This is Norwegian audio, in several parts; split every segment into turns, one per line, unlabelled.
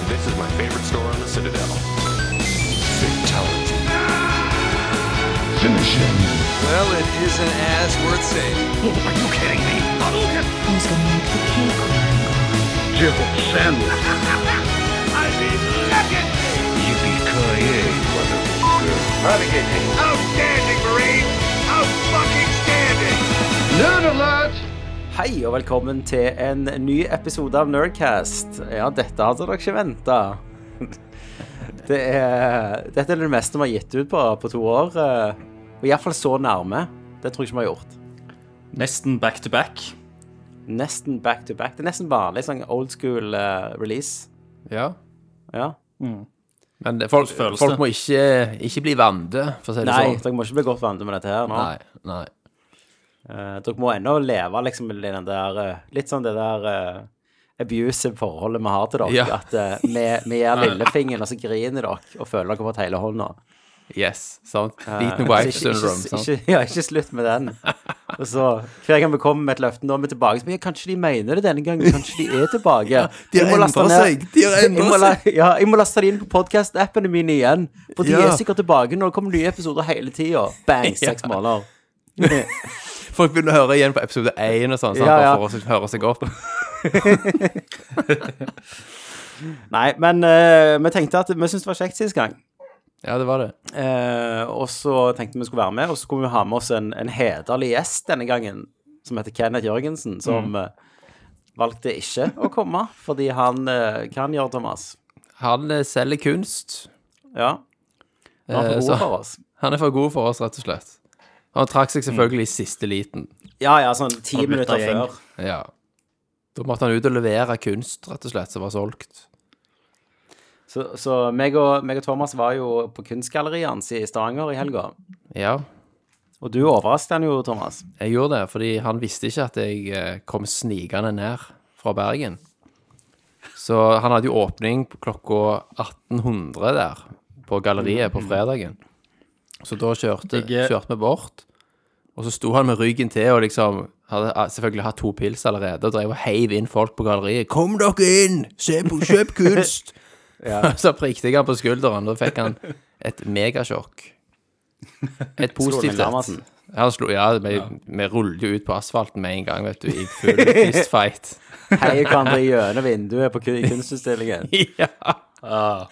favorite store on the Citadel.
Fatality. Finish him.
Well, it isn't as worth saying.
Who's gonna make the cake?
Jill Sandwich. Yippee-ki-yay, motherfucker.
Outstanding, Marine! Out fucking standing!
Nerd alert!
Hei og velkommen til en ny episode av Nerdcast. Ja, dette hadde dere ikke venta. Det er, dette er det meste vi har gitt ut på, på to år. eh, Og iallfall så nærme. Det tror jeg ikke vi har gjort.
Nesten back to back.
Nesten back to back. Det er nesten vanlig sånn old school eh, release.
Ja.
Ja.
Men det, folk,
Følelse.
folk må ikke, ikke bli vante, for å si det
Nei,
sånn.
dere må ikke bli godt vant med dette her nå.
Nei. Nei.
Eh, dere må ennå leve liksom i den der eh, Litt sånn det der eh, abusive forholdet vi har til dere.
Ja.
At eh, vi, vi gjør lillefingeren, og så griner dere og føler dere på hele hånda.
Yes. Sant.
Eh,
Beaten wife
så ikke-
syndrome.
Ikke,
Sant?
ikke, ja, ikke slutt med den. Og så, Hver gang vi kommer med et løfte, nå er vi tilbake. Så, men, ja, kanskje de mener det denne gangen. Kanskje de er tilbake.
de har
Jeg må laste
endret
ned-
seg, de har
Jeg
endret
må la- Ja, jeg må laste det inn på podkast-appene mine igjen. For de
Ja.
er sikkert tilbake når det kommer nye episoder hele tida. Bang, seks
Ja.
måneder.
Folk begynner å høre igjen på episode 1 og sånn, sant?
Ja, ja.
bare for å høre seg opp.
Nei, men eh, vi tenkte at vi syntes det var kjekt sist gang.
Ja, det var det.
Eh, og så tenkte vi skulle være med, og så kunne vi ha med oss en, en hederlig gjest denne gangen, som heter Kenneth Jørgensen, som
Mm.
eh, valgte ikke å komme, fordi han eh, kan gjøre Thomas.
Han eh, selger kunst.
Ja. Han er
Eh,
for
så-
god for oss.
Han er for god for oss, rett og slett. Han trakk seg selvfølgelig i siste liten.
Ja, ja, sånn ti
Han bytter
minutter
gjeng.
før.
Ja. Da måtte han ut og levere kunst, rett og slett, som var solgt.
Så, så meg, og, meg og Thomas var jo på kunstgalleriet hans i Stavanger i helga.
Ja,
Og du overrasket han jo, Thomas.
jeg gjorde det, fordi han visste ikke at jeg eh, kom snigende ned fra Bergen. Så han hadde jo åpning på klokka 1800 der, på galleriet på fredagen. Så da kjørte,
Jeg-
kjørte vi bort, og så sto han med ryggen til og liksom hadde eh, selvfølgelig hatt to pils allerede, og drev og heiv inn folk på galleriet. 'Kom dere inn! Se på, kjøp kunst!' Så prikte jeg han på skulderen, og da fikk han et megasjokk. Et positivt
Larmassen.
et. Han slo, ja, vi, vi rullet jo ut på asfalten med en gang, vet du, i full fistfight.
Heier hverandre gjennom vinduet på kun- i kunstutstillingen.
ja.
Ah.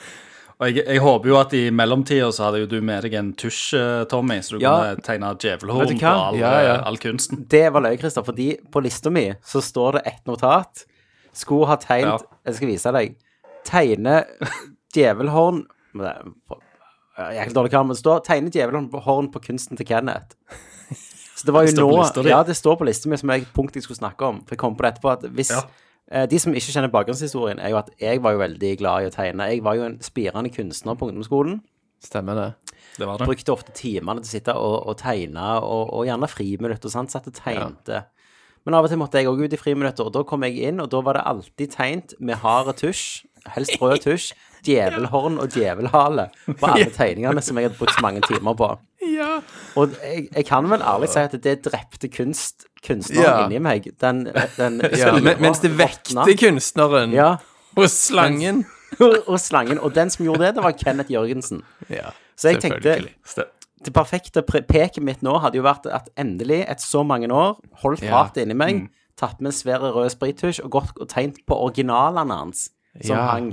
Og jeg, jeg håper jo at i mellomtida så hadde jo du med deg en tusj, eh, Tommy, så du
Ja.
kunne tegne
Vet
djevelhorn
du
på
hva?
all, eh,
Ja, ja.
all kunsten.
Det var løye, Christer, fordi på lista mi så står det ett notat. Skulle ha tegnet
Ja.
Jeg skal vise deg. Tegne djevelhorn Men det er på- Jeg er ikke dårlig klar, men det står 'Tegne djevelhorn på kunsten til Kenneth'. Så det var jo
Det står på lista
nå
di.
Ja, det står på lista mi som er et punkt jeg skulle snakke om. For jeg kom på det etterpå at hvis
Ja.
eh, De som ikke kjenner bakgrunnshistorien, er jo at jeg var jo veldig glad i å tegne. Jeg var jo en spirende kunstner på ungdomsskolen
Stemmer det.
Det var det.
brukte ofte timene til å sitte og, og tegne, og, og gjerne friminutt og sånt, satt og tegnte. Men av og til måtte jeg òg ut i friminutter, og da kom jeg inn, og da var det alltid tegnt med hard tusj, helst rød tusj, djevelhorn og djevelhale på alle tegningene som jeg hadde brukt så mange timer på. Og jeg, jeg kan vel ærlig si at det drepte kunst, kunstneren
Ja.
inni meg. Den, den
Ja, men, mens det
råtna.
vekte kunstneren
Ja,
og slangen.
og slangen. Og den som gjorde det, det var Kenneth Jørgensen.
Ja,
Så jeg tenkte
selvfølgelig.
Ste-
det perfekte pre- peket mitt nå hadde jo vært at endelig, etter så mange år, holdt
Ja. Mm.
hatet inni meg, tatt med en svær rød sprittusj og gått og tegnet på originalene hans som
Ja.
hang.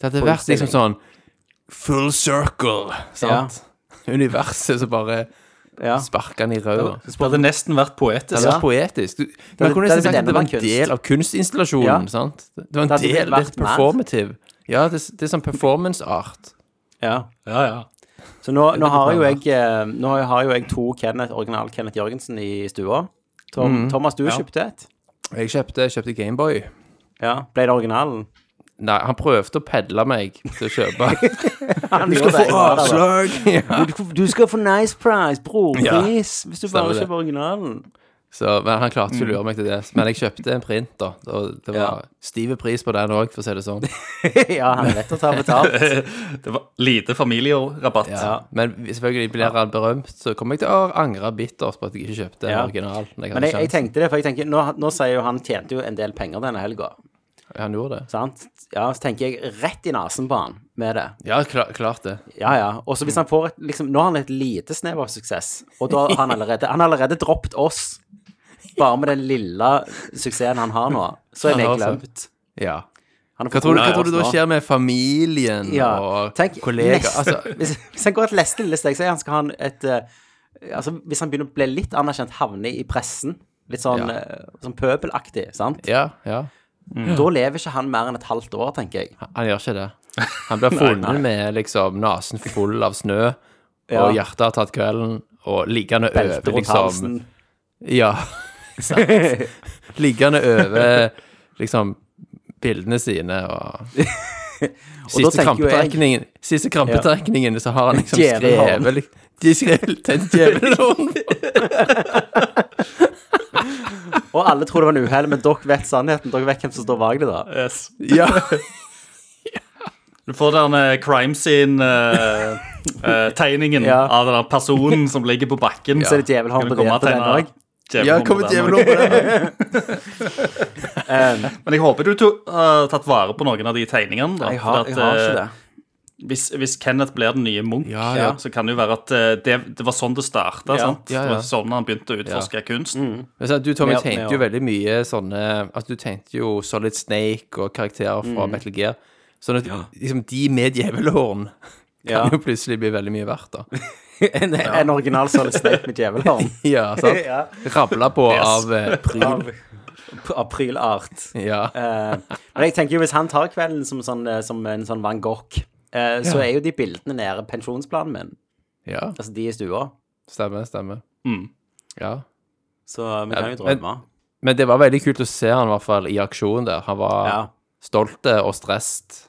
Det hadde vært liksom sånn full circle, sant? Universet som bare
Ja.
sparker han i røda.
Det hadde nesten vært poetisk.
Det hadde vært poetisk. Du, man kunne
det hadde
nesten sagt
enda
at det var
mer kunst.
en del av
Ja.
kunstinstallasjonen, sant? Det var en
hadde
del, det
vært
er
mer.
performative. Ja, det, det er sånn performance art.
ja.
Ja, ja.
Så nå, nå,
veldig
har jo
bra.
jeg, eh, nå har jo jeg to Kenneth, original Kenneth Jørgensen i stua. Tom,
Mm.
Thomas, du kjøpte et.
Jeg kjøpte, jeg kjøpte Gameboy.
Ja. Ble det originalen?
Nei, han prøvde å pedle meg til å kjøpe.
Du skal,
ja.
du skal få nice price, bror.
Ja.
Please. Hvis du
Stemmer
bare
det.
kjøper originalen.
Så, men han klarte ikke å lure meg til det. Men jeg kjøpte en print, da. Og det var
Mm. Ja.
stive pris på den òg, for å si det sånn.
ja, han vet å ta betalt.
Det var lite familierabatt.
Ja. Men selvfølgelig blir han berømt, så kommer jeg til å angre bittert på at jeg ikke kjøpte en
Ja.
original. når
Men jeg,
hadde
jeg tenkte det, for jeg tenker, nå, nå sier jo han tjente jo en del penger denne helga.
Han gjorde det.
Sant? Ja, så tenker jeg rett i nesen på han med det.
Ja, kla- klart det.
Ja, ja. Og så hvis han får et liksom, Nå har han et lite snev av suksess, og da har han allerede Han har allerede droppet oss. Bare med den lille suksessen han har nå, så er
Han
vi
har
glemt.
Ja.
Han er
Hva
for
tror du,
god
hva
for
tror du da
oss nå.
skjer med familien
ja.
og
Tenk,
kollegaer?
neste,
Altså,
hvis, hvis han går et neste lille steg, så er han skal han et eh, Altså, hvis han begynner å bli litt anerkjent, havne i pressen, litt sånn,
Ja.
eh, sånn pøbelaktig, sant?
ja, ja.
Da lever ikke han mer enn et halvt år, tenker jeg.
Han gjør ikke det. Han blir funnet med liksom nesen full av snø,
Ja.
og hjertet har tatt kvelden, og liggende
Belte
over
rundt
liksom
halsen.
Ja. sant. liggende over liksom bildene sine og
da
Siste
tenker jo jeg-
krampetrekningen Siste krampetrekningen, så har han liksom
Djevelhånd.
skrevet lik- De skrev til djevelhånd.
Og alle tror det var en uhell, men dere vet sannheten. Dere vet hvem som står bak det, da.
Yes.
Ja.
Du får den eh, crime scene-tegningen
Ja.
av den der personen som ligger på bakken.
Så er det djevelhånd
Kan du
på
komme
det- på
og
den
tegne
også?
ja,
djevelhånd på
kom et
den også?
djevelhånd på det.
Ehm,
Men jeg håper du to- eh, har tatt vare på noen av de tegningene. Da,
Jeg har,
for at,
jeg har ikke
eh,
det.
Hvis, hvis Kenneth blir den nye Munch,
Ja, ja.
så kan det jo være at eh, det, det var sånn det starta.
Ja.
sant?
Ja, ja.
Det var sånn han begynte å utforske kunst.
Men så, du, Tommy,
Med-
tegnte
med-
jo veldig mye sånne Altså, du tegnte jo Solid Snake og karakterer fra
Mm.
Metal Gear. Sånn at liksom, de med djevelhorn
Ja.
kan jo plutselig bli veldig mye verdt, da.
En, en original Solid Snake med djevelhorn.
Ja, sant?
Ja.
Rabla på av eh, pryl.
Av, av prylart.
Ja.
Eh, men jeg tenker jo hvis han tar kvelden som, sånn, eh, som en sånn Van Gogh, eh, så er jo de bildene nede pensjonsplanen min.
ja.
Altså de i stua.
Stemmer, stemmer.
Mm.
Ja.
Så vi kan jo
men-
drømme.
Men det var veldig kult å se han i hvert fall i aksjon der. Han var
Ja.
stolt eh, og stresset.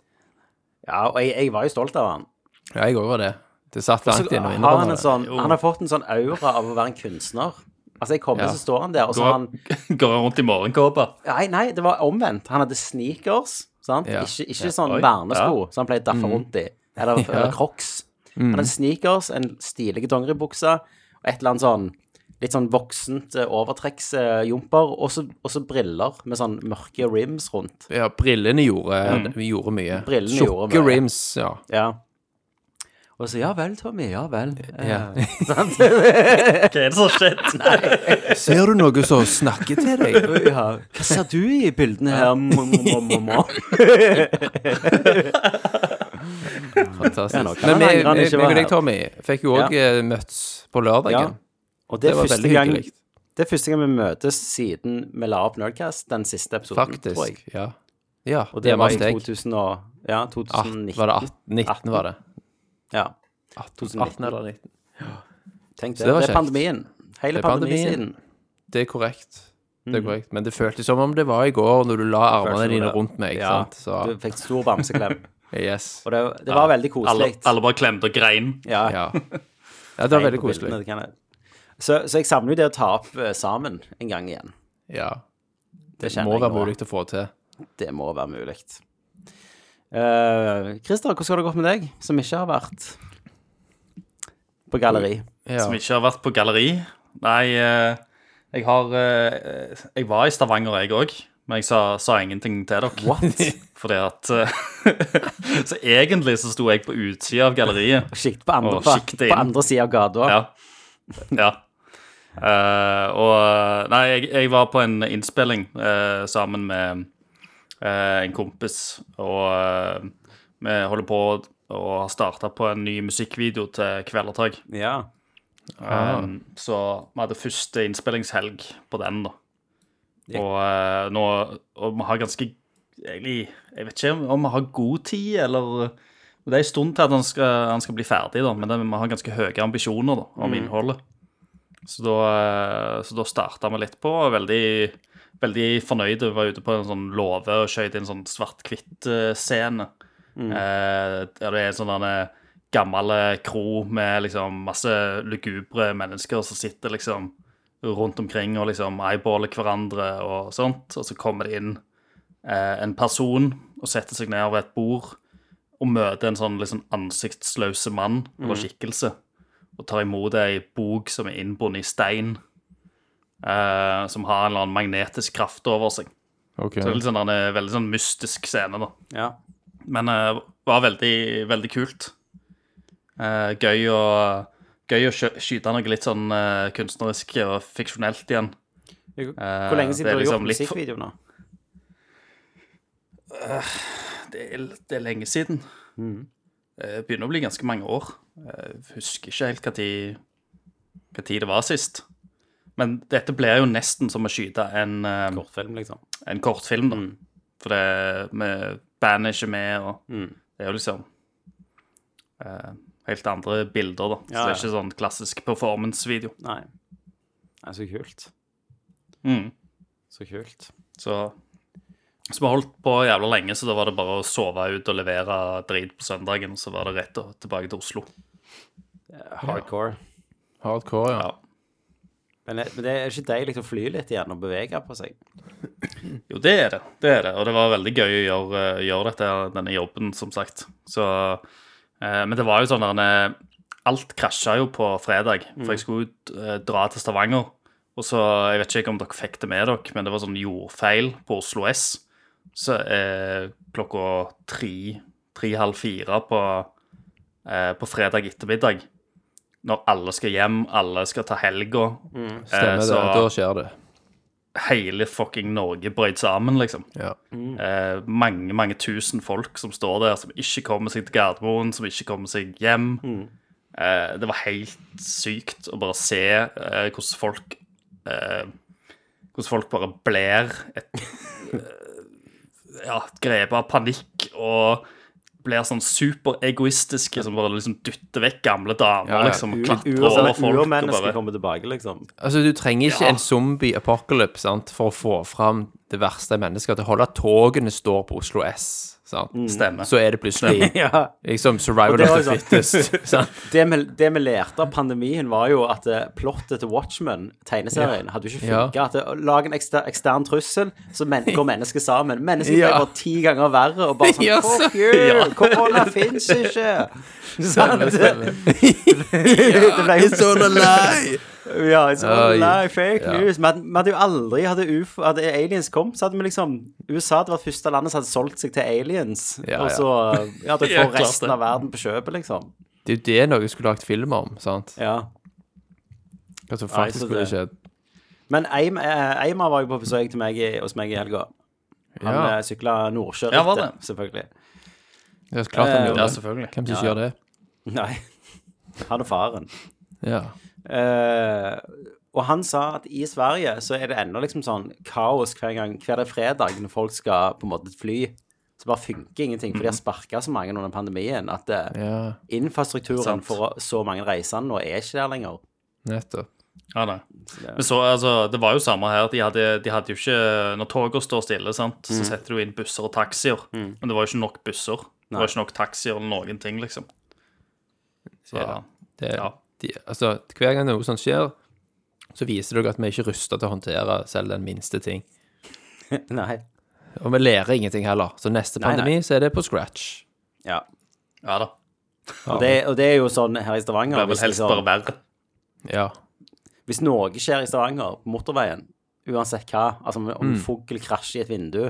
ja og jeg, jeg var jo stolt av han.
Ja, jeg òg var det. Det satt
Så
langt inne å
har
innrømme
han, en
det.
sånn, han har fått en sånn aura av å være en kunstner. Altså, jeg kommer,
Ja.
så står han der, og så
Går,
har han
går rundt i morgenkåpa.
Nei, nei, det var omvendt. Han hadde sneakers, sant?
Ja. Mm.
Ikke, ikke sånn
Oi.
vernesko som han pleide å daffe rundt i, eller, eller crocs. Han hadde sneakers, en stilig dongeribukse og et eller annet sånn litt sånn voksent eh, overtrekksjumper, og så- og så briller med sånn mørke rims rundt.
Ja, brillene gjorde, gjorde mye.
Mm. Brillene gjorde
Tjukke
mye.
rims, ja.
Ja. Og så ja vel, Tommy, ja vel. Eh,
ja.
Hva er det som har skjedd?
Ser du noe som
Eh,
snakker til deg?
ja. Hva ser du i bildene her? Må, må, må, må, må. Ja, nå
Fantastisk.
kan
Men
han
vi-
angre han
vi-
ikke
meg
var
og deg,
her.
Tommy, fikk jo òg møtts på
Ja.
lørdagen.
Og det,
Det
er
var
første
veldig
gang,
hyggelig.
det er første gang vi møtes siden vi la opp Nerdcast, den siste episoden, tror jeg.
Faktisk. Ja. ja.
Og det
hjemme
var
hos
i
deg.
2000 og, ja,
Ah,
2019.
Var det 18? 19, var det.
Ja,
18,
2019.
18 eller 19.
tenk det.
det var
Det er
kjekt.
pandemien. Hele
Det er pandemien.
pandemisiden.
Det er korrekt. Det er korrekt. Men det føltes som om det var i går, når du la armene
Mm. som
dine
det.
rundt meg.
Ja,
Sant? Så
du fikk stor bamseklem.
yes.
Og det, det var veldig
Alle,
koselig.
alle bare klemte og grein.
Ja,
Ja. ja, det var veldig
på bildene,
koselig.
det kan jeg- Så, så jeg savner jo det å ta opp eh, sammen en gang igjen.
Ja.
Det
Må
kjenner jeg
være
nå.
mulig å få til.
Det må være mulig. Eh, Christer, hvordan har det gått med deg, som ikke har vært på galleri?
Ja.
Som ikke har vært på galleri. Nei, eh, jeg har eh, Jeg var i Stavanger, jeg òg, men jeg sa, sa ingenting til dere. What? Fordi at eh, Så egentlig så sto jeg på utsida av galleriet.
Sikt på andre,
Å, sikte
på
inn.
andre sida av gata.
Ja. ja. Eh, og Nei, jeg, jeg var på en innspilling eh, sammen med eh, en kompis, og eh, vi holder på å ha starta på en ny musikkvideo til Kvelertak.
Ja.
Um, Så vi hadde første innspillingshelg på den, da. Og eh, nå Og vi har ganske Egentlig Jeg vet ikke om- om vi har god tid, eller Det er en stund til at han skal, han skal bli ferdig, da, men det, vi har ganske høye ambisjoner da, om innholdet. Så da, eh, så da starta vi litt på, og veldig, veldig fornøyde. Vi var ute på en sånn låve og skjøt en sånn svart-hvitt-scene. Eh, der det er en sånn derne gammel eh, kro med liksom masse lugubre mennesker som sitter liksom rundt omkring og liksom eyeballer hverandre og sånt. Og så kommer det inn eh, en person og setter seg ned over et bord og møter en sånn liksom ansiktsløse mann eller skikkelse. Og tar imot ei bok som er innbundet i stein, eh, som har en eller annen magnetisk kraft over seg.
Ok.
Så det er litt sånn, der en veldig sånn mystisk scene, da.
Ja.
Men det var veldig, veldig kult. Eh, gøy å, gøy å skjø- skyte noe litt sånn eh, kunstnerisk og fiksjonelt igjen.
Hvor lenge
det er
siden du har
liksom
gjort
litt for-
musikkvideo nå?
Det er, det er lenge siden.
Mm.
Det begynner å bli ganske mange år. Jeg husker ikke helt hva tid, hva tid det var sist. Men dette blir jo nesten som å skyte en, eh,
Kortfilm, liksom. Mm.
en kortfilm, da. For det, med, bandet er ikke med, og
Mm.
det er jo liksom eh, helt andre bilder, da.
Ja,
Så det
ja.
er ikke sånn klassisk performance-video.
Nei. Nei, så kult.
Mm.
Så kult.
Så, så vi holdt på jævla lenge, så da var det bare å sove ut og levere drit på søndagen, og så var det rett og tilbake til Oslo.
Hardcore.
Hardcore, ja.
Men, det, men det er ikke deilig å fly litt igjen og bevege på seg?
Jo, det er det. det er det. Og det var veldig gøy å gjøre, eh, gjøre dette, denne jobben, som sagt. Så, eh, men det var jo sånn der eh, Alt krasja jo på fredag, for jeg skulle ut, eh, dra til Stavanger. Og så, Jeg vet ikke om dere fikk det med dere, men det var sånn jordfeil på Oslo S. Så eh, klokka tre, tre-halv fire på, eh, på fredag ettermiddag, når alle skal hjem, alle skal ta helga eh,
Stemmer det.
så-
Da skjer det.
hele fucking Norge brøt sammen, liksom.
Ja.
Mm.
Eh, mange, mange tusen folk som står der, som ikke kommer seg til Gardermoen, som ikke kommer seg hjem.
Mm.
Eh, det var helt sykt å bare se eh, hvordan folk eh, Hvordan folk bare blir et, eh, ja, grepet av panikk og blir sånn superegoistiske som bare liksom dytter vekk gamle damer,
Ja, ja.
liksom.
U-
Klatrer over
Uer-
folk og
Urmennesket
bare
kommer tilbake, liksom.
Altså, du trenger ikke
Ja.
en zombie apocalypse sant, for å få fram det verste i mennesker. Til å holde at togene står på Oslo S, sant?
Stemmer.
så er det plutselig
Mm. Ja.
liksom
Og
survival
det
of the
var
fittest. sant?
Det vi, det vi lærte av pandemien, var jo at eh, plottet til Watchmen, tegneserien, hadde jo ikke funka.
Ja.
At det- Lag en ekster, ekstern trussel, så men, går mennesker sammen. Mennesker
Ja.
blir bare ti ganger verre, og bare sånn
Ja,
Fuck
så-
you!
Ja.
Korona fins ikke! Sant? Det ble jo
all a
sånn
lie!
Ja, it's all
Oi.
lie, fake
Ja.
news. Vi hadde, vi hadde jo aldri Hadde, UFO, hadde aliens kommet, så hadde vi liksom USA hadde vært første landet som hadde solgt seg til aliens.
Ja,
og
ja.
så eh, ja, dere
Ja,
får
klart
resten
det.
av verden på kjøpet, liksom.
Det er jo det noen skulle lagt film om, sant?
Ja.
Hva som
Nei,
faktisk
så
skulle
det-
skjedd.
Men Eim- eh, Eimar var jo på besøk til meg i, hos meg i helga. Han
Ja.
ja. sykla Nordsjørittet,
Ja, var det?
selvfølgelig.
Det er så klart han
Eh,
gjorde
Ja,
det.
selvfølgelig.
Hvem som ikke gjør det?
Nei. Han og faren.
Ja.
Eh, og han sa at i Sverige så er det ennå liksom sånn kaos hver gang, hver fredag når folk skal på en måte fly. Så bare funker ingenting, for de har
Mhm.
sparka så mange under pandemien at eh,
ja.
infrastrukturen
Sant.
for å- så mange reisende nå er ikke der lenger.
Nettopp.
Ja, nei. Men så, altså, det var jo samme her. De hadde, de hadde jo ikke Når toget står stille, sant, så setter du inn busser og taxier. Men det var jo ikke nok busser. Det
Nei.
var ikke nok taxier eller noen ting, liksom. Så ja.
Ja. Det,
Ja.
de, altså, hver gang noe sånt skjer, så viser det jo at vi ikke er rusta til å håndtere selv den minste ting.
Nei.
Og vi lærer ingenting heller. Så neste
Nei, nei.
pandemi så er det på scratch.
Ja.
da.
Og det, og det er jo sånn her i Stavanger
Det er
hvis
vel helst
liksom-
bare verre.
Ja.
Hvis noe skjer i Stavanger, på motorveien, uansett hva, altså om
Mm.
om en fugl krasjer i et vindu,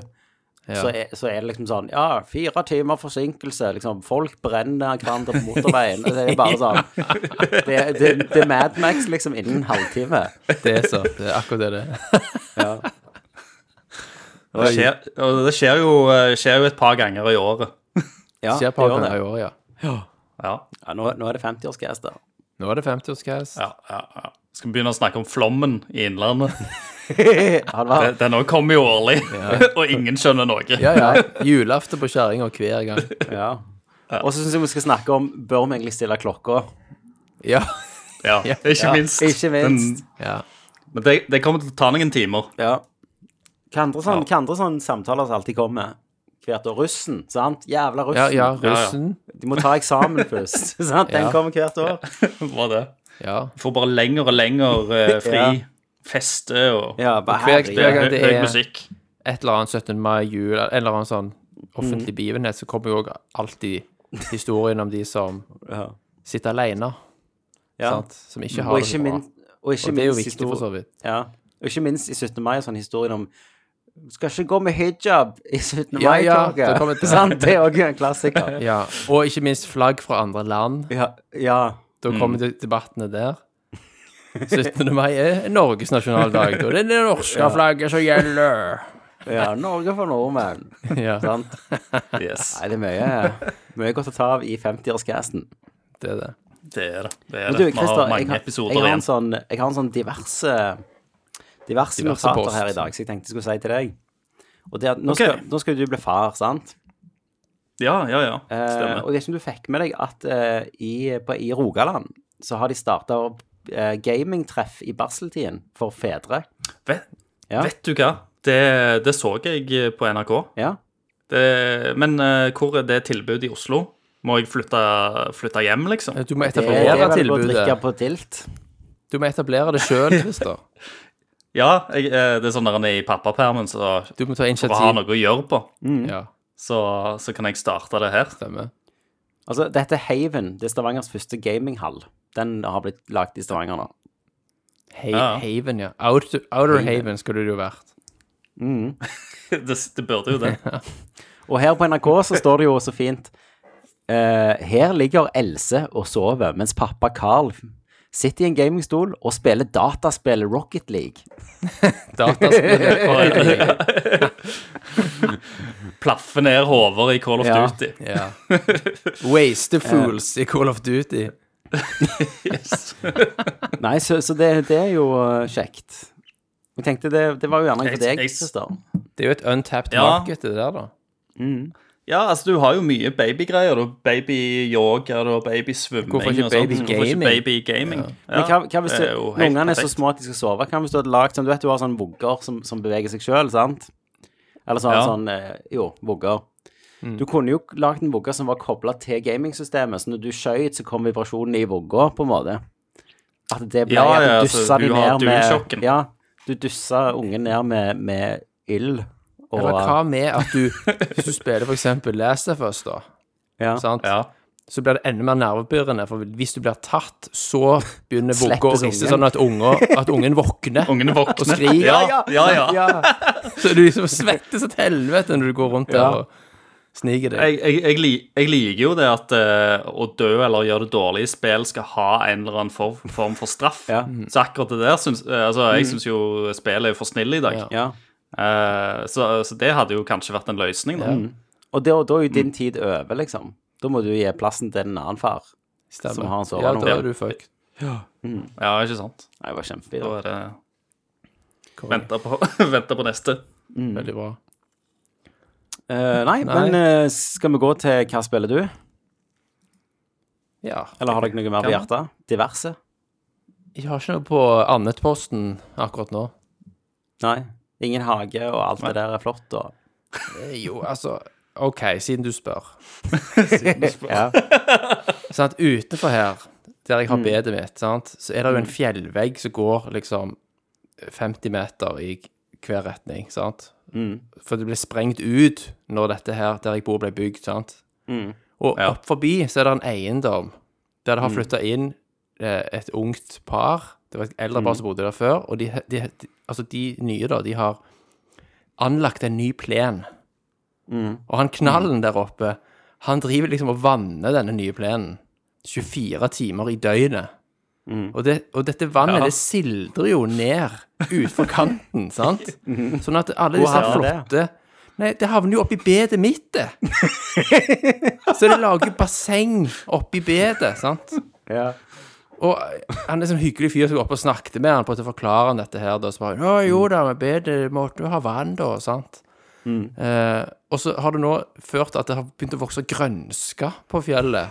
Ja.
så, er, så er det liksom sånn Ja, fire timer forsinkelse, liksom. Folk brenner hverandre på motorveien. og Det er bare sånn Det, det, det er Mad Max liksom innen en halvtime.
Det er så. Det er akkurat det det er.
Det skjer, og det skjer jo, eh, skjer jo et par ganger i året.
Ja,
Skjer
det
et par
gjør
ganger i
det.
år, ja.
Ja,
Ja, nå, nå er det 50-årsgast der.
Nå er det 50-årscast.
ja, ja, ja. Skal vi begynne å snakke om flommen i Innlandet?
Han var
Den- Den òg kommer jo årlig, og ingen skjønner noe.
Ja, ja. Julaften på kjerringa hver gang.
Ja. Og så syns jeg vi skal snakke om Bør vi egentlig stille klokka?
Ja.
Ja, ikke minst.
Ikke minst.
Men,
ja.
men det, det kommer til å ta noen timer.
Ja. Hva andre sånn- hva andre sånne samtaler som alltid kommer hvert år? Russen, sant? Jævla russen.
Ja, ja, russen.
De må ta eksamen først. sant? Den
Ja.
kommer hvert år.
Var det.
Ja.
Får bare lenger og lenger eh, fri.
Ja.
Feste og
Ja, bare
hver-
herregud.
det er
gang
høy,
det
høy
er-
musikk.
Et eller annet 17. mai, jul, en eller annen sånn
Mm.
offentlig begivenhet, så kommer jo òg alltid historien om de som
Ja.
sitter aleine,
Ja.
sant. Som ikke har
Og
det så
ikke
bra.
minst og ikke
Og det er jo
minst
viktig, for så vidt.
Ja. Og ikke minst i 17. mai, sånn historien om Skal ikke gå med hijab i 17.
Ja, ja, det kommer
mai-toget.
til-
Sant? det er òg en klassiker.
Ja, og ikke minst flagg fra andre land.
Ja, ja.
Mm.
Da kommer de- debattene der. 17. mai er Norges nasjonaldag, og det er det norske flagget som gjelder.
ja Norge for nordmenn.
Ja,
Sant?
Yes.
Nei, det er mye, mye godt å ta av i 50-årscasten.
det er det.
Det er det. det, er
Men du,
det. Vi
Christer,
har
jeg,
mange
har-
episoder
jeg, har en
igjen.
sånn, jeg har en sånn diverse Diverse,
Diverse
notater
post.
her i dag, så jeg tenkte jeg skulle si til deg. Og det, er at nå,
Ok.
skal, nå skal jo du bli far, sant?
Ja, ja, ja.
Eh,
Stemmer.
og jeg vet ikke om du fikk med deg at eh, i, på, i Rogaland så har de starta eh, gamingtreff i barseltiden for fedre.
Vet,
Ja.
vet du hva? Det, det så jeg eh, på NRK.
Ja,
Det, men eh, hvor er det tilbudet i Oslo? Må jeg flytte, flytte hjem, liksom?
Eh, Du må
det er
etablere
vel å drikke
tilbudet.
på tilt.
Du må etablere det sjøl, Christer.
Ja, jeg, eh, det er sånn der han er i pappapermen, så
Du må ta
for å ha
initiativ.
noe å gjøre på,
Mm.
Ja,
så, så kan jeg starte det her.
stemmer.
Altså, dette er Haven. Det er Stavangers første gaminghall. Den har blitt lagd i Stavanger nå.
Hey,
Ja.
Haven, ja. Outer, outer Haven skulle det jo vært.
Det, det burde jo det.
Og her på NRK så står det jo så fint eh, Her ligger Else og sover, mens pappa Carl sitter i en gamingstol og spiller dataspillet Rocket League.
Dataspillet.
Plaffe ned hoder i Call of
Ja.
Duty.
Ja. Waste fools i Call of Duty.
Yes.
Nei, så, så det, det er jo eh, kjekt. Jeg tenkte det, det var jo gjerne
Jeg-
for deg,
jeg-
Christer.
Det er jo et untapped
Ja.
market, det der, da.
Ja, altså, du har jo mye babygreier. Du har babyyoga, du har babysvømming
Hvorfor ikke
og sånt.
babygaming?
Hvorfor ikke babygaming? Ja.
Men hva, hva hvis du,
det er jo
når
helt
ungene er så
perfekt.
små at de skal sove, hva hvis du hadde lagd sånn Du vet du har sånne vugger som, som beveger seg sjøl, sant? Eller sånn,
Ja. Mm.
sånn eh, Jo, vugger. Du kunne jo lagd en vugge som var kobla til gamingsystemet, så når du skøyt, så kom vibrasjonen i vugga, på en måte. At det ble
Ja,
at
ja,
du
altså,
dussa de
du har
ned med
dualshocken.
Ja, du dussa ungen ned med, med ild. Og,
Eller hva med at du, hvis du spiller for eksempel Last of Us, da,
Ja.
sant?
Ja.
så blir det enda mer nervebyrende, for hvis du blir tatt, så begynner vugga å
Slippes
riste
ungen.
sånn at, unger, at ungen våkner.
Ungene våkner.
Og skriker.
Ja, ja, ja.
Så du liksom svetter som et helvete når du går rundt der
Ja.
og sniker deg.
Jeg, jeg, jeg, li- jeg liker jo det at eh, å dø eller gjøre det dårlig i spill skal ha en eller annen form, form for straff.
Ja.
Så akkurat det der syns eh, altså, Jeg syns jo spillet er for snille i
Ja.
dag.
ja.
Eh, så, så det hadde jo kanskje vært en løsning, da.
Og da, da er jo din tid over, liksom. Da må du gi plassen til en annen far.
Stemmer.
som har en sånn
ja,
nå.
da er du fucked.
Ja, ikke sant?
Nei, det var kjempefint.
Da er det
Konge.
vente på, vente på neste.
Mm.
Veldig bra.
Eh, nei,
Nei.
men eh, skal vi gå til hva spiller du?
Ja.
Eller har dere noe mer på
Ja.
hjertet? Diverse?
Jeg har ikke noe på Annetposten akkurat nå.
Nei. Ingen hage, og alt det der er flott, og
Eh, Jo, altså OK, siden du spør.
ja.
sant, Sånn utenfor her, der jeg har bedet mitt, sant, så er det jo en fjellvegg som går liksom 50 meter i hver retning, sant? For det ble sprengt ut når dette her, der jeg bor, ble bygd, sant? Og
Ja.
opp forbi så er det en eiendom der det har flyttet inn eh, et ungt par, det var et eldre
Mm.
par som bodde der før, og de, de, de, altså de nye da, de har anlagt en ny plen.
Mm.
Og han knallen der oppe, han driver liksom og vanner denne nye plenen 24 timer i døgnet.
Mm.
Og, det, og dette vannet,
Ja.
det sildrer jo ned utfor kanten, sant? Sånn at alle disse her
Mm. havner det?
flotte Nei, det havner jo oppi bedet mitt, det. Så det lager jo basseng oppi bedet, sant?
ja.
Og han er sånn hyggelig fyr som går opp og snakket med han på å forklare han dette her, da, så bare, å jo da, men bedre måtte jo ha vann da, sant?
Mm.
Eh, og så har det nå ført at det har begynt å vokse grønska på fjellet,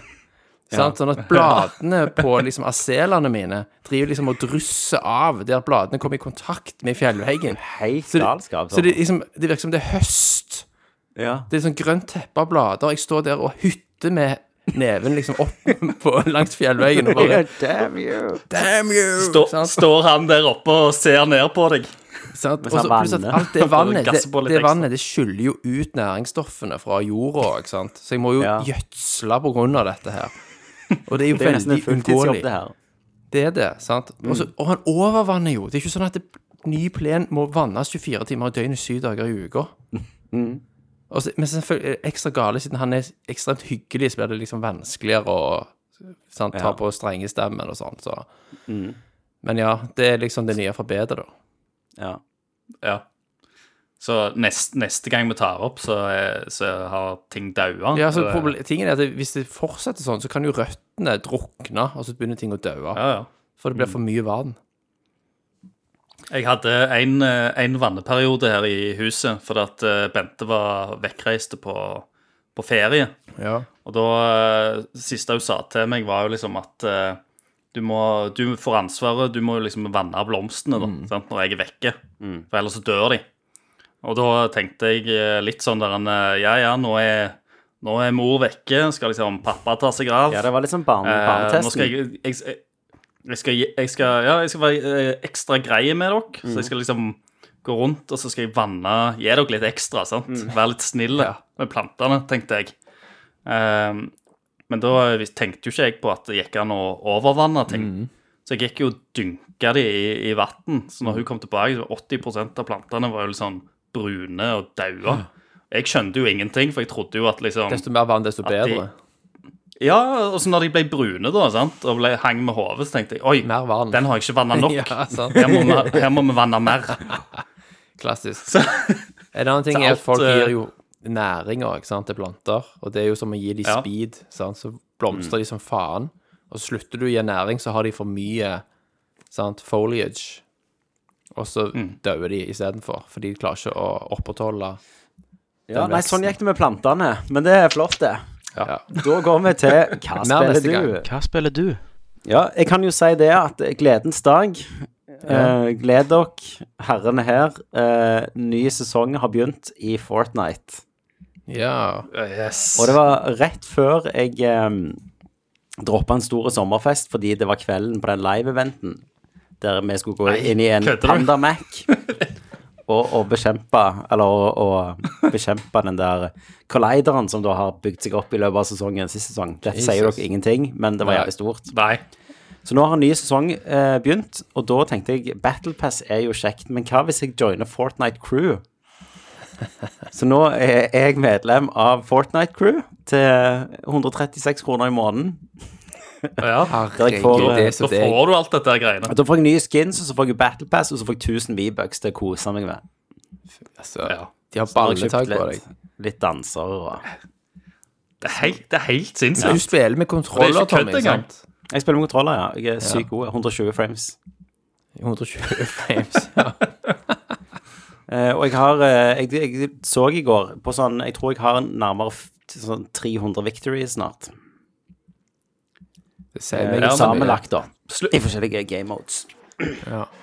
sant? Sånn at bladene på liksom aselene mine driver liksom å drusse av der bladene kommer i kontakt med fjellveggen.
Helt
Så det-
galskap.
Så
sånn.
det, liksom, det virker som det er høst,
ja.
det er sånn grønt teppe av blader. Jeg står der og hytter med neven liksom opp på, langs fjellveggen og bare
damn you.
Damn you!
Stå,
sant?
står han der oppe og ser ned på deg?
sant? Og
han
så pluss at
vanner.
alt det vannet, det,
gasser på litt
det
ekstra.
vannet det skyller jo ut næringsstoffene fra jorda, ikke sant. Så jeg må jo
Ja.
gjødsle på grunn av dette her. Og det er jo
Det er jo nesten
veldig
en fulltidsjobb,
uunngåelig.
det her.
Det er det, sant? Og så- og han overvanner jo. Det er ikke sånn at det ny plen må vannes 24 timer i døgnet, syv dager i uka. Og så- Men selvfølgelig er det ekstra gale, siden han er ekstremt hyggelig, så blir det liksom vanskeligere å sant, ta
Ja.
på strengestemmen og sånn. Så. Men ja, det er liksom det nye forbedret, da.
Ja.
Ja. Så neste, neste gang vi tar opp, så, er- så har ting daua.
Ja, så
Eller-
proble- tingen er at det- Hvis det fortsetter sånn, så kan jo røttene drukne, og så begynner ting å daue.
Ja, ja.
For det blir for mye vann.
Jeg hadde en, eh, en vanneperiode her i huset, fordi at eh, Bente var vekkreiste på, på ferie.
Ja.
Og da eh, siste hun sa til meg, var jo liksom at eh, du, må, du får ansvaret, du må jo liksom vanne av blomstene da,
Mm.
sant, når jeg er vekke. For ellers så dør de. Og da tenkte jeg eh, litt sånn der en eh, Ja, ja, nå er, nå er mor vekke, skal liksom pappa ta seg av.
ja, det var litt sånn barne,
Eh, nå
barnetesten.
skal jeg, jeg, jeg, jeg, skal, gi- jeg, skal, ja, jeg skal være eh, ekstra greie med dere. Så jeg skal liksom gå rundt og så skal jeg vanne, gi dere litt ekstra. sant? Være litt snill med plantene, tenkte jeg. Ehm, men da tenkte jo ikke jeg på at det gikk an å overvanne ting. Så jeg gikk jo og dynka de i, i vann. Så når hun kom tilbake, så var 80 av plantene var jo litt sånn brune og daua. Jeg skjønte jo ingenting, for jeg trodde jo at liksom
Desto mer vann, desto
de-
bedre.
ja, og så når de ble brune da, sant? og ble, hang med hodet, så tenkte jeg Oi,
Mer vann.
den har jeg ikke vanna nok.
Ja, altså. sant.
her, må vi, her må vi vanne mer.
Klassisk.
Så,
En annen ting
Så
er at
alt,
folk
eh,
gir jo næring også, ikke sant, til planter, og det er jo som å gi de
Ja.
speed, sant? så blomstrer de som faen, og så slutter du å gi næring, så har de for mye sant, foliage, og så
Mm.
dør de istedenfor, for de klarer ikke å opprettholde
Ja, nei, sånn gikk det med plantene. Men det er flott, det.
ja.
Da går vi til Hva
Mer neste
spiller du?
gang.
Hva spiller du?
Ja, jeg kan jo si det at gledens dag. Eh, gled dere, herrene her. Eh, ny sesong har begynt i Fortnite.
ja.
Og det var rett før jeg eh, droppa en stor sommerfest fordi det var kvelden på den live-eventen der vi skulle gå inn i en
kødder du?
Pandamac og, og bekjempe Eller og, og bekjempe den der kollideren som da har bygd seg opp i løpet av sesongen sist sesong. Dette sier
Jesus.
dere ingenting, men det var
Nei.
jævlig stort.
nei.
Så nå har en ny sesong eh, begynt, og da tenkte jeg Battle Pass er jo kjekt, men hva hvis jeg joiner Fortnite Crew? Så nå er jeg medlem av Fortnite Crew til 136 kroner i måneden.
Ja.
jeg får,
Herregud, det er
Da
så det
får du alt dette her greiene.
Og Da får jeg nye skins, og så får jeg Battle Pass, og så får jeg 1000 V-bucks til å kose meg med.
altså,
Ja.
De
Da har
har
jeg
balletak
kjøpt
på
litt,
deg.
litt danser og
Det er helt, det er helt
Du
sinnssykt.
spiller med
Det er
kontroller,
ikke kødd
Tommy,
engang.
sant?
Jeg spiller med kontroller, ja. Jeg er sykt god. 120 frames.
120 frames. Ja.
Eh, og jeg har eh, jeg, jeg så i går på sånn Jeg tror jeg har nærmere f- sånn 300 victories snart.
Det sier meg
Eh,
ikke så mye.
sammenlagt, da.
Slu-
I forskjellige game modes.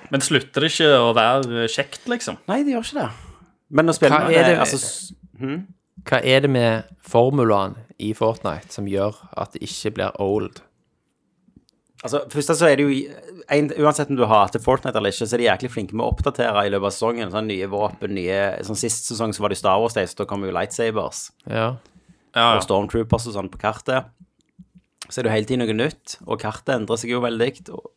Men slutter det ikke å være kjekt, liksom?
Nei, det gjør ikke det. Men å spille
Hva
med
er det-
altså, s-
Hva er det med formulaen i Fortnite som gjør at det ikke blir old?
altså, Først så er det jo i- en, Uansett om du hater Fortnite eller ikke, så er de jæklig flinke med å oppdatere i løpet av sesongen. Sånn Nye våpen, nye Sånn Sist sesong så var det jo Star Wars Days, da kom jo lightsabers
Ja.
Ja,
og Stormtroopers og sånn på kartet. Så er det jo hele tiden noe nytt, og kartet endrer seg jo veldig. Og,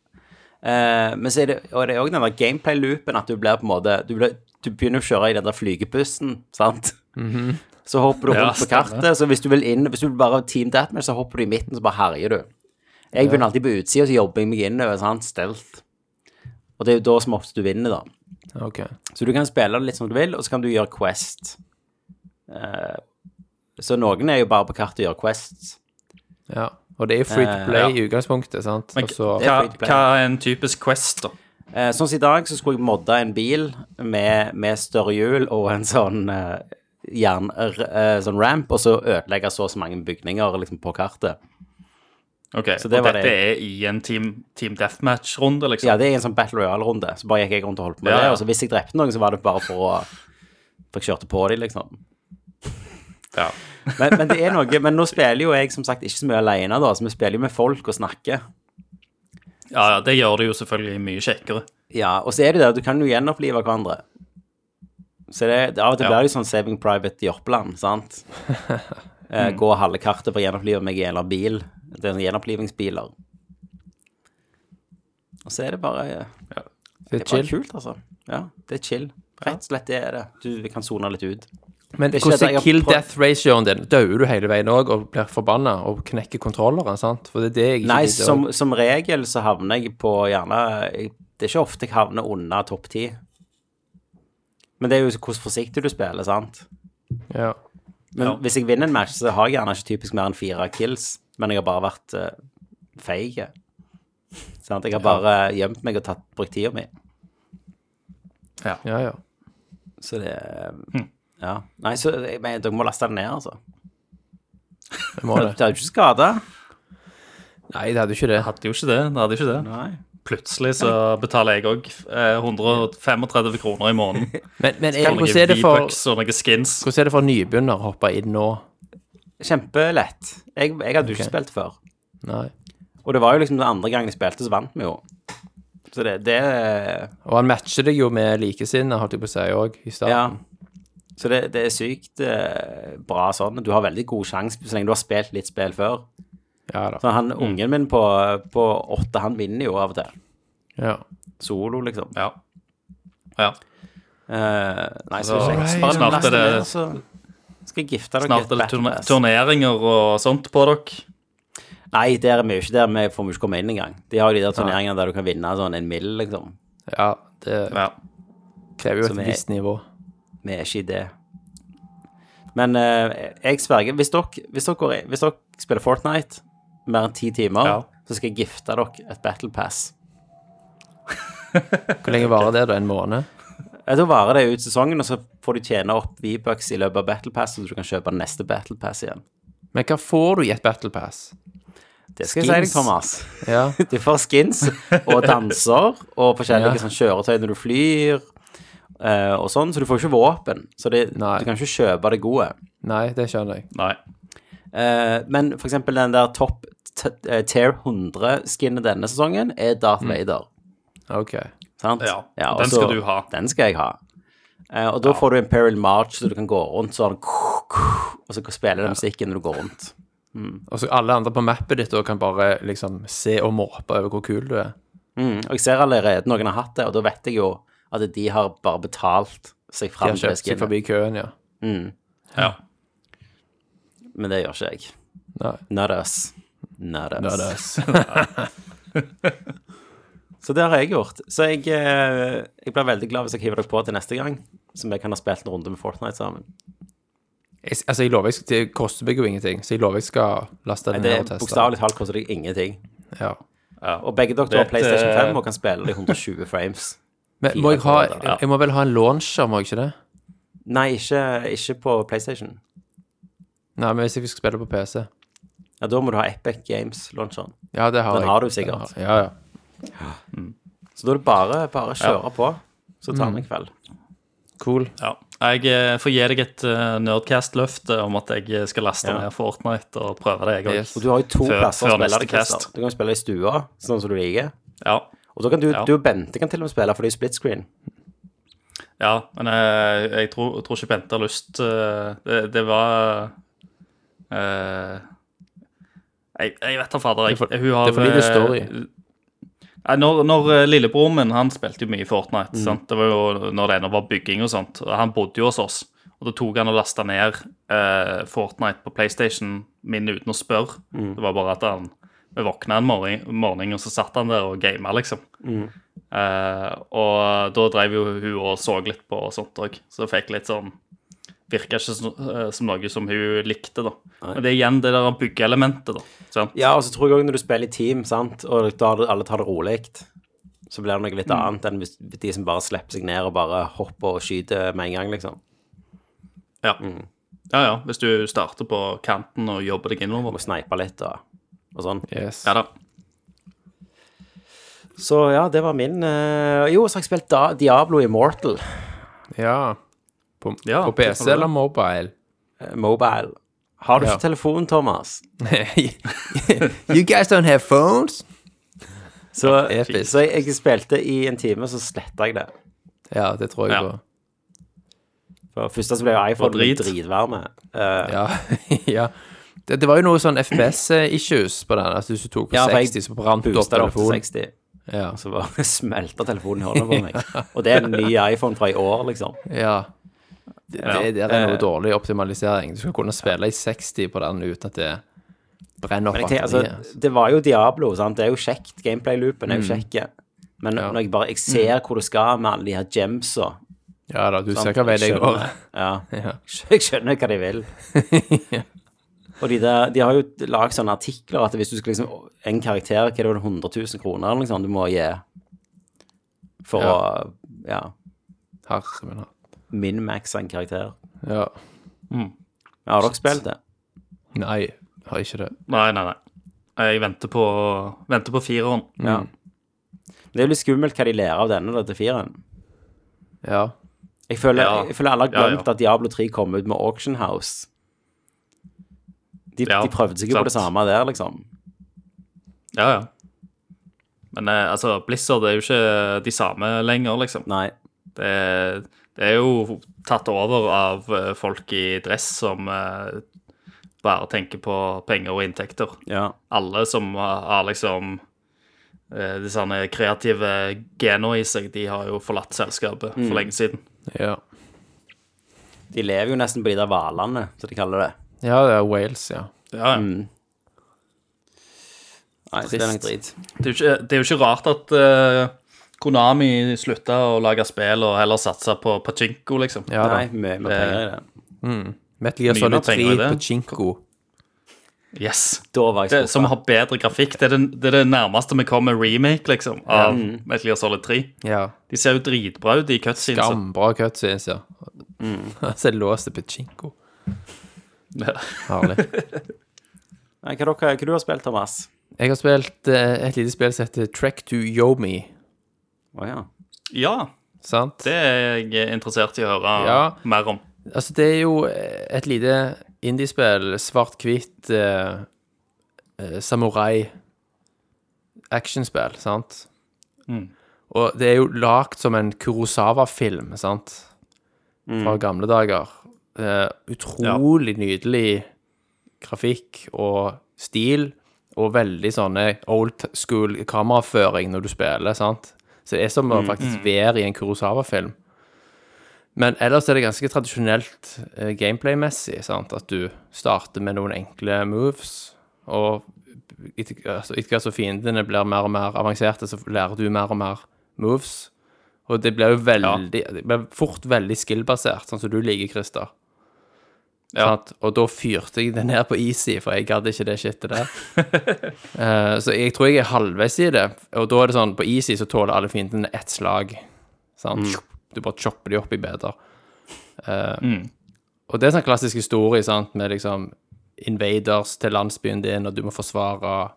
eh, men så er det Og det er òg den der gameplay-loopen at du blir på en måte Du, blir, du begynner å kjøre i den der flygebussen, sant? Så hopper du
Mhm. Ja,
rundt på
stemmer.
kartet, så hvis du vil inn Hvis du vil bare Team Deathmatch, så hopper du i midten, så bare herjer du. Jeg begynner alltid på utsida, så jobber jeg meg innover, sant? Stealth. Og det er jo da som oftest du vinner, da.
Ok.
Så du kan spille det litt som du vil, og så kan du gjøre Quest. Eh, så noen er jo bare på kartet og gjør Quest.
Ja. Og det er jo free to play
Eh,
i utgangspunktet, sant?
Men
Og så
hva, hva er en typisk Quest, da?
Eh, sånn som i dag, så skulle jeg modda en bil med, med større hjul og en sånn eh, jern... r- eh, sånn ramp, og så ødelegge så og så mange bygninger liksom, på kartet.
Ok,
det
og
var
dette
det.
er i en Team, team Deathmatch-runde,
Så ja,
liksom?
det er en sånn Battle Royale-runde, så bare gikk jeg rundt og holdt på med
Ja,
det.
ja.
Og så hvis jeg drepte noen, så var det bare for å For jeg kjørte på dem, liksom.
Ja.
Men, men det er noe Men nå spiller jo jeg som sagt ikke så mye alene, da, så vi spiller jo med folk og snakker.
ja, ja, det gjør det jo selvfølgelig mye kjekkere.
Ja, og så er det det, du kan jo gjenopplive hverandre. Så det, det- av og til
Ja.
blir det jo sånn Saving Private Jørpeland, sant? Eh, Gå halve kartet for å gjenopplive meg i en eller annen bil. Det er sånne gjenopplivingsbiler. Og så er det bare eh,
Det er
Det er
chill.
kult, altså. Ja, det er chill. Rett og slett det er det. Du kan sone litt ut.
Men
Det er ikke det
hvordan
jeg
er
har prøvd-
kill-death-ratioen din? Dør du hele veien òg og blir forbanna og knekker kontrolleren? sant? For det er det jeg ikke
Nei,
gidder.
som, som regel så havner jeg på gjerne jeg, Det er ikke ofte jeg havner under topp ti. Men det er jo hvor forsiktig du spiller, sant?
ja.
Men hvis jeg vinner en match, så har jeg gjerne ikke typisk mer enn fire kills. Men jeg har bare vært eh, feig. Sant? Jeg har bare gjemt meg og tatt, brukt tida mi.
ja, ja.
Så det Ja. Nei, så jeg mener, dere må laste den ned, altså.
Jeg må
Det
det.
er jo ikke skada.
Nei, det hadde jo ikke det.
Hadde jo ikke det. det, hadde jo ikke det.
Nei.
Plutselig så betaler jeg eh, òg 135 kroner i måneden.
Men, men jeg,
For noen
hvordan er det for,
V-bucks og noen skins.
hvordan er det for nybegynner å hoppe inn nå?
Kjempelett. Jeg, jeg hadde jo
Ok.
ikke spilt før.
Nei.
Og det var jo liksom den andre gangen jeg spilte, så vant vi jo. Så det, det
Og han matcher deg jo med likesinnede, holdt jeg på å si òg, i
Ja.
starten.
Så det, det er sykt eh, bra sånn. Du har veldig god sjanse så lenge du har spilt litt spill før.
Ja, da.
Så
Mm.
han ungen min på, på åtte, han vinner jo av og til.
Ja.
Solo, liksom.
Ja. ja.
Eh, nei, så
Så-
kjekt.
Alright. Altså, Snart
last
er det-
ned, så Skal jeg gifte dere
Snart
et
er det turne
Battle Pass.
turneringer og sånt på dere.
Nei, der er vi jo ikke der. Vi får vi ikke komme inn engang. De har jo de der turneringene der du kan vinne sånn en mill, liksom.
ja, det
Ja.
krever jo
Som
et
er-
visst nivå.
Vi er ikke i det. Men eh, jeg sverger, hvis dere, hvis, dere, går i- hvis dere spiller Fortnite mer enn ti timer,
Ja.
så skal jeg gifte dere et Battle Pass.
Hvor lenge varer det, da? En måned?
Eh, Da varer det ut sesongen, og så får du tjene opp V-bucks i løpet av Battle Pass, så du kan kjøpe neste Battle Pass igjen.
Men hva får du i et battle pass?
Det skal jeg si deg,
Skins.
Thomas.
Ja.
Du får skins og danser og forskjellige
Ja.
sånn kjøretøy når du flyr eh, og sånn, så du får ikke våpen. Så det,
Nei.
du kan ikke kjøpe det gode.
Nei, det skjønner jeg.
Nei.
Eh, men for eksempel den der topp t- eh, tier 100-skinnet denne sesongen er Darth Vader.
OK.
Sant?
Ja,
og
den
så-
skal du ha.
Den skal jeg ha. Eh, og da får du Imperial March, så du kan gå rundt sånn Og så spiller den musikken når du går rundt.
Og så alle andre på mappet ditt da kan bare liksom se og måpe over hvor kul du er.
Mm. Og jeg ser allerede noen har hatt det, og da vet jeg jo at de har bare betalt seg
De
fram til
har
det
kjøpt seg
skinnet.
forbi køen, ja.
Ja.
Men det gjør ikke jeg.
Nei.
Not us. Not us.
Ja, det er-
Så det har jeg gjort. Så jeg, eh, jeg blir veldig glad hvis jeg hiver dere på til neste gang, så vi kan ha spilt en runde med Fortnite sammen.
Jeg, altså, jeg lover, jeg, skal- det koster meg jo ingenting, så jeg lover jeg skal laste den
Det
ned og
er
teste.
bokstavelig talt koster deg ingenting.
Ja.
Og begge dere
Det-
har PlayStation
det-
5 og kan spille det i 120 frames.
Men må jeg,
Fire
ha,
kroner, ja.
jeg må vel ha en launcher, må jeg ikke det?
Nei, ikke, ikke på PlayStation.
Nei, men hvis jeg skal spille på PC.
Ja, Da må du ha Epic Games-launcheren.
Ja, det har
Den
jeg.
har du sikkert.
Ja, ja.
Så da er det bare bare å kjøre på, så tar vi en kveld.
Cool.
Ja. Jeg eh, får gi deg et eh, Nerdcast-løfte om at jeg skal laste
Ja.
ned Fortnite og prøve det, jeg òg.
Yes.
Og du har jo to
Før-
plasser å
før
spille
neste
det, Christer.
cast.
Du kan jo spille i stua, sånn som du liker.
Ja.
Og da kan du,
Ja.
du og Bente kan til og med spille, for det er split screen.
ja, men eh, jeg tror, tror ikke Bente har lyst eh, det, det var eh, jeg, jeg vet da fader. Jeg,
Det er for-
hun har
det er for lite
eh,
story.
Nei, når, når eh, lillebroren min han spilte jo mye Fortnite,
Mm.
sant? det var jo når det ennå var bygging og sånt, og han bodde jo hos oss, og da tok han og lasta ned eh, Fortnite på PlayStation min uten å spørre.
Mm.
Det var bare at han vi våkna en morgen, morgen, og så satt han der og gama, liksom. Eh, og da drev jo hun og så litt på og sånt òg, så jeg fikk litt sånn Virka ikke som, eh, som noe som hun likte, da. Men det er igjen det der byggeelementet, da. Sant?
Ja, og så tror jeg også når du spiller i team, sant, og da alle tar det rolig, så blir det noe litt annet enn hvis de som bare slipper seg ned og bare hopper og skyter med en gang, liksom.
Ja. ja, ja. Hvis du starter på kanten og jobber deg innover.
Og snipe litt og, og sånn.
Yes.
Ja da.
Så ja, det var min eh, Jo, så har jeg spilt da Diablo Immortal
Ja. På,
Ja,
på
det får
PC
du.
eller mobile?
eh, Mobile. Har du
Ja.
ikke telefon, Thomas?
you guys don't have phones?
Så,
episk.
så jeg, jeg spilte i en time, så sletta jeg det.
Ja, det tror jeg
Ja.
på.
For først så ble jo
Og
iPhone
drit.
dritvarme. Eh,
Ja. ja. Det, det var jo noe sånn FPS-issues på den. Altså, hvis du tok på
Ja, for jeg
60, så brant du opp
Boosta det opp til
telefonen.
60.
Ja.
Så bare smelta telefonen i hånda på meg. Og det er en ny iPhone fra i år, liksom.
ja. Det, det, det
Eh.
er noe dårlig optimalisering. Du skal kunne spille i 60 på den uten at det brenner
Men
opp
jeg tenker,
batteriet.
altså, det var jo Diablo, sant. Det er jo kjekt. Gameplay-loopen
Mm.
er jo kjekk. Men når jeg bare jeg ser hvor det skal med alle de her gemsa
Ja da, du Mm. ser
sant,
hva vei det
jeg
går.
sånn skjønner- Ja.
Ja.
Jeg skjønner hva de vil. Og de, der, de har jo lagd sånne artikler at hvis du skal liksom En karakter, hva er det var det, 100 000 kroner eller noe sånt du må gi for å ja,
Herre min hatt.
min-maxe en karakter.
Ja.
Ja, har dere spilt det?
Nei, har ikke det.
Nei, nei, nei. Jeg venter på, venter på fireren.
Ja. Det er jo litt skummelt hva de lærer av denne da, til fireren.
Ja.
Jeg føler,
Ja.
jeg føler alle har
Ja, ja.
glemt at Diablo 3 kom ut med Auction House. De,
Ja,
de prøvde seg jo
sant.
på det samme der, liksom.
Ja, ja. Men eh, altså, Blizzard er jo ikke de samme lenger, liksom.
Nei.
Det, det er jo tatt over av eh, folk i dress som eh, bare tenker på penger og inntekter.
Ja.
Alle som har, har liksom eh, de sånne kreative gena i seg, de har jo forlatt selskapet for lenge siden.
Ja.
De lever jo nesten på de der hvalene, som de kaller det.
Ja, det er Wales, ja.
Ja, ja.
Nei, så det er nok drit.
Det, er jo ikke, det er jo ikke rart at eh, Konami slutta å lage spill og heller satsa på Pachinko, liksom.
ja da.
Nei, mye mer penger i det.
Metal Gear
Mye
Solid
mer
3
penger i det.
på Chinko.
Yes.
Da var jeg
det, som
skuffa.
har bedre grafikk. Det er det, det, er det nærmeste vi kommer remake liksom, av Metal Gear Solid 3.
Ja.
De ser jo dritbra ut i cutscenes.
Gambra cutscenes, ja.
Mm.
Så er det låst til Pachinko.
Ja.
Herlig.
Nei, Hva, dere- hva du har spilt, Thomas?
Jeg har spilt eh, et lite spill som heter Track to Yomi.
Å ja.
ja,
Sant?
det er jeg interessert i å høre
Ja.
mer om.
Altså, det er jo et lite indiespill, svart-hvitt eh, eh, samurai-actionspill, sant? Og det er jo lagd som en Kurosawa-film, sant? Fra gamle dager. Eh, utrolig nydelig grafikk og stil, og veldig sånne old school kameraføring når du spiller, sant? Så det er som å faktisk være i en Kurosawa-film. Men ellers er det ganske tradisjonelt eh, gameplay-messig, sant? At du starter med noen enkle moves, og etter altså, etter hvert som fiendene blir mer og mer avanserte, så lærer du mer og mer moves. Og det blir jo veldig Det blir fort veldig skill-basert, sånn som du liker, Christer. Sant? Og da fyrte jeg det ned på easy, for jeg gadd ikke det shitet der. Eh, så jeg tror jeg er halvveis i det. Og da er det sånn, på easy så tåler alle fiendene ett slag. Sant? Du bare chopper de opp i beder. Eh, Og det er sånn klassisk historie, sant, med liksom invaders til landsbyen din, og du må forsvare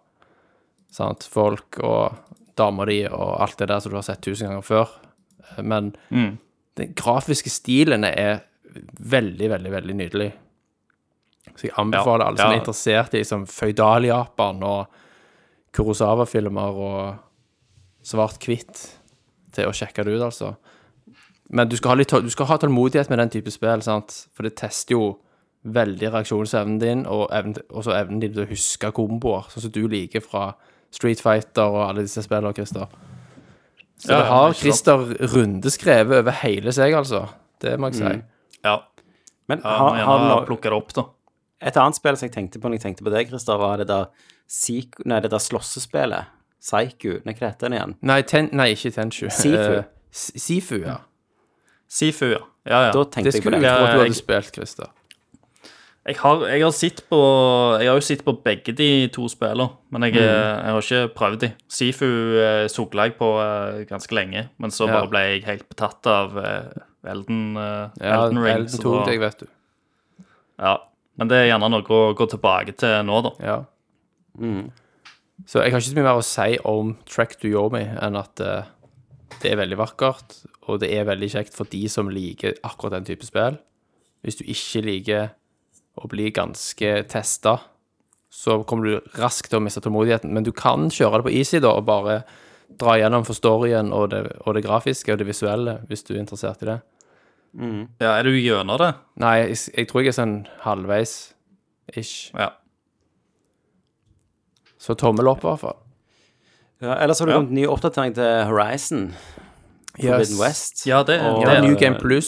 sant, folk og dama di og alt det der som du har sett tusen ganger før. Eh, Men
Mm.
den grafiske stilen er veldig, veldig, veldig nydelig. Så jeg anbefaler
Ja,
alle som
ja.
er interessert i liksom, føydal-Japan og Kurosawa-filmer og svart-hvitt, til å sjekke det ut, altså. Men du skal, ha litt, tå- du skal ha tålmodighet med den type spill, sant? for det tester jo veldig reaksjonsevnen din, og evnen, også evnen din til å huske komboer, sånn som du liker fra Street Fighter og alle disse spillene, Christer. Så
Ja,
det
ja,
har
ikke sant.
Christer rundeskrevet over hele seg, altså. Det må jeg
Mm.
si.
Ja,
Men
ja
har,
må
har
gjerne
no-
plukke det opp, da.
et annet spill som jeg tenkte på når jeg tenkte på deg, Christer, var det der, Psyk- nei, det der slåssespillet. Psycho. Nei, hva heter den igjen?
Nei, ten, nei, ikke Tenshu.
Sifu.
Eh, S- Sifu, ja.
Sifu, ja. ja, ja.
Da
Det
tenkte jeg på
skulle
det.
jeg tro at du
Ja,
hadde
jeg-
spilt, Christer.
Jeg har, jeg, har sett på, jeg har jo sett på begge de to spillene, men
Mm.
jeg, eh, jeg har ikke prøvd de. Sifu eh, sogla jeg på eh, ganske lenge, men så
Ja.
bare ble jeg helt betatt av eh, Elden, eh,
Ja,
Elden Ring.
Elden
så
tok
da-
deg, vet du.
Ja, men det er gjerne noe å gå tilbake til nå, da.
Ja. Så jeg har ikke så mye mer å si om Track to Yomi enn at eh, det er veldig vakkert, og det er veldig kjekt for de som liker akkurat den type spill. Hvis du ikke liker å bli ganske testa, så kommer du raskt til å miste tålmodigheten. Men du kan kjøre det på easy da, og bare dra gjennom for storyen og det, og det grafiske og det visuelle, hvis du er interessert i det.
Ja, Er du gjennom det?
Nei, jeg, s- jeg tror jeg er sånn halvveis-ish.
Ja.
Så tommel opp, i hvert fall.
Ja, ellers har det kommet en ny oppdatering til Horizon. Forbidden West.
Ja, det,
Og-
det,
Ja,
er
New
det.
Game Plus,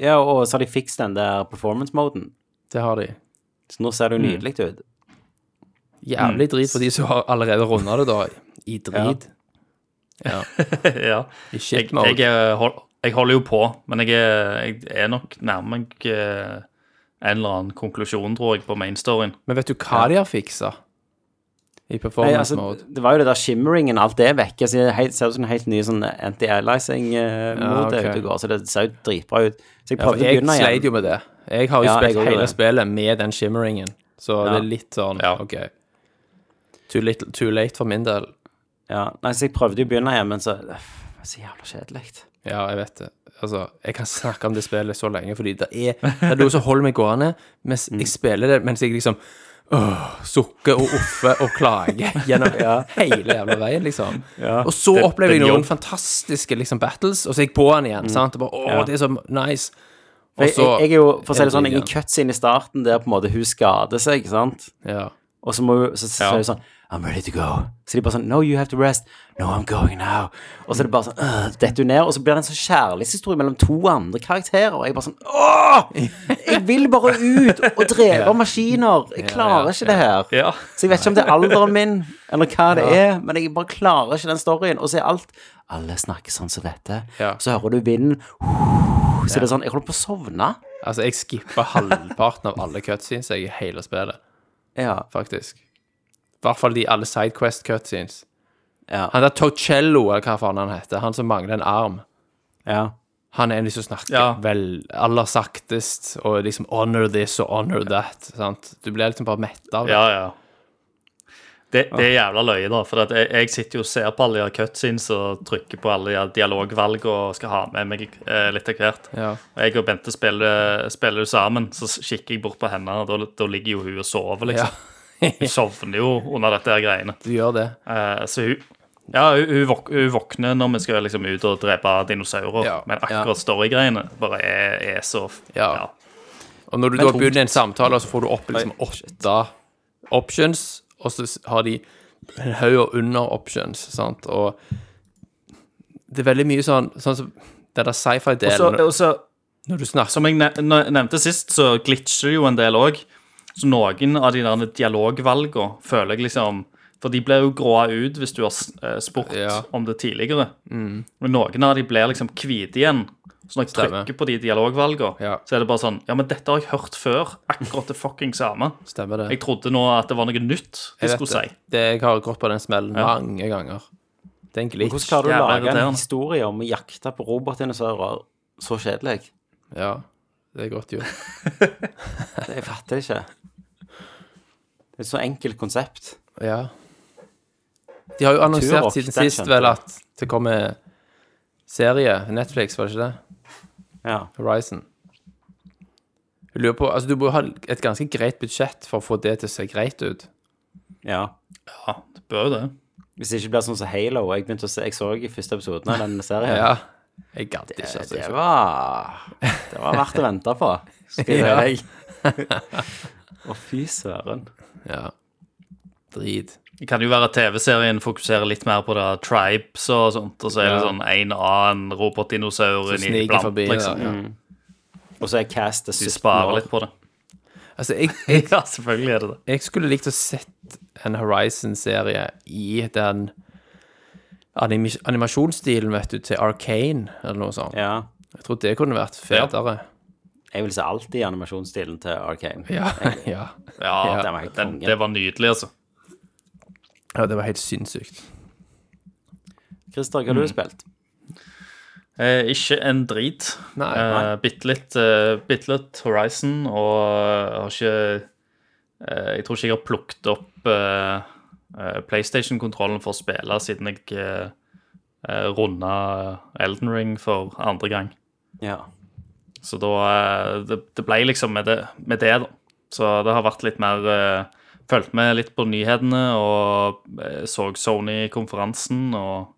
Ja, og så har de fikset den der performance-moden.
det har de.
Så nå ser det jo
Mm.
nydelig ut.
Jævlig drit for de som har allerede runda det, da. I drit.
ja.
I
Jeg,
shit
jeg,
mode.
er- hold, jeg holder jo på, men jeg er, jeg er nok nærmer meg eh, en eller annen konklusjon, tror jeg, på mainstoryen.
Men vet du hva de har fiksa? I
Nei,
performance
altså,
mode.
det var jo det der shimmeringen, alt det er vekke. Så det er helt- ser ut som en helt ny sånn
Ja,
anti-aliasing-mode
ok.
ute og går, så det ser jo dritbra ut. Så jeg
Ja, for
prøvde å
Altså, jeg
begynne
sleit
igjen.
jo med det. Jeg har jo
Ja, jeg
spilt
gjorde
hele
det.
spillet med den shimmeringen, så det er litt sånn
Ja.
OK. Too, little, too late for min del.
Ja, nei, så jeg prøvde jo å begynne igjen, men så øff, Så jævla kjedelig.
Ja, jeg vet det. Altså, jeg kan snakke om det spillet så lenge, fordi det er, det er noe som holder meg gående mens
Mm.
jeg spiller det, mens jeg liksom åh, sukker og offer og klager gjennom hele jævla veien, liksom. og så opplever jeg
den
noen
jobb-
fantastiske liksom, battles, og så er jeg på den igjen. sant? Og bare, åh,
Mm. Ja.
det er så nice.
For
Og
jeg,
så
jeg, jeg er jo for å si det sånn, jeg er
igjen.
cuts inn i starten der på en måte hun skader seg, ikke sant?
Ja.
Og så må hun Så sier hun sånn I'm ready to go. Så de bare sånn No, you have to rest. No, I'm going now. Og så er det bare sånn øh, Detter hun ned. Og så blir det en sånn kjærlighetshistorie mellom to andre karakterer. Og jeg bare sånn Åh! Jeg vil bare ut og drepe maskiner. Jeg klarer ikke det her.
Ja.
Så jeg vet ikke om det er alderen min, eller hva det er, men jeg bare klarer ikke den storyen. Og så er alt Alle snakker sånn som dette.
Ja.
Så hører du vinden. Så er det sånn Jeg holder på å sovne.
Altså, jeg skippa halvparten av alle cutscenes jeg, i hele spillet,
Ja.
faktisk. I hvert fall de alle Sidequest cutscenes.
Ja.
Han der Torcello, eller hva faen han heter, han som mangler en arm,
ja.
han er en av de som snakker
Ja.
vel aller saktest, og liksom honor this og honor that, sant? Du blir liksom bare mett av det.
Ja, ja. Det, det er jævla løye, da. For at jeg, jeg sitter jo og ser på alle de cutscenes og trykker på alle de dialogvalg og skal ha med meg eh, litt av hvert.
Ja.
Og jeg og Bente spiller, spiller jo sammen, så kikker jeg bort på henne, og da, da ligger jo hun og
Ja.
sover, liksom. Hun sovner jo under dette her greiene.
Du gjør det.
Eh, så hun ja, hun, hun, våk, hun våkner når vi skal liksom ut og drepe dinosaurer,
Ja.
men akkurat storygreiene bare er, er så
Ja. Og når du da begynner en samtale, så får du opp liksom åtte options, og så s- har de en haug av under options, sant? Og det er veldig mye sånn, sånn som den der
Så,
sci-fi-delen,
og så
når du snakker
Som jeg ne- ne- nevnte sist, så glitcher det jo en del òg. Så noen av de der dialogvalgene føler jeg liksom For de blir jo gråa ut hvis du har s- eh, spurt
Ja. Mm.
om det tidligere. Men noen av de blir liksom hvite igjen. Så når jeg
Stemmer.
trykker på de dialogvalgene,
Ja.
så er det bare sånn Ja, men dette har jeg hørt før. Akkurat det fucking samme.
stemmer det.
Jeg trodde nå at det var noe nytt de
Jeg vet
skulle si.
det. det. Jeg har gått på den smellen mange ganger. Det er en glitch.
Hvordan klarer du å
Jævla
lage en
irriterende.
historie om å jakte på robotdinosaurer så kjedelig?
Ja, det er godt gjort.
Det- Jeg fatter det ikke. Det er et så enkelt konsept.
Ja. De har jo annonsert
Turok,
siden
den
sist
skjønte
vel
jeg.
at det kommer serie. Netflix, var det ikke det?
Ja.
Horizon. Jeg lurer på, altså Du må ha et ganske greit budsjett for å få det til å se greit ut.
ja.
Ja, det bør jo det.
Hvis det ikke blir sånn som Halo. Jeg begynte å se, jeg så i første episoden av den serien. Eh,
Ja. Jeg gadd ikke.
det,
altså.
det, var, det var verdt å vente på, skal jeg si deg. Å, fy søren.
Ja. Drit.
Det kan jo være at TV-serien fokuserer litt mer på det tribes og sånt, og så er det
Ja.
sånn en annen robotdinosaur
Så
inni
sniker
iblant,
forbi.
liksom.
Ja.
Og så er castet
De
17
sparer
år.
litt på det.
Altså, jeg, jeg,
Ja, selvfølgelig er det det.
jeg skulle likt å sett en Horizon-serie i den animi animasjonsstilen, vet du, til Arcane eller noe sånt.
Ja.
Jeg tror det kunne vært fetere.
Jeg vil se alt i animasjonsstilen til Arcane.
Ja. ja.
Ja,
Ja,
den var helt
den,
konge.
det var nydelig, altså.
ja, det var helt sinnssykt.
Christer, hva har du spilt?
Eh, ikke en drit.
Nei,
Eh, bitte litt, eh, bitte litt Horizon, og jeg har ikke eh, Jeg tror ikke jeg har plukket opp eh, eh, PlayStation-kontrollen for å spille siden jeg eh, eh, runda Elden Ring for andre gang.
Ja.
Så da eh, Det, det ble liksom med det, med det, da. Så det har vært litt mer eh, Fulgt med litt på nyhetene og eh, så Sony-konferansen og,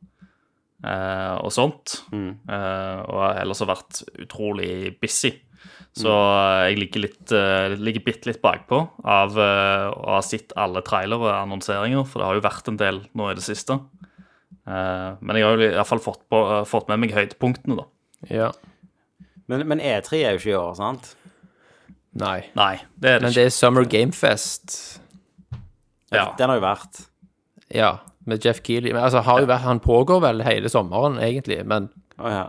eh, og sånt.
Mm.
Eh, og ellers har vært utrolig busy. Så
Mm.
eh, jeg ligger, litt, eh, ligger bitte litt bakpå av eh, å ha sett alle trailere og annonseringer, for det har jo vært en del nå i det siste. Eh, men jeg har jo i hvert fall fått, på, eh, fått med meg høydepunktene, da.
Ja.
Men, men E3 er jo ikke i år, sant?
Nei.
Nei, det er det
Men
ikke.
det er Summer Gamefest.
Ja.
Den har jo vært.
Ja, med Jeff Keeley. Men, altså, har jo vært, han pågår vel hele sommeren, egentlig, men
Å ja.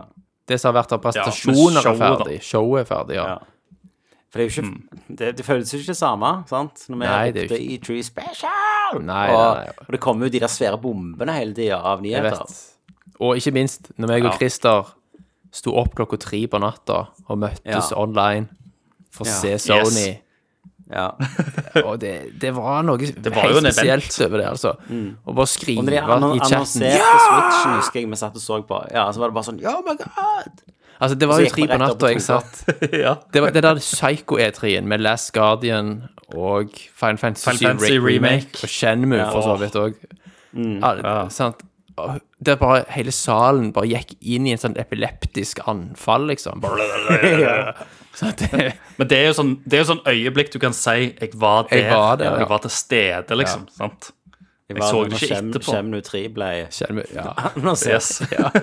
det som har vært av
men
presentasjoner, er
showet, da.
ferdig. Showet er ferdig, ja.
Ja. For det er jo ikke Det, det føles jo ikke det samme, sant? Når vi
Mm. Nei, det er
ropte
jo
E3 Special!
Nei,
og,
nei, nei.
og det kommer jo de der svære bombene hele tida av
Jeg
nyheter.
vet. Og ikke minst, når meg og Christer sto opp klokka tre på natta og møttes
Ja.
online for å se
Ja.
Sony.
Ja.
Og det, det var noe
var jo
helt
en event.
spesielt over det, altså. Å bare
Og når de
skrive
annon
i chatten
annonserte Switchen, husker jeg vi satt og så på, Ja, så var det bare sånn Oh my god!
Altså, det var
så
jo
gikk man
tre på
rett opp i
natta, jeg
toget.
satt
ja.
Det var det der Psycho-E3-en med Last Guardian og Final Fantasy,
Final Fantasy
Re-
Remake.
Og Shenmue, for så vidt òg.
Mm.
Sant? Og Der bare hele salen bare gikk inn i en sånn epileptisk anfall, liksom. Så det,
Men det er, jo sånn, det er jo sånn øyeblikk du kan si 'jeg var der',
Jeg var der,
og
ja.
'jeg var til stede', liksom. sant?
Jeg,
så det ikke etterpå.
Kjemnu 3 ble
Shenmue, ja.
annonsert.
Yes.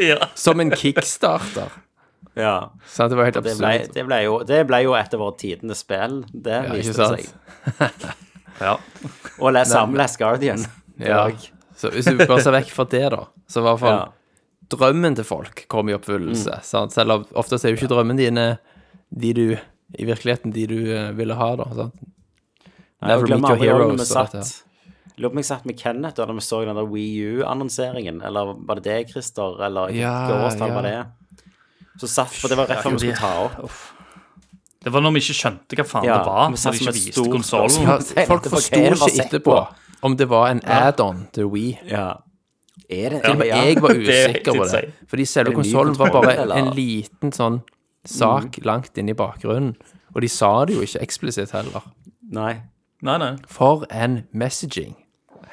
ja.
Som en kickstarter.
Ja.
Sant? Det var helt
Det, ble,
absurd.
det, ble jo, det ble jo et av våre tidenes spill. Det
Ja, ikke
viste det
sant?
seg.
ja.
Og les sammen Last Guardian.
Ja. Så hvis du bare ser vekk fra det, da, så i hvert fall
Ja.
drømmen til folk kommer i
Mm.
oppfyllelse. Sant? Selv om ofte så er jo ikke drømmene dine de du i virkeligheten de du eh, ville ha, da. Sant?
Nei,
Never
jeg glemmer
meet
aldri
your
når vi
heroes, og
satt jeg Lurer på om jeg satt med Kenneth da når vi så den der Wii U-annonseringen. Eller var det det, Christer? Eller hvilket
Ja,
årstall
ja.
var det? Så satt For det var rett før vi skulle ta opp.
Det var når vi ikke skjønte hva faen
Ja,
det var,
vi
når
satt
vi
som
ikke
et
viste
stort
konsollen.
Ja,
spørsmål. tenkte
folk
på hva
forsto
jeg var
ikke
sett
etterpå
på.
om det var en add-on til Wii.
Ja. Er det
Ja,
Men
ja.
jeg var
Det er
usikker på
helt
det. Fordi selve
det en ny
konsollen var
kontroll,
bare
eller? Mm.
en liten sånn sak langt inne i bakgrunnen. Og de sa det jo ikke eksplisitt heller.
Nei.
Nei, nei.
For en messaging.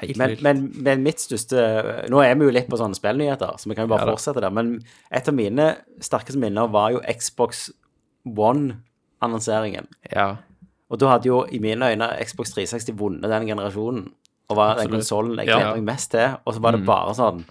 Helt
Men,
vilt.
men, men mitt største Nå er vi jo litt på sånne spillnyheter, så vi kan jo bare
Ja da.
fortsette der. Men et av mine sterkeste minner var jo Xbox One-annonseringen.
Ja.
Og da hadde jo i mine øyne Xbox 360 vunnet den generasjonen. Og var den konsollen jeg
Ja.
gledet meg mest til. Og så var
Mm.
det bare sånn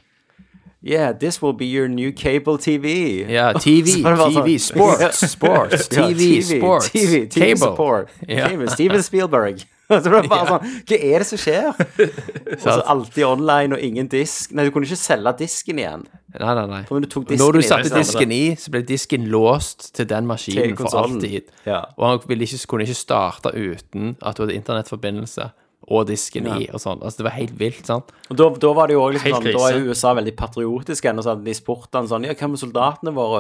Yeah, this will be your new cable TV.
Ja, TV,
Så var det bare
TV,
sånn-
sports, sports,
Ja,
TV, sports,
TV, TV support.
Ja.
Cable, Steven Spielberg. Så det var bare sånn Hva er det som skjer? Og så alltid online og ingen disk. Nei, du kunne ikke selge disken igjen.
Nei, nei, nei.
For når du tok
Når du
disken i,
satte
så var det-
disken i, så ble disken låst til den maskinen
Til
for
konsollen.
alltid.
Ja.
Og han ville ikke, kunne ikke starte uten at du hadde internettforbindelse og disken i og sånn. Altså, det var helt vilt, sant?
Og da, da var det jo også liksom
Helt
sånn, da er
krise.
USA veldig patriotiske igjen, og så hadde de spurt han sånn Ja, hva med soldatene våre?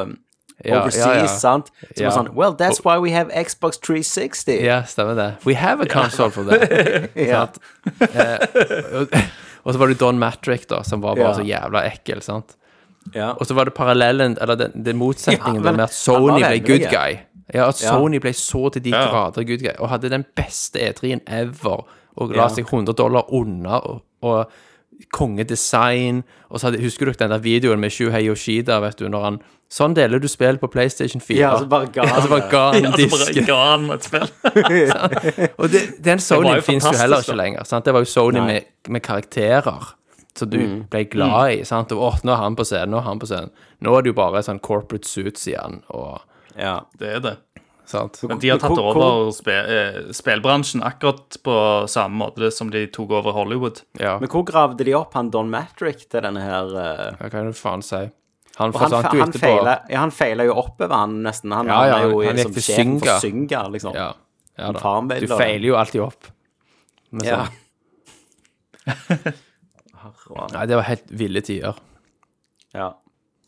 Ja,
Overseas,
ja, ja.
sant? Så
Ja.
var sånn Well, that's why we have Xbox 360.
Ja, stemmer det. We have a console for that.
Ja.
sant? Eh, og, og så var det Don Matrick, da, som var
Ja.
bare så jævla ekkel, sant?
Ja.
Og så var det parallellen, eller den, den motsetningen
Ja, men
med
han var
at Sony ble
vennlig.
good guy. Ja, at
Ja.
Sony ble så til de
Ja.
grader good guy, og hadde den beste E3-en ever, og la
Ja.
seg 100 dollar unna, og, og kongedesign, og så hadde, husker du den der videoen med Shuhei Yoshida, vet du, når han, sånn deler du spill på Playstation 4.
Ja, så bare ga
Ja,
han
så bare
det.
ga han
Ja, så bare
disken.
ga han med et spill.
Og det, den
var jo
Sonyen finnes jo
fantastisk,
heller
da.
ikke lenger. Sant? Det var jo Sony
Nei. Mm.
med, med karakterer som du ble glad i. Sant? Og åh, nå er han på scenen, nå er han på scenen. Nå er det jo bare sånn corporate suits igjen. Og,
Ja.
Det er det.
sant?
Men de har tatt
Hvor-
over spe, eh, spillbransjen akkurat på samme måte som de tok over Hollywood.
Ja,
Men hvor gravde de opp han Don Matrick til denne her eh,
hva kan du faen si? Han
Og han,
forsvant jo
han,
etterpå.
feila, ja, han feila jo oppover, han nesten. Han,
Ja, ja,
han er jo
han gikk
som
til
sjefen
Synga.
for Synga, liksom.
Ja, ja da.
Farm
Du
Bailer.
feiler jo alltid opp. Men
Ja.
sånn. Nei, det var helt ville tider.
ja.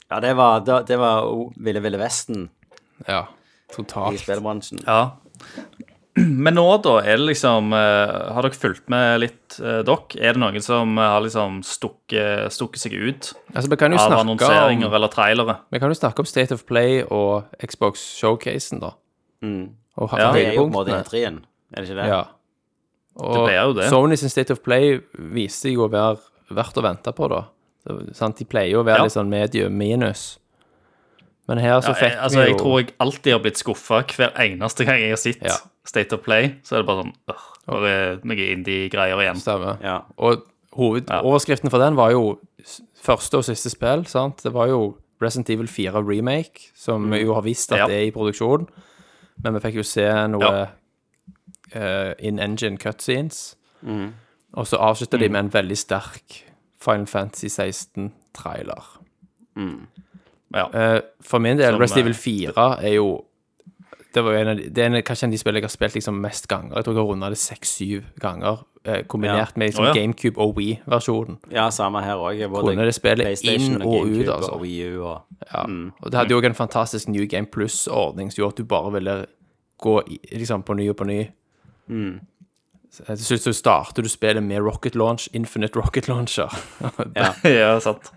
ja det var, det, det var oh, Ville Ville Vesten
Ja.
i
Totalt.
spillbransjen.
Ja. Men nå, da, er det liksom eh, Har dere fulgt med litt, eh, dere? Er det noen som eh, har liksom stukket, stukket seg ut
Altså, vi kan jo
av
snakke om
annonseringer eller trailere?
Vi kan jo snakke om State of Play og Xbox Showcasen, da. Og ha
Ja,
Mm. Det er jo på en måte
høydepunktene.
E3-en, er det ikke det?
Ja. Og
ble jo det.
Sony sin State of Play viste seg jo å være verdt å vente på, da. Så, sant? De pleier jo å være
Ja.
litt sånn medium minus. Men her så
Ja, jeg,
fikk
altså,
vi
jeg
jo
tror jeg alltid har blitt skuffa hver eneste gang jeg har sett
Ja.
State of Play. Så er det bare sånn øh, Nå er det noe indie-greier igjen.
Stemmer.
Ja.
Og, Hovedoverskriften for den var jo s- første og siste spill, sant? Det var jo Resident Evil 4 Remake, som vi jo har visst at
Mm. Ja.
det er i produksjon. Men vi fikk jo se noe
Ja.
eh, in engine cutscenes.
Mm.
Og så avslutta de med en veldig sterk Final Fantasy 16-trailer.
Ja.
Eh, for min del,
Som,
Resident
eh,
Evil 4 er jo det, var jo en av de, det er en, kanskje en av de spillene jeg har spilt liksom mest ganger. Jeg tror jeg har runda det seks-syv ganger, eh, kombinert
Ja.
med liksom,
Å, ja.
GameCube og Wii-versjonen.
Ja, samme her òg.
Kunne det spille inn og ut, altså.
Og Wii U og
Ja. Og det hadde jo også en fantastisk New Game Plus-ordning som gjorde at du bare ville gå i, liksom, på ny og på ny. Så, eh, Til slutt så starter du spillet med Rocket Launch, Infinite Rocket Launcher.
ja, sant.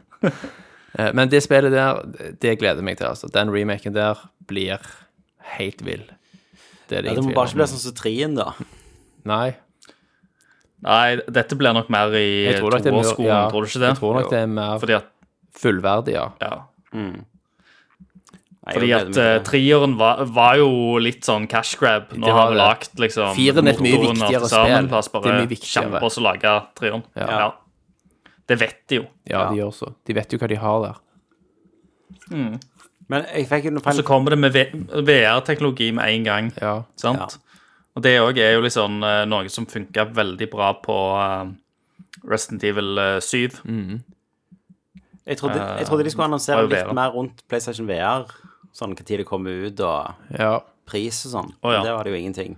Eh, Men det spillet der, det gleder jeg meg til. Altså. Den remaken der blir helt vill. Det er
ja, Det
det ingen
må
tvil
bare ikke bli
om.
sånn som trien, da.
Nei.
Nei, dette blir nok mer i
Jeg tror nok det er mer-
toårsskolen,
ja,
tror du ikke det?
Jeg tror nok det er mer
Fordi at,
fullverdig, ja.
ja.
Nei,
Fordi
jeg gleder meg
at
til
eh,
det.
trieren var, var jo litt sånn cash grab. Nå
Det
har
var
vi
det.
lagt liksom
Firen er et mye
motoren og
viktigere
til sammen.
spill.
La oss
Det
bare
er mye viktigere.
kjempe oss og lage trieren. Ja.
Ja.
Det vet de jo.
Ja, de gjør så. De vet jo hva de har der.
Men jeg fikk jo noe
Så
Final,
kommer det med V- VR-teknologi med en gang.
Ja.
Sant? Og det òg er jo liksom eh, noe som funka veldig bra på eh, Resident Evil eh, 7.
Mm.
jeg, trodde, jeg trodde de skulle annonsere
var jo
litt
VR.
mer rundt PlayStation VR. Sånn hva tid det kommer ut, og
ja.
pris og sånn.
Å, ja.
Men Det var det jo ingenting.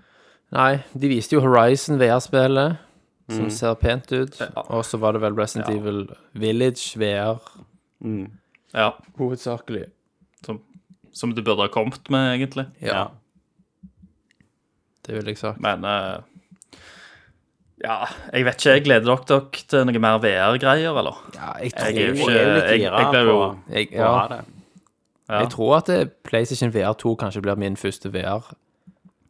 Nei, de viste jo Horizon VR-spillet, som
Mm.
ser pent ut. Og så var det vel Resident Evil Village VR,
Ja,
hovedsakelig.
som, som du burde ha kommet med, egentlig.
Ja.
Ja.
Det vil jeg sagt.
Men eh, Ja, jeg vet ikke. Jeg gleder dere dere til noe mer VR-greier, eller?
Ja, jeg tror,
Jeg er
Jeg
jo ikke
er jo litt
Jeg,
gira
jeg blir jo
på-
jeg,
Å
ja,
ha det.
jeg tror at eh, PlayStation VR 2 kanskje blir min første VR.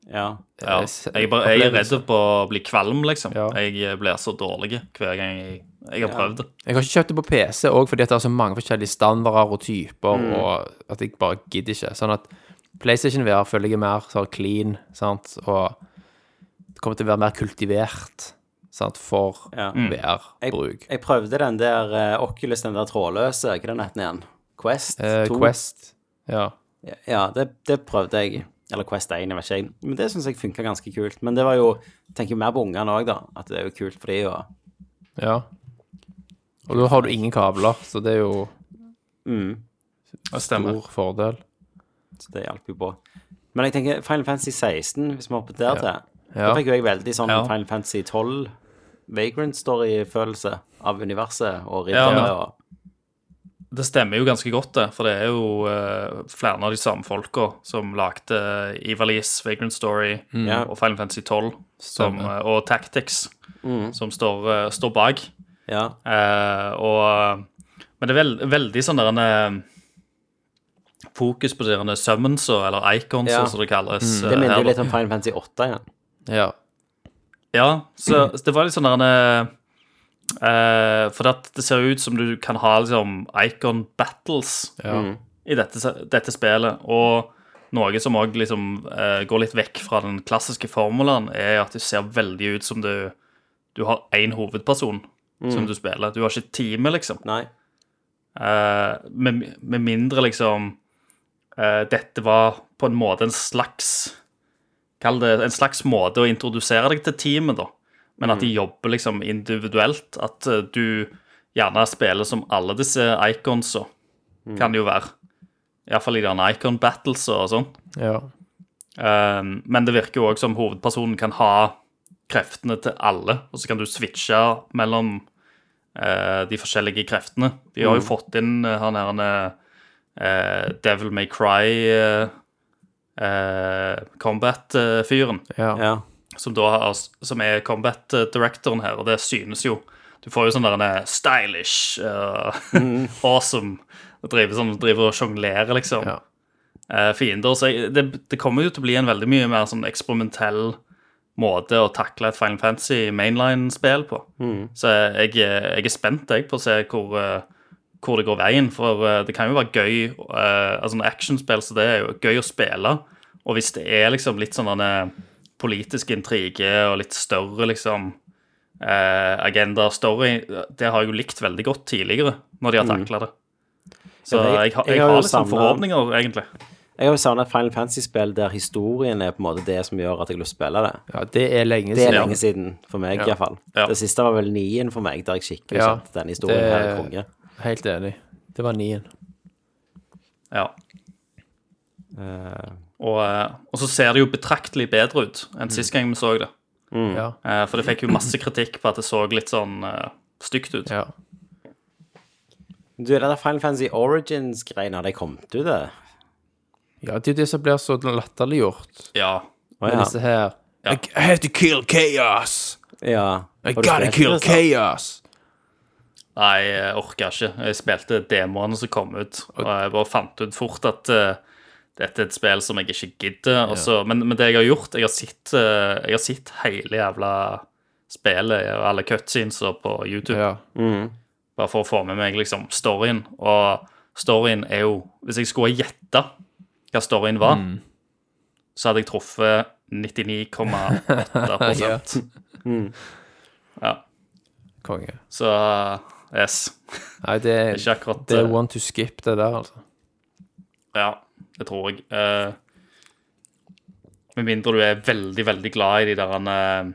Ja.
ja,
eh, s-
jeg, bare, jeg er
opplevelse.
redd for å bli kvalm, liksom.
Ja.
Jeg blir så dårlig hver gang jeg, jeg har prøvd det.
Jeg har ikke kjøpt det på PC òg fordi at det er så mange forskjellige standarder og typer,
Mm.
og at jeg bare gidder ikke. Sånn at PlayStation VR føler jeg er mer sånn clean, sant, og det kommer til å være mer kultivert, sant, for
Ja.
Mm.
Jeg,
VR-bruk.
jeg prøvde den der eh, Oculus, den der trådløse, hva er den heten igjen? Quest
Eh,
2?
Quest, ja.
Ja, det, det prøvde jeg. Eller Quest 1, jeg vet ikke. jeg. Men det syns jeg funka ganske kult. Men det var jo Tenker jo mer på ungene òg, da. At det er jo kult for de å
ja. Og da har du ingen kabler, så det er jo
Det stemmer.
stor fordel.
mm, Så det hjalp jo på. Men jeg tenker Final Fantasy 16, hvis vi hopper der til. Da
Ja.
fikk jo jeg veldig sånn
Ja.
Final Fantasy 12 Vagrant Story-følelse av universet og
Ja.
riddere og
Det stemmer jo ganske godt, det. For det er jo eh, flere av de samme folka som lagde Ivalice, Vagrant Story
Mm. Ja.
og Final Fantasy 12 som,
Stemmer.
eh, og Tactics,
Mm.
som står, eh, står bak.
Ja.
Eh, og, men det er vel, veldig sånn der en eh, fokus på de derne summons, og- eller icons,
Ja. Mm.
som det kalles. eh,
Det minner
her,
jo litt
da.
om Final Fantasy 8 igjen.
Ja.
Ja, så så det var litt sånn der en eh, eh, For det, det ser jo ut som du kan ha liksom icon battles
Ja.
Mm.
i dette, se- dette spillet. Og noe som òg liksom eh, går litt vekk fra den klassiske formelen, er at det ser veldig ut som du Du har én hovedperson som du spiller. Du har ikke teamet, liksom.
Nei.
Eh, med, med mindre liksom eh, Dette var på en måte en slags Kall det en slags måte å introdusere deg til teamet, da. Men at de jobber liksom individuelt. At eh, du gjerne spiller som alle disse iconsa. Kan det jo være. Iallfall i denne icon battles og sånn.
ja.
Eh, men det virker jo òg som hovedpersonen kan ha kreftene til alle, og så kan du switche mellom eh, de forskjellige kreftene. De har jo fått inn eh, han her eh, Devil May Cry eh, eh, Combat-fyren,
ja.
Ja.
som da har, som er Combat-directoren her, og det synes jo. Du får jo sånn der en stylish, eh, awesome, og driver, sånn, driver og sjonglerer, liksom
Ja.
eh, fiender. Så jeg, det, det kommer jo til å bli en veldig mye mer sånn eksperimentell måte å takle et Final Fantasy mainline-spill på.
Mm.
Så jeg, jeg er spent jeg, på å se hvor, eh, hvor det går veien. For eh, det kan jo være gøy eh, altså en actionspill, så det er jo gøy å spille. Og hvis det er liksom litt sånn denne politisk intrige og litt større liksom eh, agenda, story, det har jeg jo likt veldig godt tidligere, når de har takla det. Så
Mm. Ja, for jeg-
jeg, har-
jeg
jeg
har jo
har liksom
savnet-
forhåpninger, egentlig.
Jeg har jo savna et Final Fantasy-spill der historien er på en måte det som gjør at jeg har lyst til å spille det.
Ja, det er lenge
Det er
siden.
lenge siden, for meg i hvert fall.
Ja.
Det siste var vel nien for meg, der jeg skikkelig
Ja.
satt denne historien
Det-
her i konge.
Helt enig. Det var nien.
Ja. Og, eh, og så ser det jo betraktelig bedre ut enn sist gang vi så det.
Mm.
Ja.
Eh, For det fikk jo masse kritikk på at det så litt sånn eh, stygt ut.
ja.
Du, det der Final Fantasy Origins-greiene, har de kommet ut, det?
Ja, det er jo det som blir så latterliggjort
Ja.
Å,
med
ja.
disse her.
Ja.
I I have to kill chaos!
ja.
I
Har du
gotta
spilt
kill
det, Kristian?
chaos!
Nei, jeg orka ikke. Jeg spilte demoene som kom ut, og jeg bare fant ut fort at eh, dette er et spill som jeg ikke gidder. og så- men, men det jeg har gjort Jeg har sett, eh, jeg har sett hele jævla spillet og alle cutscenesa på YouTube.
Ja.
Bare for å få med meg liksom storyen. Og storyen er jo Hvis jeg skulle gjette hva storyen var,
Mm.
så hadde jeg truffet 99,8
Ja.
Ja.
Konge.
Så yes.
Nei, det er,
Ikke akkurat
det er
eh,
one to skip, det der, altså.
Ja, det tror jeg. Eh, med mindre du er veldig, veldig glad i de der eh,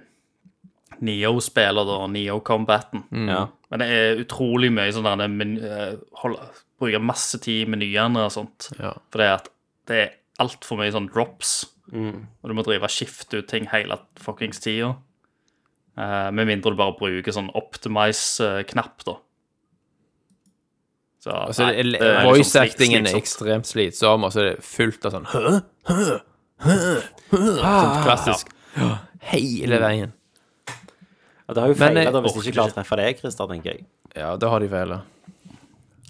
Neo-spillene og Neo-combaten.
Mm.
Ja.
Men det er utrolig mye sånn der men, eh, hold, Bruker masse tid i menyene og sånt.
Ja.
For det er at det er altfor mye sånn drops.
Mm.
Og du må drive og skifte ut ting hele fuckings tida. Eh, med mindre du bare bruker sånn optimize-knapp, da. Så
Altså,
nei,
det er-
det er
voice
liksom slik-
actingen er
slitsomt.
ekstremt slitsom, og så er det fullt av sånn Hø? Hø? Hø? Sånn klassisk. Hele veien.
Og det har jo
Men
feilet
jeg
da, hvis de
orker
ikke klarer å treffe deg, Christer, tenker jeg.
Ja, det har de vel.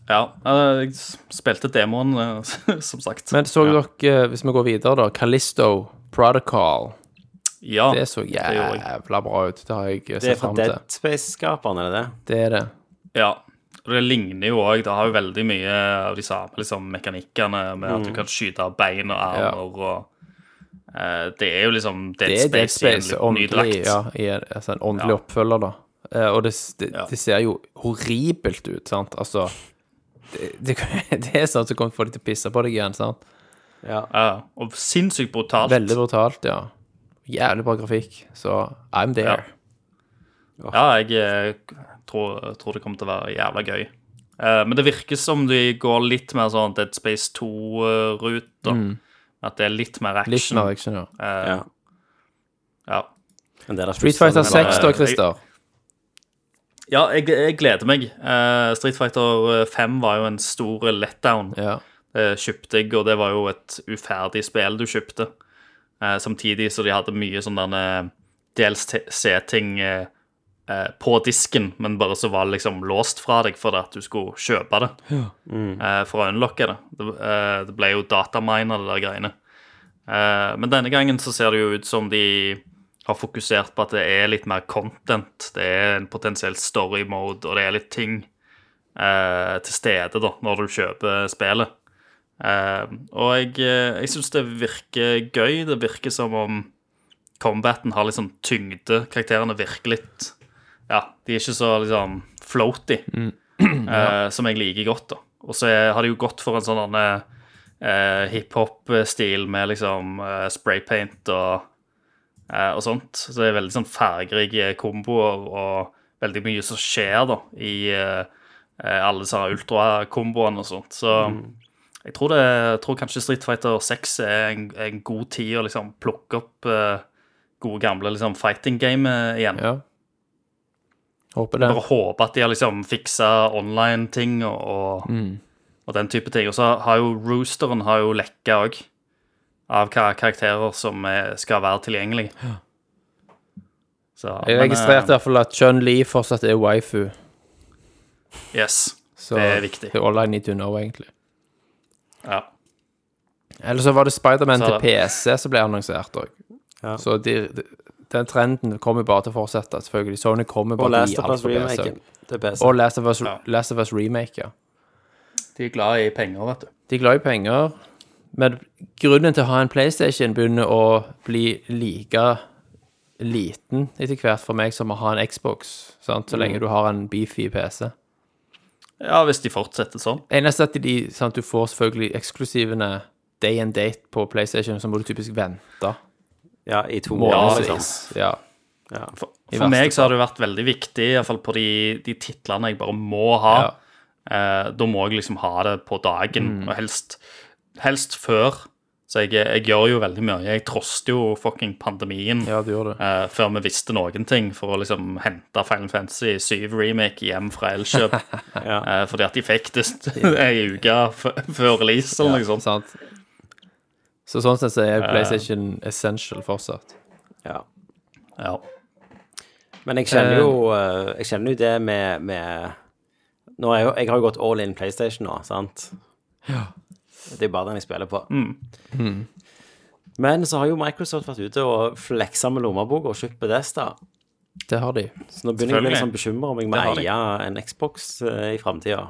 Ja, eh, jeg s- spilte demoen, eh, som sagt.
Men så dere, eh, hvis vi går videre, da, Callisto Protocol.
ja,
Det så
gjorde jeg.
jævla bra ut. Det har jeg
Det
sett
er fra
fram til.
Dead Space-skaperen, er det det?
Det er det.
Ja. Og det ligner jo òg. Det har jo veldig mye av de samme liksom, mekanikkene med at du kan skyte av bein
Mm.
og
Ja.
armer og eh, Det er jo liksom Dead
Det er Dead
Space i en
Space,
litt ny
åndelig,
drakt.
ja, i en, altså en åndelig
Ja.
oppfølger, da. Eh, og det, s- det,
Ja.
det ser jo horribelt ut, sant? Altså Det, det, det er sånn som kommer til å få deg til å pisse på deg igjen, sant?
Ja, og sinnssykt brutalt.
Veldig brutalt, ja. Jævlig bra grafikk. Så I'm
Ja.
there.
Ja, jeg eh, tror, tror det kommer til å være jævla gøy. Eh, men det virker som de går litt mer sånn Dead Space 2-ruta. At det er litt mer
Mm. Litt
action.
mer action, ja.
Eh,
Ja.
ja.
Men det er da
Street Fighter
plutselig-
6 da,
jeg-
Christer.
Ja, jeg, jeg gleder meg. Eh, Street Fighter 5 var jo en stor letdown.
Ja.
eh, kjøpte jeg, og det var jo et uferdig spill du kjøpte. Eh, samtidig så de hadde mye sånn sånne DLC-ting eh, eh, på disken, men bare så var det liksom låst fra deg for at du skulle kjøpe det. Eh, for å unlocke det. Det, eh, det ble jo dataminer, det der greiene. Eh, men denne gangen så ser det jo ut som de har fokusert på at det er litt mer content. Det er en potensiell story mode, og det er litt ting eh, til stede da, når du kjøper spillet. Eh, og jeg, eh, jeg syns det virker gøy. Det virker som om combaten har litt sånn tyngde. Karakterene virker litt Ja, de er ikke så liksom floaty, eh, som jeg liker godt. da Og så er- har de jo gått for en sånn eh, hiphop-stil med liksom eh, spraypaint og eh, og sånt. Så det er veldig sånn fargerike komboer og veldig mye som skjer da i eh, eh, alle disse her ultrakomboene og sånt. Så jeg, tror det, jeg tror kanskje Street Fighter 6 er en, en god tid å liksom plukke opp eh, gode gamle liksom, fighting game eh, igjen.
ja. Håper det.
Bare håpe at de har liksom fiksa online-ting og, og,
Mm.
og den type ting. Og så har jo Roosteren har jo lekka òg, av hva karakterer som er, skal være tilgjengelig. Så,
Jeg
men,
registrerte i hvert fall at Chun Li fortsatt er waifu.
eh, Yes.
Så
Det er viktig.
Det er all I need to know, egentlig.
Ja.
Eller så var det Spiderman
Så
til
er
PC som ble annonsert òg. Så de, de, den trenden kommer bare til å fortsette, selvfølgelig. Sony kommer
Og
bare
Last
til å gi
of
alt
Us
for PC.
remaken. Det er best.
Og Last of Us,
Ja.
Last of Us remake, ja.
De er glad i penger, vet du.
De er glad i penger, men grunnen til å ha en PlayStation begynner å bli like liten etter hvert for meg som å ha en Xbox, sant? så lenge du har en beefy PC.
Ja, hvis de fortsetter sånn.
Eneste at de, sant, du får selvfølgelig eksklusivene day and date på PlayStation, så må du typisk vente
Ja, i to måneder, liksom.
månedsvis. Ja,
For,
I
for
verste
meg så har det vært veldig viktig, iallfall på de, de titlene jeg bare må ha.
Ja.
Eh, da må jeg liksom ha det på dagen, og helst, helst før. Så jeg, jeg gjør jo veldig mye. Jeg troster jo fucking pandemien
ja, du gjør det.
eh, før vi visste noen ting, for å liksom hente Final Fantasy 7-remake hjem fra Elkjøp. eh, fordi at de fikk det st- ei uke f- før release, eller noe sånt.
Sant? Så sånn sett så er PlayStation essential fortsatt.
Ja.
Ja.
Men jeg kjenner jo, eh, jeg kjenner jo det med, med nå er jeg, jo- jeg har jo gått all in PlayStation nå, sant? Det er jo bare den jeg spiller på.
Mm.
Men så har jo Microsoft vært ute og fleksa med lommeboka og kjøpt Bedesta.
Det har de.
Så nå begynner jeg å bli
Selvfølgelig.
liksom bekymra om jeg må
Det har de.
eie en Xbox eh, i framtida.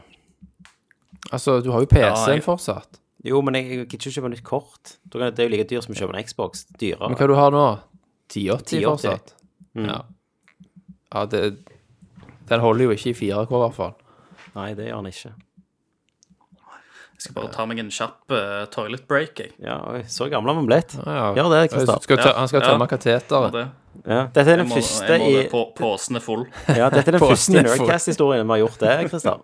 Altså, du har jo PC-en
Ja, jeg-
fortsatt.
Jo, men jeg, jeg gidder ikke kjøpe nytt kort. Da kan- Det er jo like dyrt som å kjøpe en Xbox. Dyrere.
Men hva du har nå?
1080.
1080 fortsatt?
Mm.
Ja. ja det, den holder jo ikke i 4K, i hvert fall.
Nei, det gjør han ikke.
Jeg skal bare ta meg en kjapp eh, toilet break, jeg.
Ja, oi, så gammel har vi blitt.
Ja,
Gjør det, Kristian.
Skal tø-
Ja.
Han skal tømme
Ja.
kateteret.
Det.
Ja, dette er den
Jeg må,
første
jeg må det
i
på, Posen er full.
Ja, dette er den
På
første
Snefjord.
Nerdcast-historien vi har gjort det, Kristian.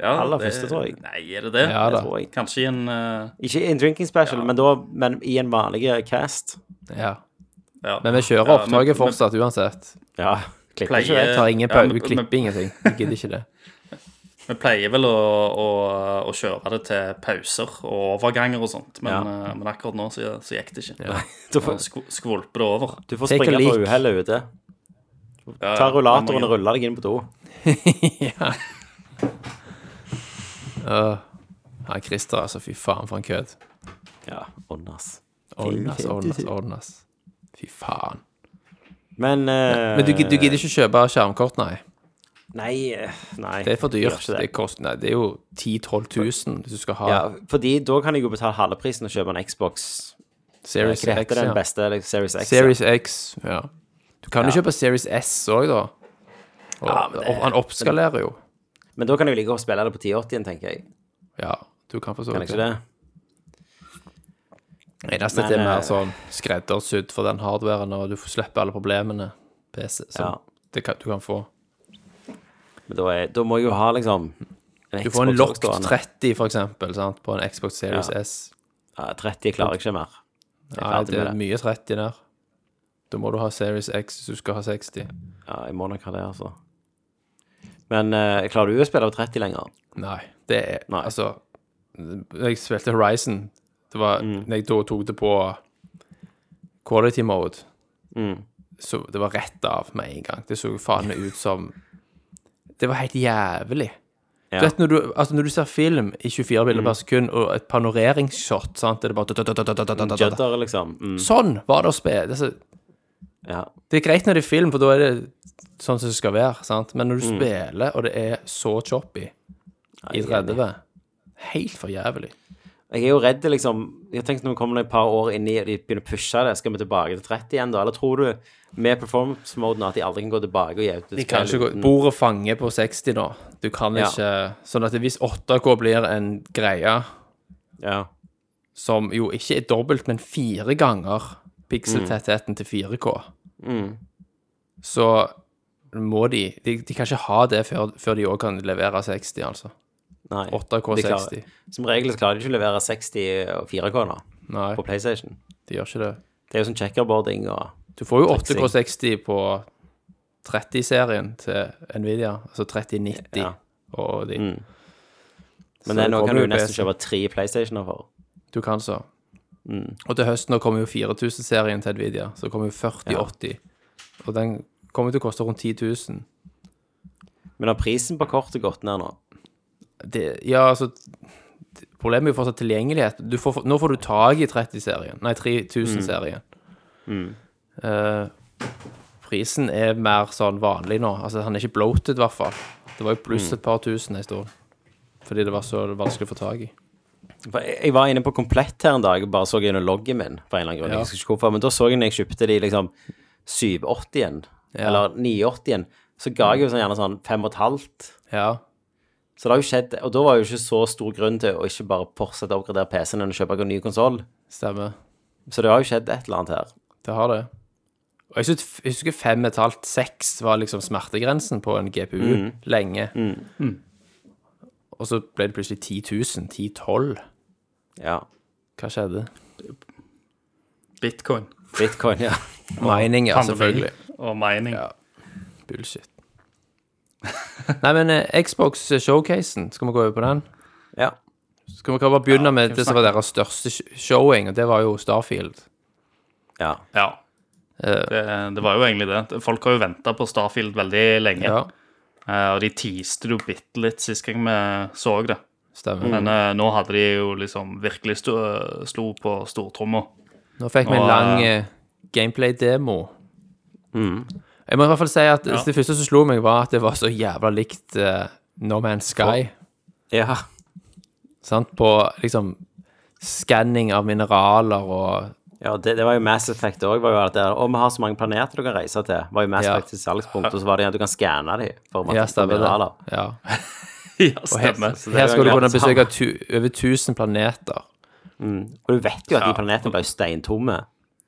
Ja,
aller første, tror jeg.
Nei, er det det?
Ja da.
tror jeg.
Kanskje i en eh,
Ikke i en drinking special, men, da, men i en vanlig eh, cast.
Ja.
ja.
Men vi kjører
Ja,
opptaket
men-
fortsatt uansett.
Ja, klipper
Pleier-
ikke det.
Jeg tar ingen
Ja, men-
pause, vi klipper
men-
ingenting. Vi gidder ikke det.
Vi pleier vel å, å, å kjøre det til pauser og overganger og sånt, men,
Ja.
eh, men akkurat nå så, så gikk det ikke.
Du
Nå
får,
skv- skvulper det over.
du får
Take a
springe fra
leak.
uhellet ute.
Ja,
Ta rullatoren
ja,
og rulle deg inn på do.
Nei, Christer, altså, fy faen for en kødd. altså,
Ja, åndas.
Ordnas, ordnas, ordnas. Fy faen.
Men, eh,
Men du, gid- du gidder ikke kjøpe skjermkort, nei?
Nei, eh, nei.
Det er for
jeg gjør
dyrt.
ikke
Det,
Det.
koster, nei, det er jo 10 000-12 000 hvis du skal ha
Ja, fordi da kan jeg jo betale halve prisen og kjøpe en Xbox. Hva
Series X.
heter den
Ja.
beste eller Series X?
Series X, ja. Du kan jo
Ja.
kjøpe Series S òg, da. Og, og han oppskalerer jo.
Men da kan jeg jo like godt spille det på 1080-en, tenker jeg.
Ja, du kan for så
Kan jeg ikke det?
Eneste
Men,
det er mer
eh,
sånn skreddersydd for den hardwaren, og du får slippe alle problemene PC som
Ja.
det kan, du kan få.
Men da, er, da må jeg jo ha liksom
Du får en
Xbox
Lock
stående.
30, for eksempel, sant, på en Xbox Series
Ja.
S.
Ja, 30 klarer jeg ikke mer. Jeg er
Nei,
ferdig
det
med
er
det.
mye 30 der. Da må du ha Series X hvis du skal ha 60.
Ja, jeg må nok ha det, altså. Men eh, klarer du å spille på 30 lenger?
Nei, det er
Nei.
Altså, når jeg spilte Horizon Det var
Mm.
når jeg da tok det på quality mode.
Mm.
Så det var rett av med en gang. Det så jo faen meg ut som Det var helt jævlig.
Ja. Mm.
Du vet når du, altså når du ser film i 24 bilder per sekund, og et panoreringsshot sant? Det er bare da-da-da-da-da-da-da-da.
Judder, liksom. Mm,
Sånn var det å spille. Det er så-
ja.
Det er greit når det er film, for da er det sånn som det skal være, sant? men
Mm.
når du spiller, og det er så choppy i 30 Helt for jævlig.
Jeg er jo redd, liksom Jeg tenkte når vi kommer et par år inn i og de begynner å pushe det, skal vi tilbake til 30 igjen, da? Eller tror du med performance-moden at de aldri kan gå tilbake og gi ut et
Du kan ikke gå Bordet fanger på 60 nå. Du kan
Ja.
ikke Sånn at hvis 8K blir en greie
Ja.
som jo ikke er dobbelt, men fire ganger pikseltettheten til 4K, så må de De, de kan ikke ha det før, før de òg kan levere 60, altså.
Nei.
8K
De klarer-
60.
Som regel så klarer de ikke å levere 60 og 4K nå,
Nei,
på PlayStation.
de gjør ikke det.
Det er jo sånn checkerboarding og
Du får jo
Triksing.
8K60 på 30-serien til Nvidia, altså 3090
Ja.
og de.
Men det er noe
kommer
kan du
jo
jo nesten
PC.
kjøpe tre PlayStationer for.
Du kan så.
Mm.
Og til høsten nå kommer jo 4000-serien til Nvidia, så kommer jo 4080. Og den kommer til å koste rundt 10 000.
Men har prisen på kortet gått ned nå?
Det, ja, altså t- Problemet er jo fortsatt tilgjengelighet. Du får, nå får du tak i 30-serien, nei 3000-serien. Eh, prisen er mer sånn vanlig nå. Altså, han er ikke bloated, i hvert fall. Det var jo pluss et par tusen en stund. Fordi det var så vanskelig å få tak i.
For Jeg jeg var inne på Komplett her en dag og bare så gjennom loggen min. For en eller annen grunn, jeg husker ikke hvorfor Men da så jeg når jeg kjøpte de liksom 780-en, eller 980-en, så ga jeg jo sånn, gjerne sånn 5,5.
Ja.
Så det har jo skjedd Og da var jo ikke så stor grunn til å ikke bare fortsette å oppgradere PC-en enn å kjøpe en ny konsoll.
Stemmer.
Så det har jo skjedd et eller annet her.
Det har det. Og jeg synes- jeg husker fem og et halvt, seks var liksom smertegrensen på en GPU lenge. Og så ble det plutselig 10 000, 10 12
Ja.
Hva skjedde?
Bitcoin
Bitcoin, ja.
Mining, ja,
Pandemi
selvfølgelig.
og mining.
Ja. Bullshit. Nei, men eh, Xbox showcasen, skal vi gå over på den?
ja.
Skal vi kan bare begynne med det som var deres største sh- showing, og det var jo Starfield.
ja.
Ja. Det, det var jo egentlig det. Folk har jo venta på Starfield veldig lenge.
Ja,
Eh, og de teaste det jo bitte litt sist gang vi så det.
stemmer.
Men eh, nå hadde de jo liksom virkelig sto, eh, slo på stortromma.
Nå fikk vi en
Og,
lang eh,
eh,
gameplay-demo. Mm. Jeg må i hvert fall si at det første som slo meg, var at det var så jævla likt eh, No Man's Sky.
ja.
Sant? På liksom skanning av mineraler og
Ja, det, det var jo Mass Effect òg. Og vi har så mange planeter du kan reise til. var jo Mass
Ja.
Effect til salgspunkt, og så var det at du kan skanne dem. For
Ja,
mat-
stemmer det.
mineraler.
Ja.
ja,
Og her,
stemmer.
det er
her
jo
skal du
en
kunne
gratis
besøke tu, over 1000 planeter.
Og du vet jo at
Ja.
de planetene ble steintomme.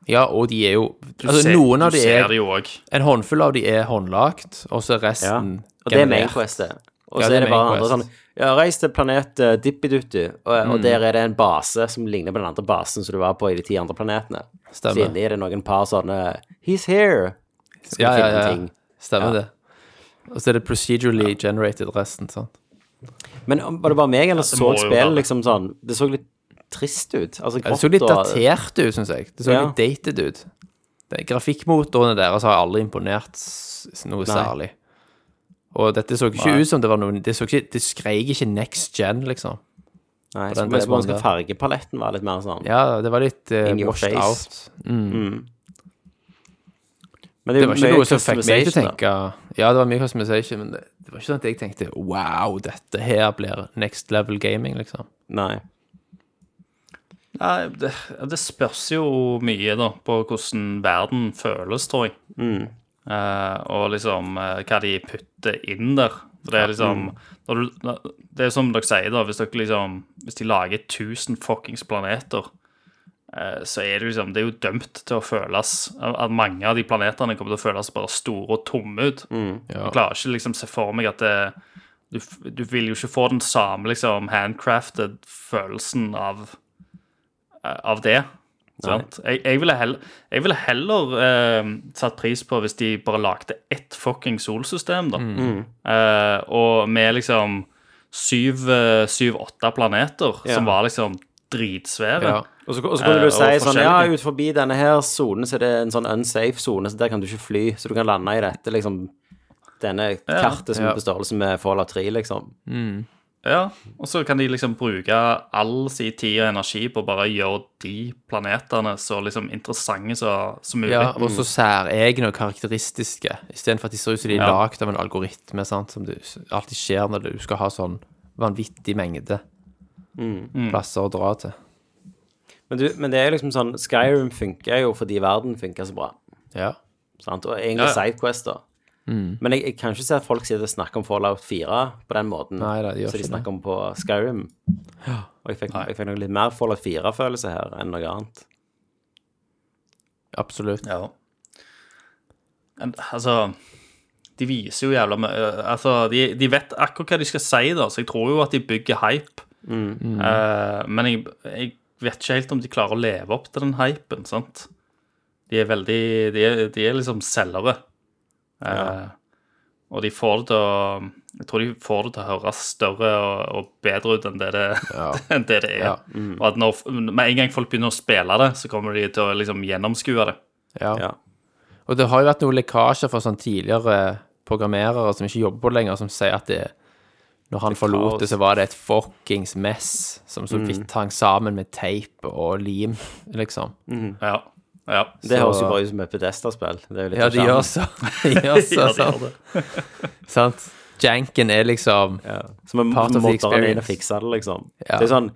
Ja, og de er jo
Du
Altså,
ser-
noen av
du
de
ser
er
det jo òg.
En håndfull av de er håndlagt, og så er
Ja.
resten
Og det er
generert.
mainquestet. Og
Sånn Ja,
så
det er
er det bare
main
andre
quest.
sånn Ja, reis til planet uh, Dippidutti, og,
Mm.
og der er det en base som ligner på den andre basen som du var på i de ti andre planetene. Så
Stemmer.
inni er det noen par sånne He's here! Skal
Ja, ja,
finne
ja,
ting.
ja. Stemmer det. Og så er det procedurally generated resten, sant.
Men om- var det bare meg, eller
det
så
må jo være
spillet
det.
liksom sånn Det så litt trist ut. Altså,
Ja, det så litt
grått og-
datert ut, syns jeg. Det så
Ja.
litt dated ut. Det- Grafikkmotorene deres har aldri imponert s- s- noe
Nei.
særlig. Og dette så ikke ut som det var noe Det, så ikke, det skrek ikke next gen, liksom.
Nei,
den
så men så må
T-banen
man skal
der.
fargepaletten være litt mer sånn.
Ja, det var litt eh,
In your
washed
face.
out. Mm.
Men
Det var ikke
mye
noe som fikk meg til å
customization, da.
tenke Ja, det var mye customization, men det, det var ikke sånn at jeg tenkte Wow, dette her blir next level gaming, liksom.
Nei.
Nei, det, det spørs jo mye da på hvordan verden føles, tror jeg. Eh, og liksom eh, hva de putter inn der. For det er liksom når du, når- Det er som dere sier, da. Hvis, dere liksom, hvis de lager 1000 fuckings planeter, eh, så er det liksom Det er jo dømt til å føles At mange av de planetene kommer til å føles bare store og tomme ut.
Ja.
Jeg klarer ikke liksom se for meg at det du, f- du vil jo ikke få den samme liksom handcrafted følelsen av eh, av det. Sant? Jeg, jeg ville heller, jeg ville heller eh, satt pris på hvis de bare lagde ett fucking solsystem, da.
Mm.
Eh, og med liksom syv, eh, syv-åtte planeter
Ja.
som var liksom dritsvære.
Ja.
Og så, og så kunne
Eh,
du si
og
sånn Ja,
forskjellige.
ut forbi denne her sonen så er det en sånn unsafe sone, så der kan du ikke fly, så du kan lande i dette, liksom Denne kartet som
Ja.
er på størrelse med Fallout 3, liksom.
Ja, og så kan de liksom bruke all sin tid og energi på å bare gjøre de planetene så liksom interessante så, som mulig.
Ja, og så særegne og karakteristiske, istedenfor at de ser ut som de er
Ja.
lagd av en algoritme, sant, som du alltid skjer når du skal ha sånn vanvittig mengde plasser å dra til.
Men, du, men det er liksom sånn Skyrim funker jo fordi verden funker så bra.
Ja.
Sant? Og egentlig
Ja, ja.
Sidequest, da.
Mm.
Men jeg, jeg kan ikke se at folk sitter og snakker om Fallout 4 på den måten
Nei, det gjør
som de
ikke det.
snakker om på Skyrim. Og jeg fikk, jeg fikk nok litt mer Fallout 4-følelse her enn noe annet.
Absolutt.
Ja. Men, altså De viser jo jævla mye Altså, de, de vet akkurat hva de skal si, da, så jeg tror jo at de bygger hype. Eh, men jeg, jeg vet ikke helt om de klarer å leve opp til den hypen, sant? De er veldig De er, de er liksom selgere. Eh, Og de får det til å Jeg tror de får det til å høres større og, og bedre ut enn det det, enn det, det er.
Ja.
Og at når, med en gang folk begynner å spille det, så kommer de til å liksom gjennomskue det.
Ja.
Ja.
Og det har jo vært noen lekkasjer fra sånn tidligere programmerere som ikke jobber på det lenger, som sier at det når han forlot det, Mm. så var det et fuckings mess som så vidt hang sammen med teip og lim, liksom.
Ja. ja.
Det høres
Så-
jo bare ut som et Pedesta-spill. Det er jo litt
Ja,
av
de gjør
sjarmen.
så. De gjør så,
Ja, de gjør
sant. sant? Janken er liksom
Så vi
Part of the
måtte inn og
experience.
fikse det, liksom.
Ja.
Det er sånn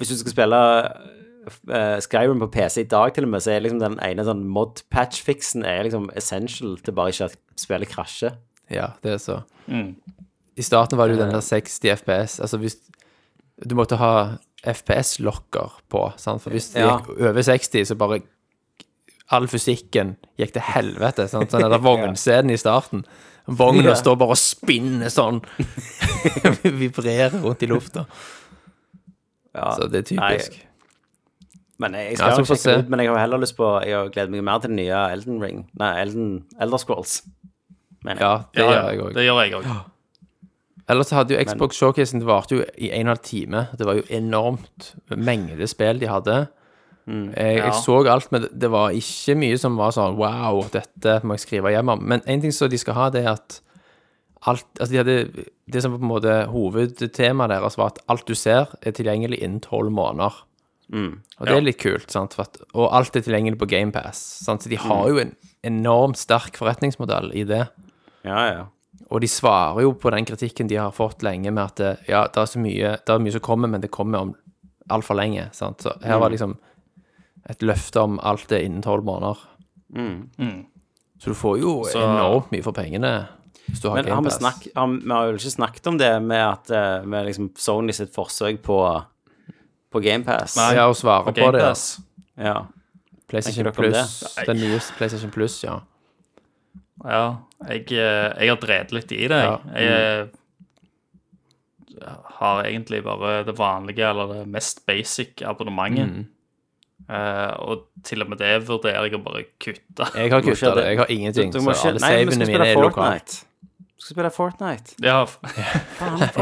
Hvis du skal spille eh, Skyrim på PC i dag, til og med, så er liksom den ene sånn mod-patch-fiksen er liksom essential til bare ikke at spillet krasjer.
Ja, det er så.
Mm.
I starten var det jo
Eh.
den der 60 FPS. Altså hvis Du måtte ha FPS-lokker på, sant? for hvis det
Ja.
gikk over 60, så bare All fysikken gikk til helvete. Sant? Den der vognscenen i starten. Vogna
Ja.
står bare og spinner sånn. Vibrerer rundt i lufta.
Ja.
Så det er typisk.
Nei, men jeg, jeg
Ja,
skal
så
jo
får
sjekke det
se.
ut, men jeg har heller lyst på Jeg gleder meg mer til den nye Elden Ring Nei, Elden, Elder Scrolls. Men
Ja, det
Ja, ja,
gjør jeg òg.
det gjør jeg òg.
Ellers så hadde jo Xbox Showcasen det varte jo i en og en halv time. Det var jo enormt mengde spill de hadde. Eh, jeg, jeg
ja.
så alt, men det- det var ikke mye som var sånn Wow, dette må jeg skrive hjem om. Men en ting som de skal ha, det er at alt Altså, de hadde Det som på en måte hovedtemaet deres var at alt du ser, er tilgjengelig innen tolv måneder. Og det er litt kult, sant? For at, og alt er tilgjengelig på GamePass. Så de har jo en enormt sterk forretningsmodell i det.
ja, ja.
Og de svarer jo på den kritikken de har fått lenge med at eh, ja, det er så mye, det er mye som kommer, men det kommer om altfor lenge. Sant? Så her var liksom et løfte om alt det innen tolv måneder.
Mm.
Så du får jo enormt mye for pengene hvis du har
Men har vi,
GamePass.
snakk, har, vi- vi har jo ikke snakket om det med at eh, med liksom Sony sitt forsøk på, på GamePass.
Nei.
Ja, å svare på det. Ja.
Gamepass.
Ja.
PlayStation
Tenker dere om
Plus. Den nye PlayStation Plus, ja.
Ja, jeg, eh, jeg har drevet litt i det.
Ja.
Jeg, jeg eh, har egentlig bare det vanlige, eller det mest basic abonnementet.
Mm.
Eh, og til og med det vurderer jeg å bare kutte.
Jeg har
Du må ikke
kutta
ha
det.
det.
Jeg har ingenting.
Du
Så
må ikke-
alle
nei, vi skal
savene mine
spille
er lokalt.
Fortnite. Vi skal spille Fortnite.
Ja,
Ja,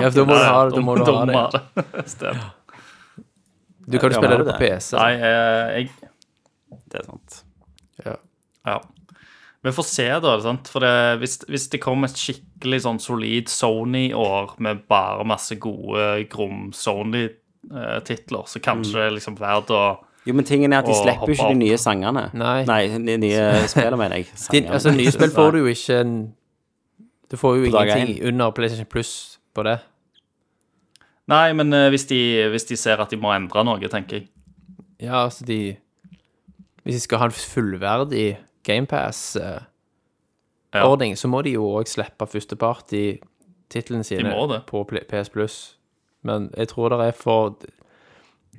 da må du ha det. Da må du ha det.
det.
Du kan jo
Ja, har
spille det på
du
PC.
Nei, eh, jeg
Det er sant.
Ja.
Ja. Vi får se, da. sant? For det, hvis, hvis det kommer et skikkelig sånn solid Sony-år med bare masse gode, grom Sony-titler, så
Mm.
kanskje det er liksom verdt å
Jo, men tingen er at de
Å,
slipper jo ikke de
hoppe opp.
nye sangene.
Nei.
de nye spillene, mener jeg.
Din,
Sangene.
altså, nye spill får du jo ikke en Du får jo
På dag
ingenting under PlayStation Plus på det.
Nei, men eh, hvis de, hvis de ser at de må endre noe, tenker jeg.
Ja, altså de Hvis de skal ha en fullverdig GamePass-ordning,
Ja.
så må de jo òg slippe førsteparty-titlene sine
må det.
på Pl- PS Plus. Men jeg tror det er for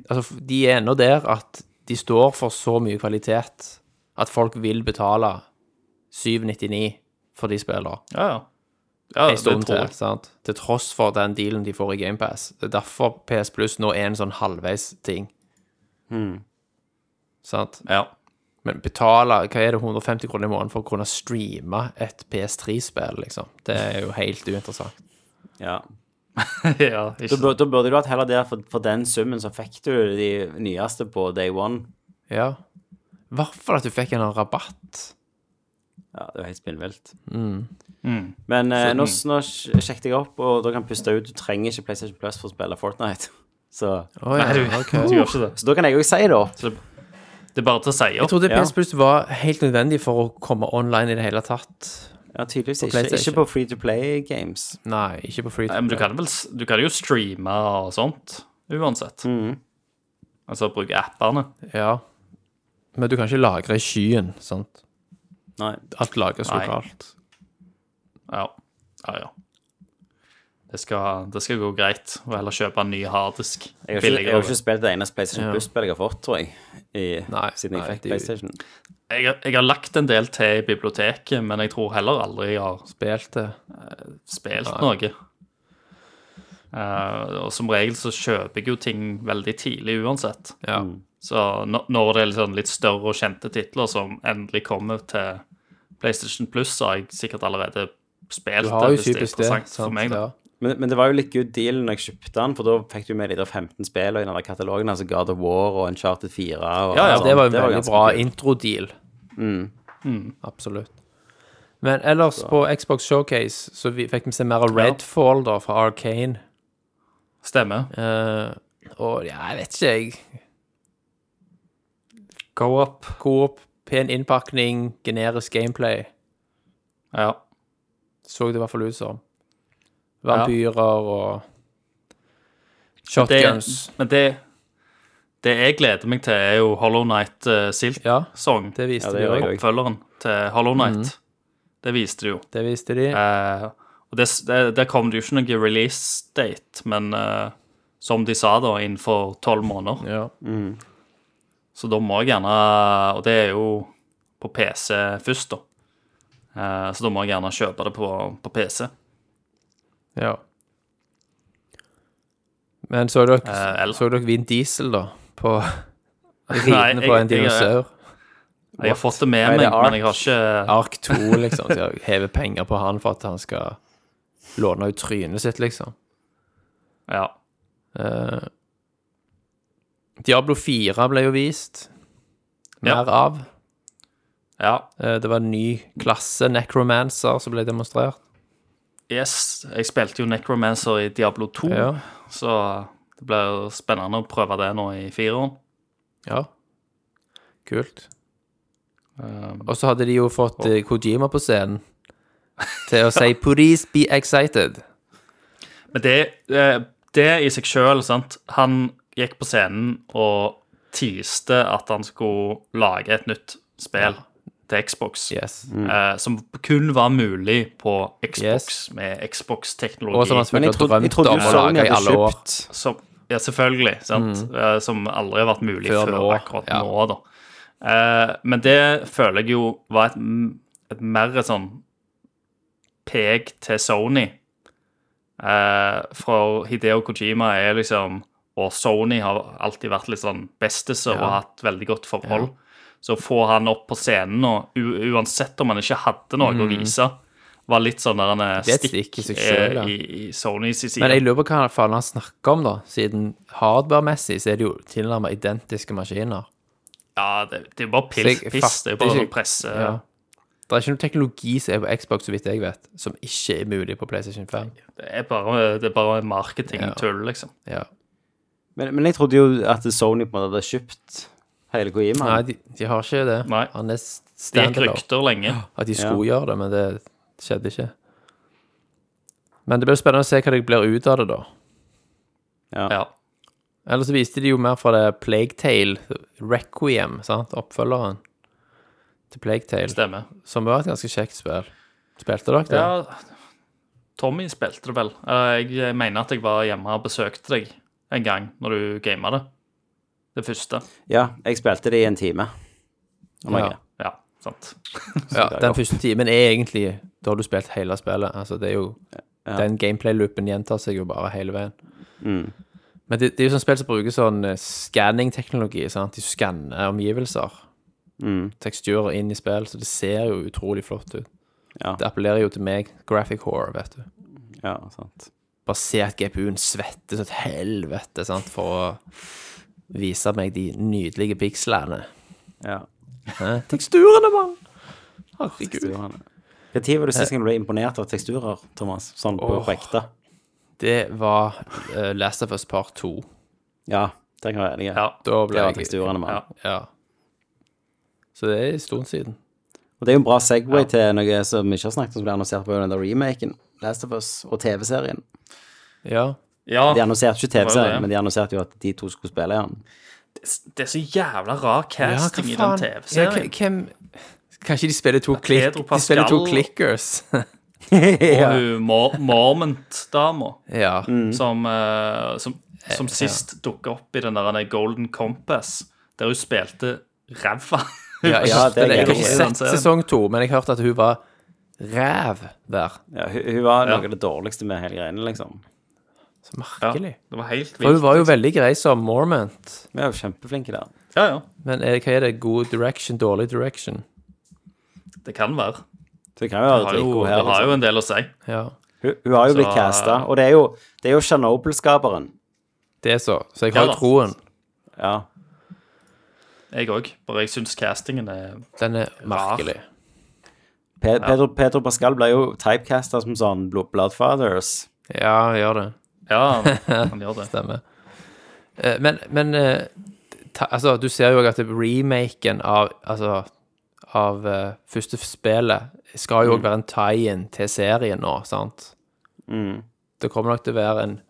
Altså, de er ennå der at de står for så mye kvalitet at folk vil betale 799 for de spillene.
Ja, ja. ja
en stund
det
til.
tror jeg.
Sant? Til tross for den dealen de får i GamePass. Det er derfor PS Plus nå er en sånn halvveis-ting.
Hmm.
Sant?
Ja.
Men betale hva er det, 150 kroner i måneden for å kunne streame et PS3-spill, liksom? Det er jo helt uinteressant.
Ja.
ja,
Da,
ikke
bur- da burde du hatt heller det, for, for den summen så fikk du de nyeste på day one.
Ja. I hvert fall at du fikk en eller annen rabatt.
Ja, det var helt spinnvilt. Men eh, nå, nå sj- sjekket jeg opp, og da kan jeg puste ut. Du trenger ikke PlayStation Plus for å spille Fortnite. Så,
Å, ja.
Nei, du, du gjør ikke det.
så da kan jeg òg si det opp.
Det er bare til å si
Jeg
opp.
trodde
Ja.
PS Plus var helt nødvendig for å komme online i det hele tatt.
Ja, tydeligvis
På
ikke. Ikke
PlayStation.
på free to play games.
Nei, ikke på free
Nei, men du kan vel s- Du kan jo streame og sånt, uansett.
Mm.
Altså bruke appene.
Ja. Men du kan ikke lagre i skyen, sant?
Nei.
Alt lagres
Nei.
lokalt.
Ja. Ja, ja. Det skal, det skal gå greit å heller kjøpe en ny harddisk.
Jeg har, ikke, jeg
billigere.
har ikke spilt det eneste PlayStation
Ja.
Plus-spillet jeg har fått, tror jeg. I,
Nei,
siden jeg
nei,
fikk
det-
PlayStation.
Jeg, har- jeg har lagt en del til i biblioteket, men jeg tror heller aldri jeg har
Spilte.
spilt noe. Eh, og som regel så kjøper jeg jo ting veldig tidlig uansett.
Ja.
Mm.
Så nå- når det er litt sånn litt større og kjente titler som endelig kommer til PlayStation Plus, så har jeg sikkert allerede spilt
Du har jo
det, hvis det er
typisk det.
interessant for
sant?
meg. Da.
Ja.
Men, men det var jo litt good deal når jeg kjøpte den, for da fikk du med de der 15 spillene i den der katalogen. Altså God of War og Uncharted 4. Og
Ja, ja,
Ja,
sånn.
det var en veldig
ganske
bra
kult. Mm.
introdeal.
Mm.
Absolutt. Men ellers, på Xbox Showcase så vi, fikk vi se mer av Redfall da, fra Arcane.
Stemmer.
Eh, og ja, jeg vet ikke, jeg.
Go up.
Coop, pen innpakning, generisk gameplay.
Ja.
Så det i hvert fall ut som. Vampyrer og
det-
shotguns.
Men det, Det jeg gleder meg til, er jo Hollow Night uh, Silk
Ja,
Song.
det viste
Ja, det
de
gjør
òg.
jeg.
Oppfølgeren til Hollow Night. Det viste de jo.
Det viste de.
Eh, og det, det, der kom det jo ikke noen release date, men eh, som de sa, da, innenfor tolv måneder.
Ja.
Så da må jeg gjerne Og det er jo på PC først, da. Eh, så da må jeg gjerne kjøpe det på, på PC.
ja. Men så dere,
Eh, eller-
så dere Vin Diesel, da? På
Nei,
Ridende på en dinosaur?
Jeg, jeg har fått det med
Nei,
meg,
det er
men jeg har ikke
Ark 2, liksom. Så jeg hever penger på han for at han skal låne ut trynet sitt, liksom.
Ja.
Eh, Diablo 4 ble jo vist.
Ja.
Mer av.
ja.
Eh, det var en ny klasse necromancer som ble demonstrert.
Yes, jeg spilte jo Necromancer i Diablo 2,
Ja.
så det blir spennende å prøve det nå i fireren.
ja. Kult.
Eh,
Og så hadde de jo fått eh, Kojima på scenen til å si 'Please be excited'.
Men det, eh, det i seg sjøl, sant Han gikk på scenen og tiste at han skulle lage et nytt spill til Xbox.
Yes.
eh, som kun var mulig på Xbox
Yes.
med
Og som han
Xbox-teknologi.
Men jeg
selvfølgelig
trodde-
har
jeg trodde
drømt om
jo
å
Sony
lage i
hadde
alle år.
kjøpt
Som, ja, selvfølgelig. Sant? Eh, som aldri har vært mulig
Mm. Før
før,
nå,
akkurat
ja.
nå. da. Eh, men det føler jeg jo var et, m- et mer et sånn pek til Sony. Eh, for Hideo Kojima er liksom Og Sony har alltid vært litt sånn bestiser og hatt veldig godt forhold. Så å få han opp på scenen, og u uansett om han ikke hadde noe å vise, var litt sånn der en eh,
Mm. Det er et stikk
stikk
i seg selv,
eh,
ja.
i, i Sony sin side.
Men jeg lurer på hva faen han snakker om, da. Siden hardware-messig så er det jo tilnærmet identiske maskiner.
Ja, det, det er bare
Så
piss.
jeg
piss. Det er
fatter
bare
ikke-
sånn presse.
Ja. Det er ikke noe teknologi som er på Xbox, så vidt jeg vet, som ikke er mulig på PlayStation 5.
Det er bare, det er bare marketingtull, liksom.
Ja.
Men, men jeg trodde jo at Sony på en måte hadde kjøpt hele Kojima.
Nei, de, de har ikke det.
Nei.
Han er
Det gikk
standalone.
rykter lenge.
At de skulle gjøre det, men det skjedde ikke. Men det blir spennende å se hva det blir ut av det, da.
Ja.
Eller så viste de jo mer fra det Plague Tale Requiem, sant? oppfølgeren til Plague Tale,
Stemmer.
som var et ganske kjekt spill. Spilte dere det?
Ja, Tommy spilte det vel. Eh, Jeg mener at jeg var hjemme og besøkte deg en gang når du gama det. Det første.
Ja, jeg spilte det i en time. Om
Ja.
jeg,
Ja, sant.
Ja, den første timen er egentlig Da har du spilt hele spillet. Altså, det er jo Den gameplay-loopen gjentar seg jo bare hele veien.
Mm,
Men det, det er jo sånn spill som bruker sånn eh, scanning-teknologi. sant? De skanner omgivelser.
mm.
Teksturer inn i spill, så det ser jo utrolig flott ut.
Ja.
Det appellerer jo til meg. Graphic horror, vet du.
ja, sant.
Bare se at GPU-en svetter som et helvete sant? for å vise meg de nydelige pikslene.
Ja.
Hæ? Teksturene, mann! Herregud.
Når var det sist gang du ble imponert av teksturer, Thomas? Sånn på
Åh.
ekte?
Det var eh, Last of Us Part 2.
Ja, der kan jeg være enig.
Ja.
Da
Det
ble
var
jeg
teksturene, mann.
ja.
Ja. Så det er en stund siden.
Og det er jo en bra Segway til noe som vi ikke har snakket om, som ble annonsert på den der remaken. Last of Us og TV-serien.
Ja.
De
ja.
annonserte ikke
Det var det.
TV-serien, men de annonserte jo at de to skulle spille igjen.
Det er så jævla rar casting i den
Ja, k-
TV-serien.
hvem Kanskje de spiller to, klikk,
Pedro
de spiller to
Pascal.
clickers?
Og hun Mor- Mormont-dama.
ja.
Mm. som, eh, som, som sist dukket opp i den der Golden Compass, der hun spilte ræva.
ja, jeg,
Ja, det er
jeg, har
gøy.
ikke sett sesong to, men jeg hørte at hun var ræv der.
Ja, hun, hun var
Ja.
noe av det dårligste med hele greiene, liksom.
Så
Ja,
merkelig.
det var helt
For hun
vilt.
var jo veldig grei som Mormont.
Vi er jo kjempeflinke der.
Ja, ja.
Men er, hva er det? God direction, dårlig direction?
Det kan være.
Så det kan jo være
Det har
et
jo,
rikord her.
det har
liksom.
jo en del å si.
Ja.
Hun, hun har jo blitt
Så-
casta, og det er jo, det er jo Chernobyl-skaperen.
Det er så. Så jeg har jo
Ja da.
troen.
Ja.
Jeg òg. Bare jeg syns castingen er
Den er merkelig.
Pe Pedro, Pedro Pascal ble jo typecasta som sånn Blo- Bloodfathers.
Ja, gjør det.
Ja, han gjør det.
Stemmer. Eh, Men, men eh, ta, altså, du ser jo også at remaken av, altså, av eh, første spillet
Mm.
skal jo òg
Mm.
være en tie-in til serien nå, sant? Det kommer nok til å være en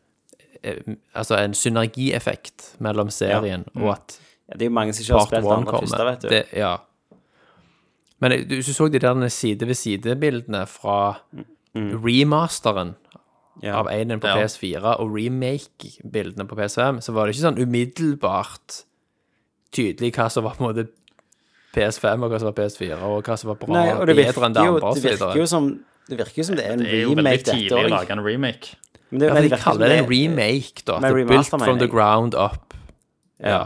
eh, altså en synergieffekt mellom serien og at
Ja, Mm. det er jo mange som ikke har
Part
spilt det
1
andre første,
kommer.
vet du.
Det, ja. Men jeg- du, hvis du så de der side ved side-bildene fra
Mm.
remasteren
ja.
av 1 på
Ja.
PS4 og remake-bildene på PS5, så var det ikke sånn umiddelbart tydelig hva som var på en måte PS5 og hva som var PS4, og hva som var bra
Nei, og det
bedre
virker,
enn det
jo,
andre, og
det
så
virker jo
videre.
som det virker jo som det er en
Det er jo
remake,
veldig
dette
tidlig å
også.
lage en remake.
Men det- men det
Ja, for de
virker som
kaller det en
det-
remake, da.
Med
Det er built
remaster,
from
mener
the
jeg.
ground up.
Ja.
Ja.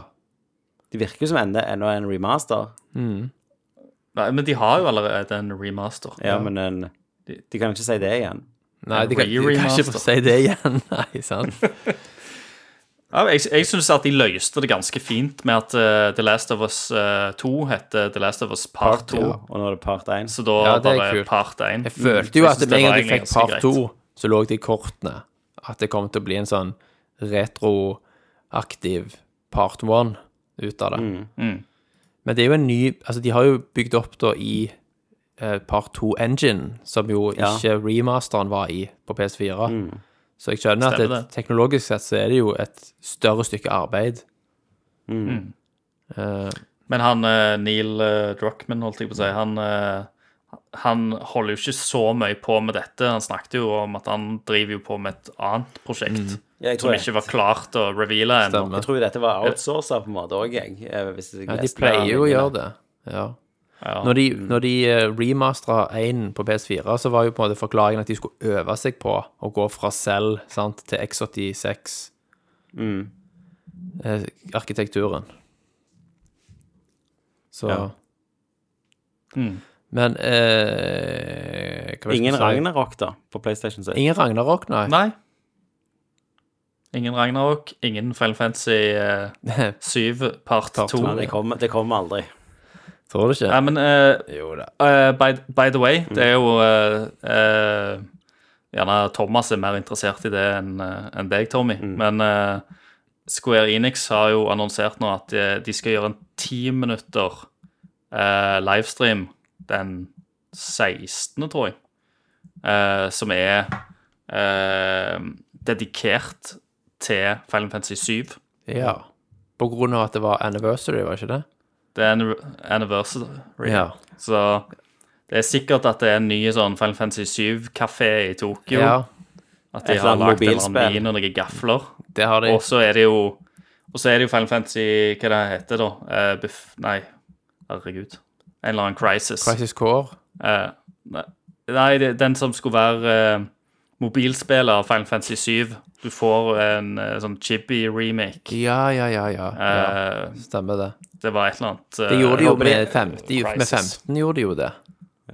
Det virker jo som enda enda en remaster.
Nei, men de har jo allerede en remaster.
Ja, men en, de kan ikke si det igjen.
Nei, de kan, de kan
re-remaster.
ikke få si det igjen. Nei, sant?
Ja, jeg jeg syns at de løste det ganske fint med at eh, The Last of Us eh, 2 heter The Last of Us Part 2.
Og nå er det part 1.
Så da
Ja, det er
bare
kult.
Part 1.
Jeg følte jo at
synes
med en
var
gang du fikk
egentlig ganske
part
greit.
to, så lå det i kortene at det kom til å bli en sånn retroaktiv part one ut av det.
Mm.
Men det er jo en ny Altså, de har jo bygd opp da i eh, part two-engine, som jo
Ja.
ikke remasteren var i på PS4. Så jeg skjønner at
Stemmer
det, teknologisk sett så er det jo et større stykke arbeid.
Mm. Men han eh, Neil eh, Druckmann, holdt jeg på å si, han, eh, han holder jo ikke så mye på med dette. Han snakket jo om at han driver jo på med et annet prosjekt
Ja, jeg tror
som
det.
ikke var klart å reveale ennå.
Mm. Stemmer.
Jeg tror jo dette var outsourcet på en måte òg, jeg. eh, Hvis jeg
Ja, de
leste
pleier
det.
jo å gjøre det. Ja.
Ja.
Når de, når de eh, remastera 1 på PS4, så var jo på en måte forklaringen at de skulle øve seg på å gå fra Cell sant, til X86.
Mm.
Eh, arkitekturen. Så
Mm.
Men eh, hva var det jeg
Ingen
skulle si?
Ragnarok, da, på PlayStation 6.
Ingen Ragnarok, nei.
Nei. Ingen Ragnarok, ingen Final Fantasy eh, 7 part 2.
Men det kommer, det kommer aldri.
Tror du
Nei,
ikke?
men eh,
Jo da.
eh, by, by the way, det er jo eh, eh, Gjerne Thomas er mer interessert i det enn eh, enn deg, Tommy. Men eh, Square Enix har jo annonsert nå at eh, de skal gjøre en ti minutter eh, livestream den 16., tror jeg. eh, som er eh, dedikert til Final Fantasy 7.
Ja. På grunn av at det var anniversary, var ikke det?
Det er en anniversary. Så det er sikkert at det er en ny sånn Final Fantasy 7-kafé i Tokyo.
ja.
at de
Et eller
har
annet
lagd en eller
mobilspill.
annen min og noen gafler.
Det har de.
Og så er det jo Og så er det jo Final Fantasy Hva det heter da? Eh, buff... Nei, herregud. En eller annen Crisis.
Crisis Core.
Eh, nei, nei, det, den som skulle være eh, mobilspiller av Final Fantasy 7. Du får en eh, sånn chibi-remake.
Ja, ja, ja, ja. ja.
Eh,
Stemmer det.
Det var et eller annet eh,
Det gjorde de jo
håper de-
med 50, med
Crisis.
15 gjorde de jo det.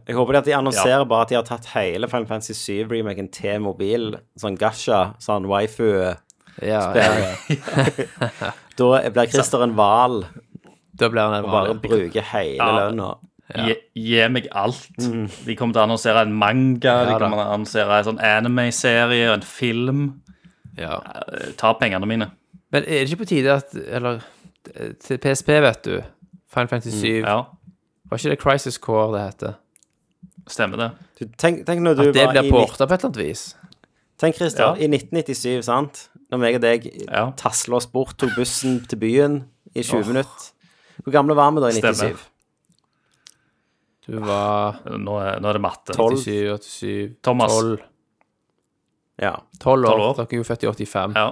Jeg håper det at de annonserer bare at de har tatt hele Final Fantasy 7-remaken til mobil, sånn gasha, sånn waifu.
Ja, ja, ja.
Da blir Christer en hval
Da blir han en
og bare
vanlig.
bruker hele
Ja.
lønna.
Gi, gi meg alt.
Mm.
De kommer til å annonsere en manga,
Ja
de
da.
kommer til å annonsere en sånn anime-serie, en film.
Ja.
Eh, Ta pengene mine.
Men er det ikke på tide at Eller til PSP, vet du. Final Fantasy 7.
Ja,
Var ikke det Crisis Core det heter?
stemmer det.
Du, tenk, tenk når du
At det
var i
blir porta på et eller annet vis.
Tenk, Christer,
Ja.
i 1997, sant? Når meg og deg
Ja.
tasla oss bort, tok bussen til byen i 20 minutter. Hvor gamle var vi da i
Stemmer.
97?
Du var
Nå er, nå er det matte.
87, 87
Thomas.
12,
Ja.
12 år.
12 år.
Dere er jo født i 85.
Ja.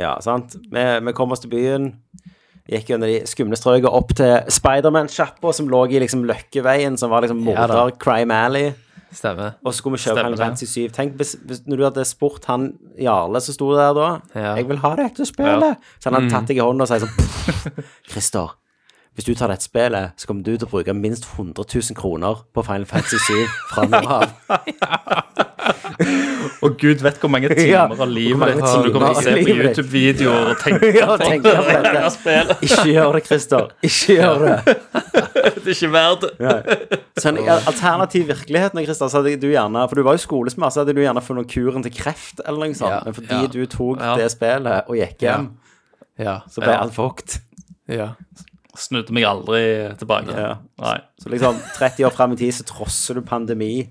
ja, sant? Vi, vi kom oss til byen, gikk under de skumle strøkene opp til Spiderman-sjappa som lå i liksom Løkkeveien, som var liksom
Ja da.
morder Crime Alley.
Stemmer.
Og så skulle vi kjøpe
Stemmer
Final
det.
Fantasy 7. Tenk hvis, hvis, når du hadde spurt han Jarle som sto der da
Ja.
'Jeg vil ha det ekte spillet.' Så han hadde tatt deg i hånda og sagt sånn «Pff, 'Christer, hvis du tar dette spillet, så kommer du til å bruke minst 100 000 kroner på Final Fantasy 7 fra nå av.'
Og gud vet hvor mange timer
Ja,
av livet
hvor mange
ditt som du
timer
kommer til å se
av
på
livet ditt.
YouTube-videoer og tenke
Ja,
på
tenke
det
på dette.
der spillet.
Ikke gjør det, Christer. Ikke gjør det.
Det er ikke verdt det.
Så en alternativ virkelighet nå, Christer, så hadde du gjerne For du var jo skolesmart, så hadde du gjerne funnet kuren til kreft eller noe sånt.
Ja,
Men fordi
ja.
du tok
Ja.
det spillet og gikk hjem,
Ja.
så ble
Ja.
alt fucked.
ja.
Snudde meg aldri tilbake.
Ja.
Nei.
Så liksom 30 år fram i tid så trosser du pandemi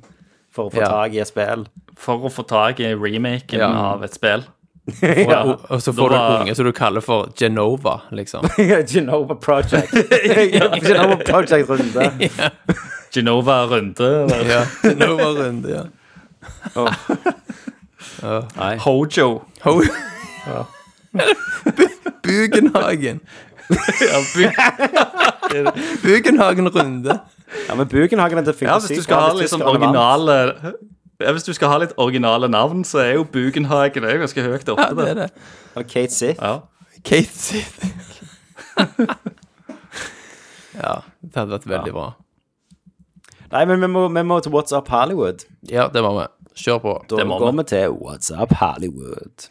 for å få
Ja.
tak i et spill.
For å få tak i remaken
Ja.
av et spill.
Ja.
Og, og så
Da
får du
var-
en unge som du kaller for Genova, liksom.
Genova Project. Genova Project-runde.
Genova Runde. eller
Ja, Genova-runde, ja.
Hojo.
Ho Bu- Bugenhagen.
Ja, by-
Bugenhagen-runde.
Ja, men Bugenhagen er det
ja, hvis du skal ha litt sånn originale ja, Hvis du skal ha litt originale navn, så er jo Bugenhagen det er jo ganske høyt oppe.
Ja, det er det.
Kate Sith.
Ja.
Kate Sith. ja, det hadde vært veldig bra.
Nei, men vi må, vi må til What's Up Hollywood.
Ja, det var vi. Kjør på.
Da
Det må
går
vi.
vi til What's Up Hollywood.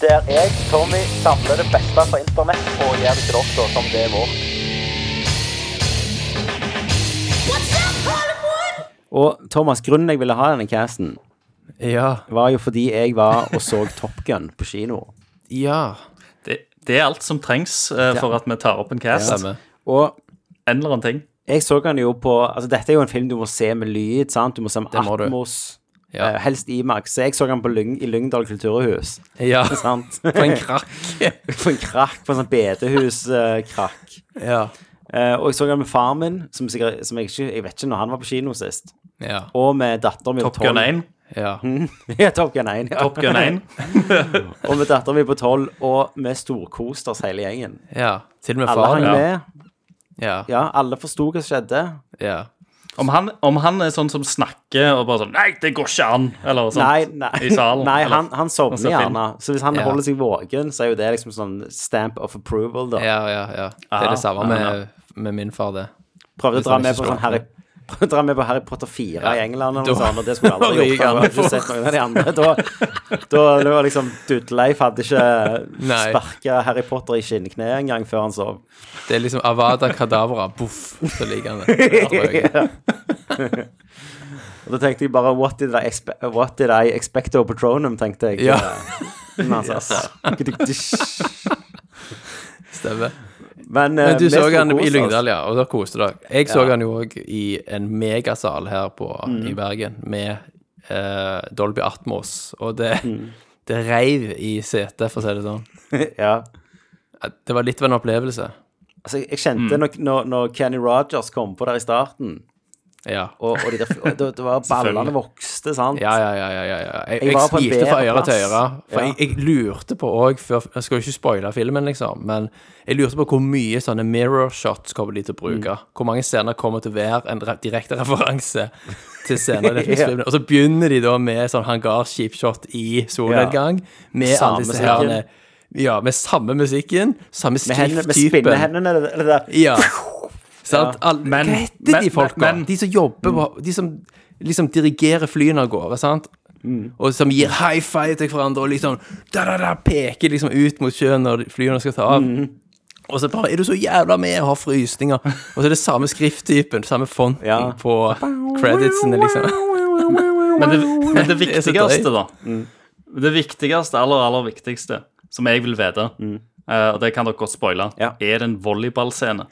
Der jeg, Tommy, samler det beste fra internett og gjør det til dere som det er vårt. Og Thomas, grunnen jeg ville ha denne casten,
Ja.
var jo fordi jeg var og så Top Gun på kino.
Ja.
Det, det er alt som trengs eh, for at vi tar opp en cast.
Stemmer.
Og
en eller annen ting.
jeg så den jo på Altså, dette er jo en film du må se med lyd, sant? Du må se med
Det må du.
Atmos,
Ja.
eh, helst IMAX. Så jeg så den på Lyng, i Lyngdal kulturhus,
Ja.
sant?
For en krakk.
på en krakk, på en sånn bedehuskrakk. Eh,
Ja.
og jeg så den med faren min, som, sikkert, som jeg ikke Jeg vet ikke når han var på kino sist.
Ja.
Og med datteren min
Top Gun 1.
ja.
ja, Top Gun 1. Ja.
Top Gun 1.
Og med datteren min på 12, og vi storkoste oss hele gjengen.
ja. Til og med
Alle
far.
hang
Ja.
med.
Ja.
Ja, alle forsto hva som skjedde.
ja.
Om han, om han er sånn som snakker og bare sånn Nei, det går ikke an! Eller sånt.
Nei, nei,
I salen.
nei
eller-
han, han sovner
ser film.
gjerne. Så hvis han
Ja.
holder seg våken, så er jo det liksom sånn stamp of approval, da.
Ja, ja, ja. Det er det samme med, med min far, det.
Prøvde å
Hvis
dra
han
med
ikke
på
slår
sånn Harry Prøvde å dra med på Harry Potter 4 i England eller noe
Da-
sånt, og det skulle jeg aldri
da
gjort. for Jeg hadde ikke sett noen av de andre. Da, da, det var liksom Dudleif hadde ikke
Nei.
sparka Harry Potter i skinnkneet engang før han sov.
Det er liksom Avada Kadavra, boff, så ligger han der. Der tror jeg.
Og da tenkte jeg bare What did I, expe what did I expect of Patronum, tenkte jeg.
Ja.
Men, altså, yes.
Stemmer.
Men, eh,
Men du
vi
så
skulle
han
kose
i
oss.
Lyngdal, ja, og da koste dere. Jeg så han jo òg i en megasal her på, i Bergen med eh, Dolby Atmos, og det, det reiv i setet, for å si det sånn.
Ja.
Det var litt av en opplevelse.
Altså, jeg
Mm.
kjente når, når, når Kenny Rogers kom på der i starten,
Ja.
og, og de der, og da- da var ballene vokste, sant?
Ja, ja, ja. ja, ja, ja. Jeg,
Jeg
jeg,
var på en
smite fra
bedre
øre til
plass.
øre. For
Ja.
jeg, jeg lurte på òg før Jeg skal jo ikke spoile filmen, liksom, men jeg lurte på hvor mye sånne mirror shots kommer de til å
Mm.
bruke. Hvor mange scener kommer til å være en re direkte referanse til scener i den filmen. Og så begynner de da med sånn hangarskipshot i solnedgang, med
Samme
alle disse
musikken.
her Ja, med samme musikken, samme
Med, hendene, med
skrifttypen.
spinnehendene, det, det der.
Ja. Sant? All,
Men-
hva heter de
men-
folka?
men-
de som jobber på De som liksom dirigerer flyene av gårde, sant? Og som gir high five til hverandre og liksom da, da, da, peker liksom ut mot sjøen når flyene skal ta av. Og så bare Er du så jævla med og har frysninger? Og så er det samme skrifttypen, samme fonten
Ja.
på creditsene, liksom.
Men det, men det
Det er så
viktigste, da
drøyt.
Det viktigste, aller, aller viktigste, som jeg vil vite, eh, og det kan dere godt spoile,
Ja.
er det en volleyballscene?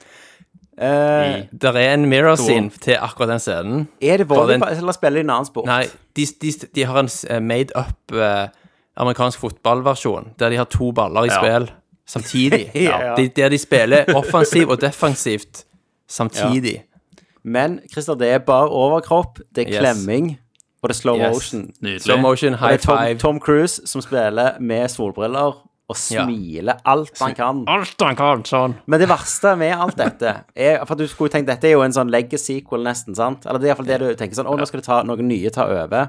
Eh,
Der er en mirror scene til akkurat den scenen.
er det
For den-
volleyball, eller spiller de en annen sport?
Nei, de, de, de har en s- eh, made up eh, amerikansk fotballversjon, der de har to baller i
Ja.
spill samtidig.
Ja.
de, der de spiller offensivt og defensivt samtidig.
Men Christer, det er bare overkropp, det er
Yes.
klemming, og det er slow
Yes.
motion.
Slow
Nydelig.
motion,
Og det
high
er Tom,
five.
Tom Cruise som spiller med solbriller og smiler alt han kan.
Alt han kan, sånn.
Men det verste med alt dette er, For du skulle jo tenkt dette er jo en sånn legacy-sequel, nesten, sant? Eller det er iallfall det du tenker sånn Å, nå skal det ta noen nye ta over.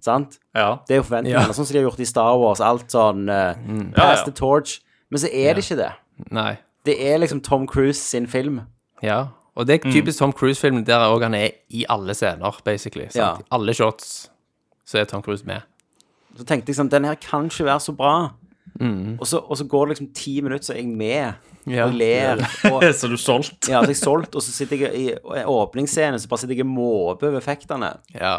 Sant?
Ja.
Det er jo forventningene.
Ja. Mm.
Sånn som de har gjort i Star Wars, alt sånn eh, Pass
Ja, ja.
the torch. Men så er det ikke det.
Nei.
Det er liksom Tom Cruise sin film.
Ja. Og det
Mm.
er typisk Tom Cruise-film der også han er i alle scener, basically. Sant?
Ja.
I alle shots så er Tom Cruise med.
Så tenkte jeg sånn Den her kan ikke være så bra. Og, så, og så går det liksom ti minutter, så er jeg med.
Mm. Ja.
Og ler. Og,
Så du solgt?
ja, så jeg solgt, og så sitter jeg i og i åpningsscenen, så bare sitter jeg og måper over effektene.
Ja.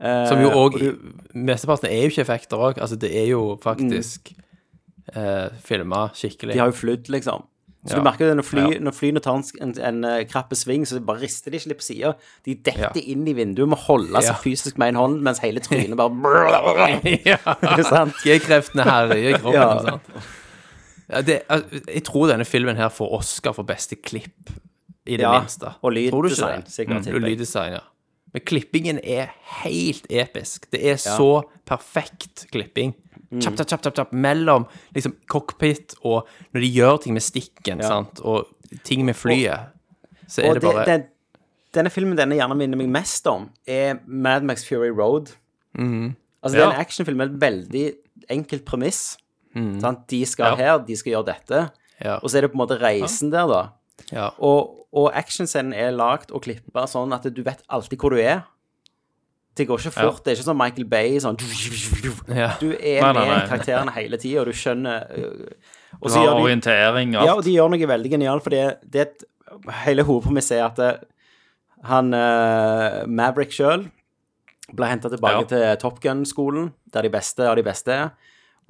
Eh,
Som jo òg Mesteparten er jo ikke effekter òg. Altså, det er jo faktisk mm. filma skikkelig.
De har jo flydd, liksom. Så du
Ja.
merker jo det når, fly,
Ja.
når flyene tar en, sk- en, en eh, krappe sving, så bare rister de ikke litt på sida. De detter
Ja.
inn i vinduet, må holde seg
Ja.
fysisk med en hånd, mens hele trynet bare Ikke sant?
G-kreftene herjer i kroppen.
Ja.
ikke sant? Ja, det, al- jeg tror denne filmen her får Oscar for beste klipp, i det
Ja,
minste.
og
Tror du ikke
lyddesign,
det?
sikkert, tipper
Og
jeg.
lyddesign, ja. Men klippingen er helt episk. Det er så perfekt klipping.
Mm.
Kjapp, kjapp, kjapp, kjapp, kjapp, mellom liksom cockpit og når de gjør ting med stikken, sant, og ting med flyet, så er
Og
det bare
den, denne filmen denne gjerne minner meg mest om, er Mad Max Fury Road.
Mm.
Altså, det er
Ja.
en actionfilm med et veldig enkelt premiss.
Mm.
Sant? De skal
Ja.
her, de skal gjøre dette.
Ja.
Og så er det på en måte reisen der, da.
ja.
Og, og actionscenen er lagd og klippa sånn at du vet alltid hvor du er. Det går ikke fort. Det er ikke sånn Michael Bay sånn
Ja.
Du er
Nei, nei,
med
nei.
karakterene hele tida, og du skjønner øh, og
Du
så
har
gjør de-
orientering og
ja, og
alt.
de gjør noe veldig genialt, for det, det er et, hele hovedpremisset er at eh, han eh, Maverick sjøl ble henta tilbake
Ja.
til Top Gun-skolen, der de beste av de beste er.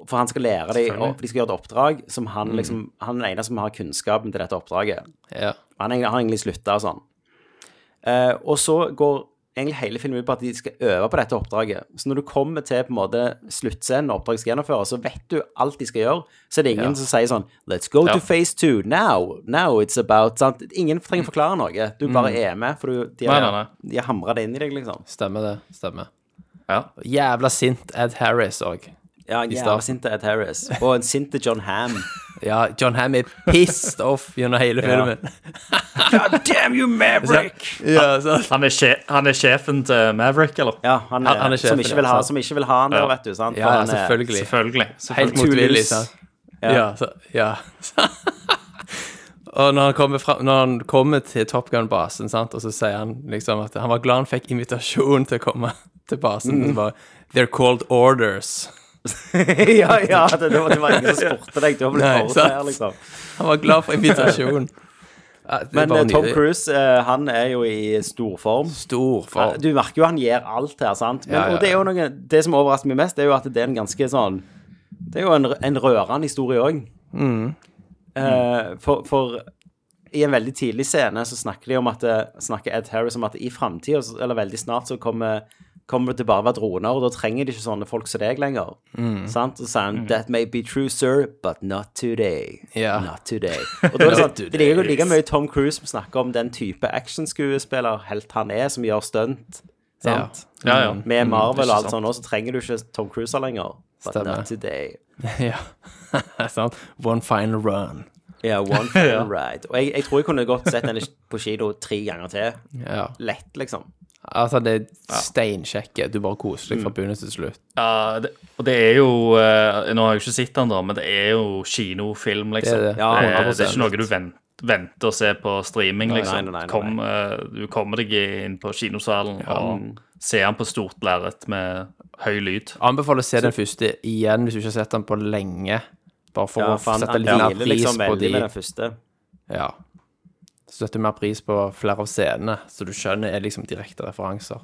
For han skal lære dem,
Selvfølgelig. Mm.
for de skal gjøre et oppdrag som han liksom Han er den ene som har kunnskapen til dette oppdraget.
ja.
Han har egentlig slutta og sånn. Eh, og så går egentlig hele filmen ut på at de skal øve på dette oppdraget. Så når du kommer til på en måte sluttscenen når oppdraget skal gjennomføres, så vet du alt de skal gjøre. Så er det ingen som sier sånn Let's go
Ja.
to phase two now. Now it's about sant? Ingen trenger forklare noe. Du bare er med, for du, de, har,
Nei, nei,
de har hamra det inn i deg, liksom.
Stemmer det. Stemmer.
Ja.
Jævla sint Ed Harris òg.
Ja, en jævla
starten.
sinte Ed Harris. Og en sinte John Ham.
Ja, John Hamm er pissed off gjennom hele filmen.
God damn you, Maverick!
Ja, sant?
Han, er sje- han er sjefen til Maverick, eller?
Ja, han, er,
Han- han er
som,
sjefen,
ikke vil ha,
ja, sant.
som ikke vil ha han der,
Ja.
vet du. Sant? For
ja,
han er-
selvfølgelig.
Selvfølgelig.
Helt
Selvfølgelig.
motvillig. sant?
Ja.
Ja. Så, ja. og når han, kommer fra, når han kommer til Top Gun-basen, sant, og så sier han liksom at han var glad han fikk invitasjon til å komme til basen. og så bare, They're called orders.
ja, ja, det, det, var, det var ingen som spurte deg. Du har blitt
Nei,
forutsatt,
sant.
liksom.
Han var glad for invitasjon. Ja, det er
Men
bare
eh, Tom
nydelig.
Cruise, eh, han er jo i storform.
Stor for
Du merker jo han gjør alt her, sant? Men,
Ja, ja,
Og det er jo noe Det som overrasker meg mest, det er jo at det er en ganske sånn Det er jo en, en rørende historie òg.
Mm.
for, for i en veldig tidlig scene så snakker de om at eh, snakker Ed Harris om at i framtida, eller veldig snart, så kommer kommer det til bare å være droner, og da trenger de ikke sånne folk som deg lenger.
Mm.
Sant? Og så sa han That may be true, sir, but not today.
Ja.
Not today. Og da er det sånn,
today.
det ligger jo like mye Tom Cruise som snakker om den type actionskuespiller, helt han er, som gjør stunt. Sant?
Ja, ja.
Mm.
Med Marvel og
ikke
alt
sant.
sånt, også, så trenger du ikke Tom Cruise lenger. But
Stemmer.
not today.
Ja. sant? One final run.
Ja, one final ride. Og jeg, jeg tror jeg kunne godt sett den på kino tre ganger til.
Ja.
Lett, liksom.
Altså, det er steinkjekke. Du bare
Mm.
koser deg fra begynnelse til slutt.
Ja, det, og det er jo eh, Nå har jeg jo ikke sett den, da, men det er jo kinofilm, liksom.
Det er det.
Ja,
det, er,
100%.
det er ikke noe du venter, venter å se på streaming, liksom.
nei, nei, nei,
Kom, eh, du kommer deg inn på kinosalen og ser den på stort lerret med høy lyd.
Anbefaler å se den første igjen hvis du ikke har sett den på lenge. Bare for
Ja,
å
for han,
sette
han
litt mer
dealer
pris
liksom
på
veldig
de
med den første.
ja. Så setter du mer pris på flere av scenene, så du skjønner er liksom direkte referanser.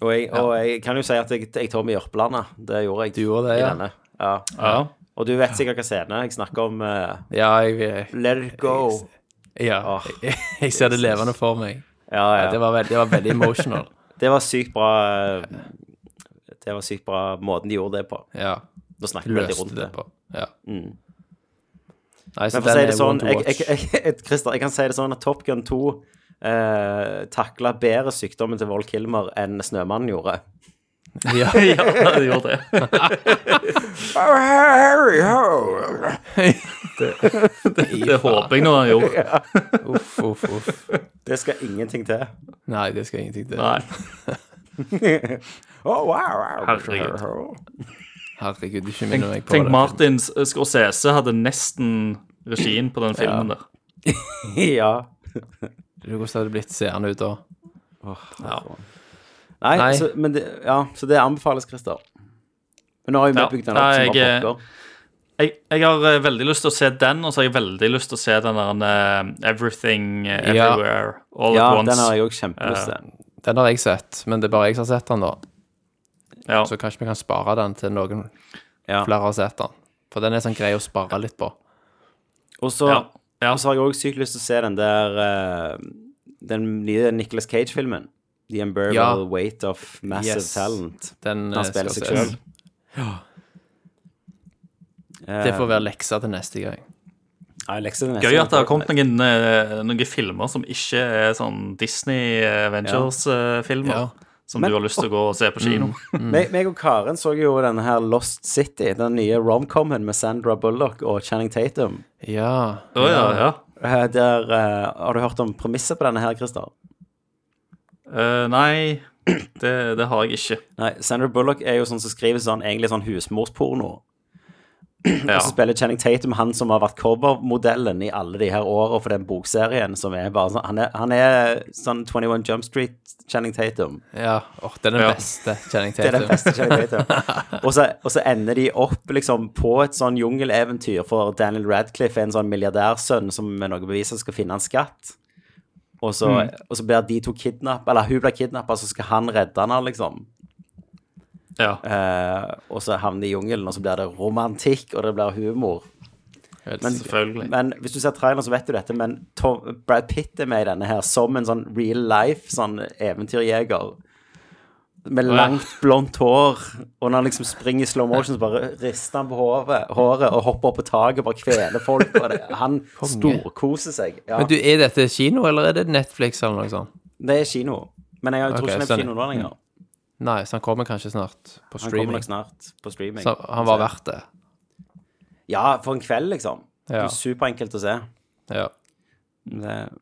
Og jeg, og jeg kan jo si at jeg, jeg tar med Jørpelandet. Det gjorde jeg.
Du gjorde det,
i
ja.
denne. ja.
Ja.
Og du vet sikkert hva scene jeg snakker om. eh,
Ja, jeg,
Let it go.
ja,
Åh,
jeg, ser det levende for meg.
Ja,
Ja,
ja.
det, var veldig, det var veldig emotional.
Det var sykt bra eh, Det var sykt bra måten de gjorde det på.
Ja.
Nå snakker vi veldig
Løste
rundt
det
det. Mm.
på. Ja. Nei, så
Men for å
den
si
er
det sånn
one to
jeg,
watch.
jeg, jeg, jeg, Christer, jeg kan si det sånn at Top Gun 2 eh, takla bedre sykdommen til Val Kilmer enn Snømannen gjorde.
Ja.
ja, det gjorde det. Det håper jeg nå han gjorde.
Uff, uff, uff.
Det skal ingenting til.
Nei, det skal ingenting til.
Nei,
Oh, wow, wow.
herregud.
Herregud, ikke minn meg på
Tenk
det.
Martin Scorsese hadde nesten regien på den filmen der.
ja.
Du, Hvordan hadde det blitt seende ut da?
Nei,
Nei.
Så, men det, ja, så det anbefales, Christer. Men nå har jo vi
Ja.
bygd den opp
Nei,
som bare
jeg-
pokker.
Jeg, jeg har eh, veldig lyst til å se den, og så har jeg veldig lyst til å se den der eh, Everything eh,
Ja.
Everywhere All
Ja,
at Once.
den har jeg òg kjempelyst
Eh,
til.
Den har jeg sett, men det er bare jeg som har sett den, da.
Ja.
Så kanskje vi kan spare den til noen
Ja.
flere har sett den. For den er sånn grei å spare litt på.
Og så
Ja.
Og så
Ja.
Altså, har jeg òg sykt lyst til å se den der eh, Den nye Nicolas Cage-filmen. The Unbearable
Ja.
Weight of Massive
Yes.
Talent.
Den
Han
eh,
spiller
skal
seg
ses.
selv.
Det
Eh.
får være leksa til neste gang.
Gøy at det har kommet noen, eh, noen filmer som ikke er sånn Disney Ventures-filmer.
Ja.
Som
Men-
du har lyst til å gå og se på kino.
Mm.
meg, Mm. meg og Karen så jo denne her Lost City, den nye romcomen med Sandra Bullock og Channing Tatum.
Ja.
Å ja, ja.
Eh, Der, eh, har du hørt om premisset på denne her, Christer?
Eh, nei, det, det har jeg ikke.
Nei, Sandra Bullock er jo sånn som skriver sånn, egentlig sånn husmorsporno.
Ja.
Og så spiller Channing Tatum han som har vært covermodellen i alle de her åra for den bokserien som er bare sånn Han er, han er sånn 21 Jump Street Channing Tatum.
ja. Åh, det er den
Ja.
beste Channing
Det er
Tatum.
den beste Channing Tatum. Og så, og så ender de opp liksom på et sånn jungeleventyr, for Daniel Radcliffe er en sånn milliardærsønn som med noe bevis skal finne en skatt. Og så, og så blir de to kidnappet, eller hun blir kidnappa, så skal han redde henne, liksom.
Ja.
Eh, og så havner de i jungelen, og så blir det romantikk, og det blir humor.
Helt
Men,
sikkert.
Selvfølgelig.
men hvis du ser traileren, så vet du dette, men Tom, Brad Pitt er med i denne her som en sånn real life sånn eventyrjeger. Med langt, blondt hår. Og når han liksom springer i slow motion, så bare rister han på håret, håret og hopper opp på taket og bare kveler folk. Og det, han storkoser seg. Ja,
Men du, er dette kino, eller er det Netflix eller noe sånt?
det er kino. Men jeg tror
Ok,
ikke det er på
sånn.
kino nå lenger.
Nei, så han kommer kanskje snart
Han kommer
på streaming.
nok snart på streaming.
Så han var verdt det.
Ja, for en kveld, liksom. Det
Ja.
er Superenkelt å se.
ja.
Det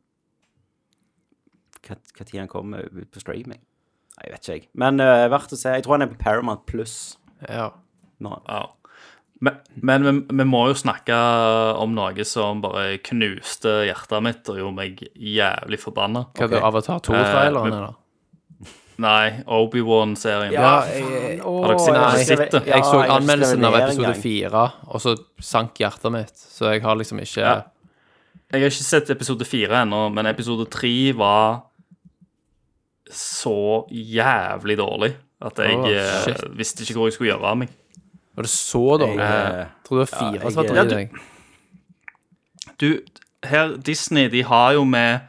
Hva hva tid han kommer ut på streaming? Nei, jeg vet ikke, jeg. Men eh, verdt å se. Jeg tror han er på Paramount Pluss
ja.
nå.
Ja. Men, men vi, vi må jo snakke om noe som bare knuste hjertet mitt og gjorde meg jævlig forbanna.
Hva er det, Avatar
Eh,
2-traileren,
men-
eller?
Nei, Obi-Wan-serien.
jeg,
Har dere sett-
nei.
sett det?
jeg så anmeldelsen av episode
fire.
4, og så sank hjertet mitt. Så jeg har liksom ikke
Ja. Jeg har ikke sett episode fire ennå, men episode tre var så jævlig dårlig at jeg
Åh,
eh,
shit.
visste ikke hvor jeg skulle gjøre av meg.
Var det så dårlig?
Eh,
Tror det var fire
jeg-
som var
Ja,
dårlig.
du-
jeg.
Du, her, Disney de har jo med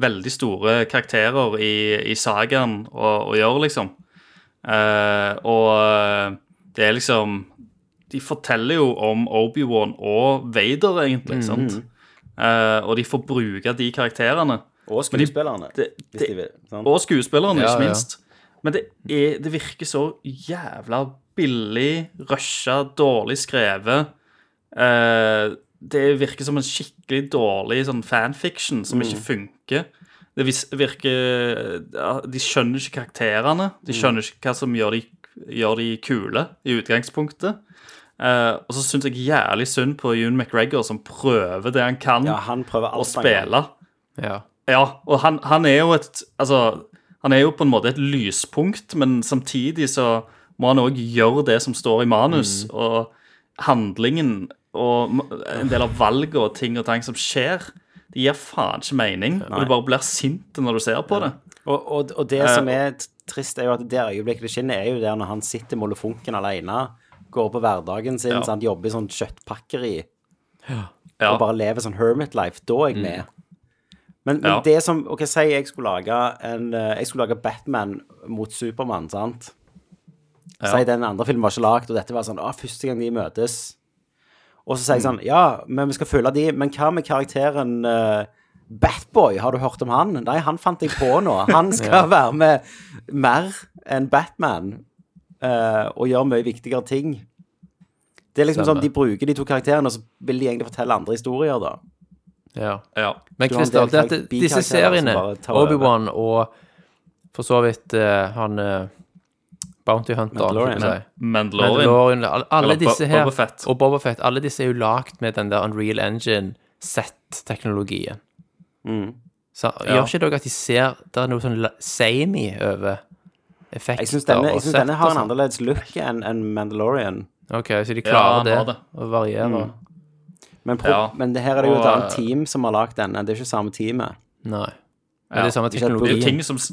veldig store karakterer i, i sagaen å, å gjøre, liksom. Eh, og eh, det er liksom De forteller jo om Obi-Wan og Vader, egentlig. sant? Eh, og de får bruke de karakterene.
Og skuespillerne.
Det,
hvis de
det,
vil. sant?
og skuespillerne,
Ja,
ikke
ja.
minst. Men det, er, det virker så jævla billig, rusha, dårlig skrevet. Eh, det virker som en skikkelig dårlig sånn fanfiction som ikke funker. Det vis- virker ja, De skjønner ikke karakterene. De skjønner ikke hva som gjør de, gjør de kule i utgangspunktet. Eh, og så syns jeg jævlig synd på Ewan McGregor, som prøver det han kan
ja, han prøver
å
alt han kan.
spille.
Ja.
Ja, og han, han er jo et Altså, han er jo på en måte et lyspunkt, men samtidig så må han òg gjøre det som står i manus,
Mm.
og handlingen og m- en del av valget og ting og tang som skjer. Det gir faen ikke mening, og du bare blir sint når du ser på det.
Og, og, og det
Eh,
som er t- trist, er jo at det øyeblikket det skinner, er jo der når han sitter med molefonken alene, går på hverdagen sin,
Ja.
sant? jobber i sånn kjøttpakkeri.
Ja, Mm.
og bare lever sånn hermit life, da er jeg med. Men, men
Ja.
det som Ok, si jeg skulle lage en eh, Jeg skulle lage Batman mot Supermann, sant? Si den andre filmen var ikke lagd, og dette var sånn Å, første gang de møtes. Og så sier
Mm.
jeg sånn Ja, men vi skal følge de, men hva med karakteren eh, Batboy, har du hørt om han? Nei, han fant jeg på nå. Han skal være med mer enn Batman eh, og gjøre mye viktigere ting. Det er liksom
Stemmer.
sånn, De bruker de to karakterene, og så vil de egentlig fortelle andre historier, da.
ja.
ja.
Men
Du har en
Christer,
del
dette-
karak-
disse
bikarakterer som
seriene,
bare tar over.
Obi-Wan og for så vidt eh, han eh, Bounty Hunter,
Mandalorian.
skulle jeg si.
Mandalorian.
Mandalorian, alle, alle
Eller Bo-
disse her,
Boba Fett.
og Boba Fett, alle disse er jo lagt med den der Unreal Engine Z-teknologien.
Mm.
Så gjør ikke dere at de ser, det er noe sånn la- samey over effekter
Jeg syns denne, jeg
og
synes denne har en
sett
altså.
og sånn.
annerledes look enn enn Mandalorian.
Ok, så de
Ja,
klarer
han
det,
har det.
å variere.
Mm. Men, pro
Ja.
men det her er det jo et
Og, eh,
annet team som har lagd denne. Det er ikke samme teamet.
Nei. Men
Ja,
det er samme
ikke at Boba-
Det er jo
teknologien.
ting som s-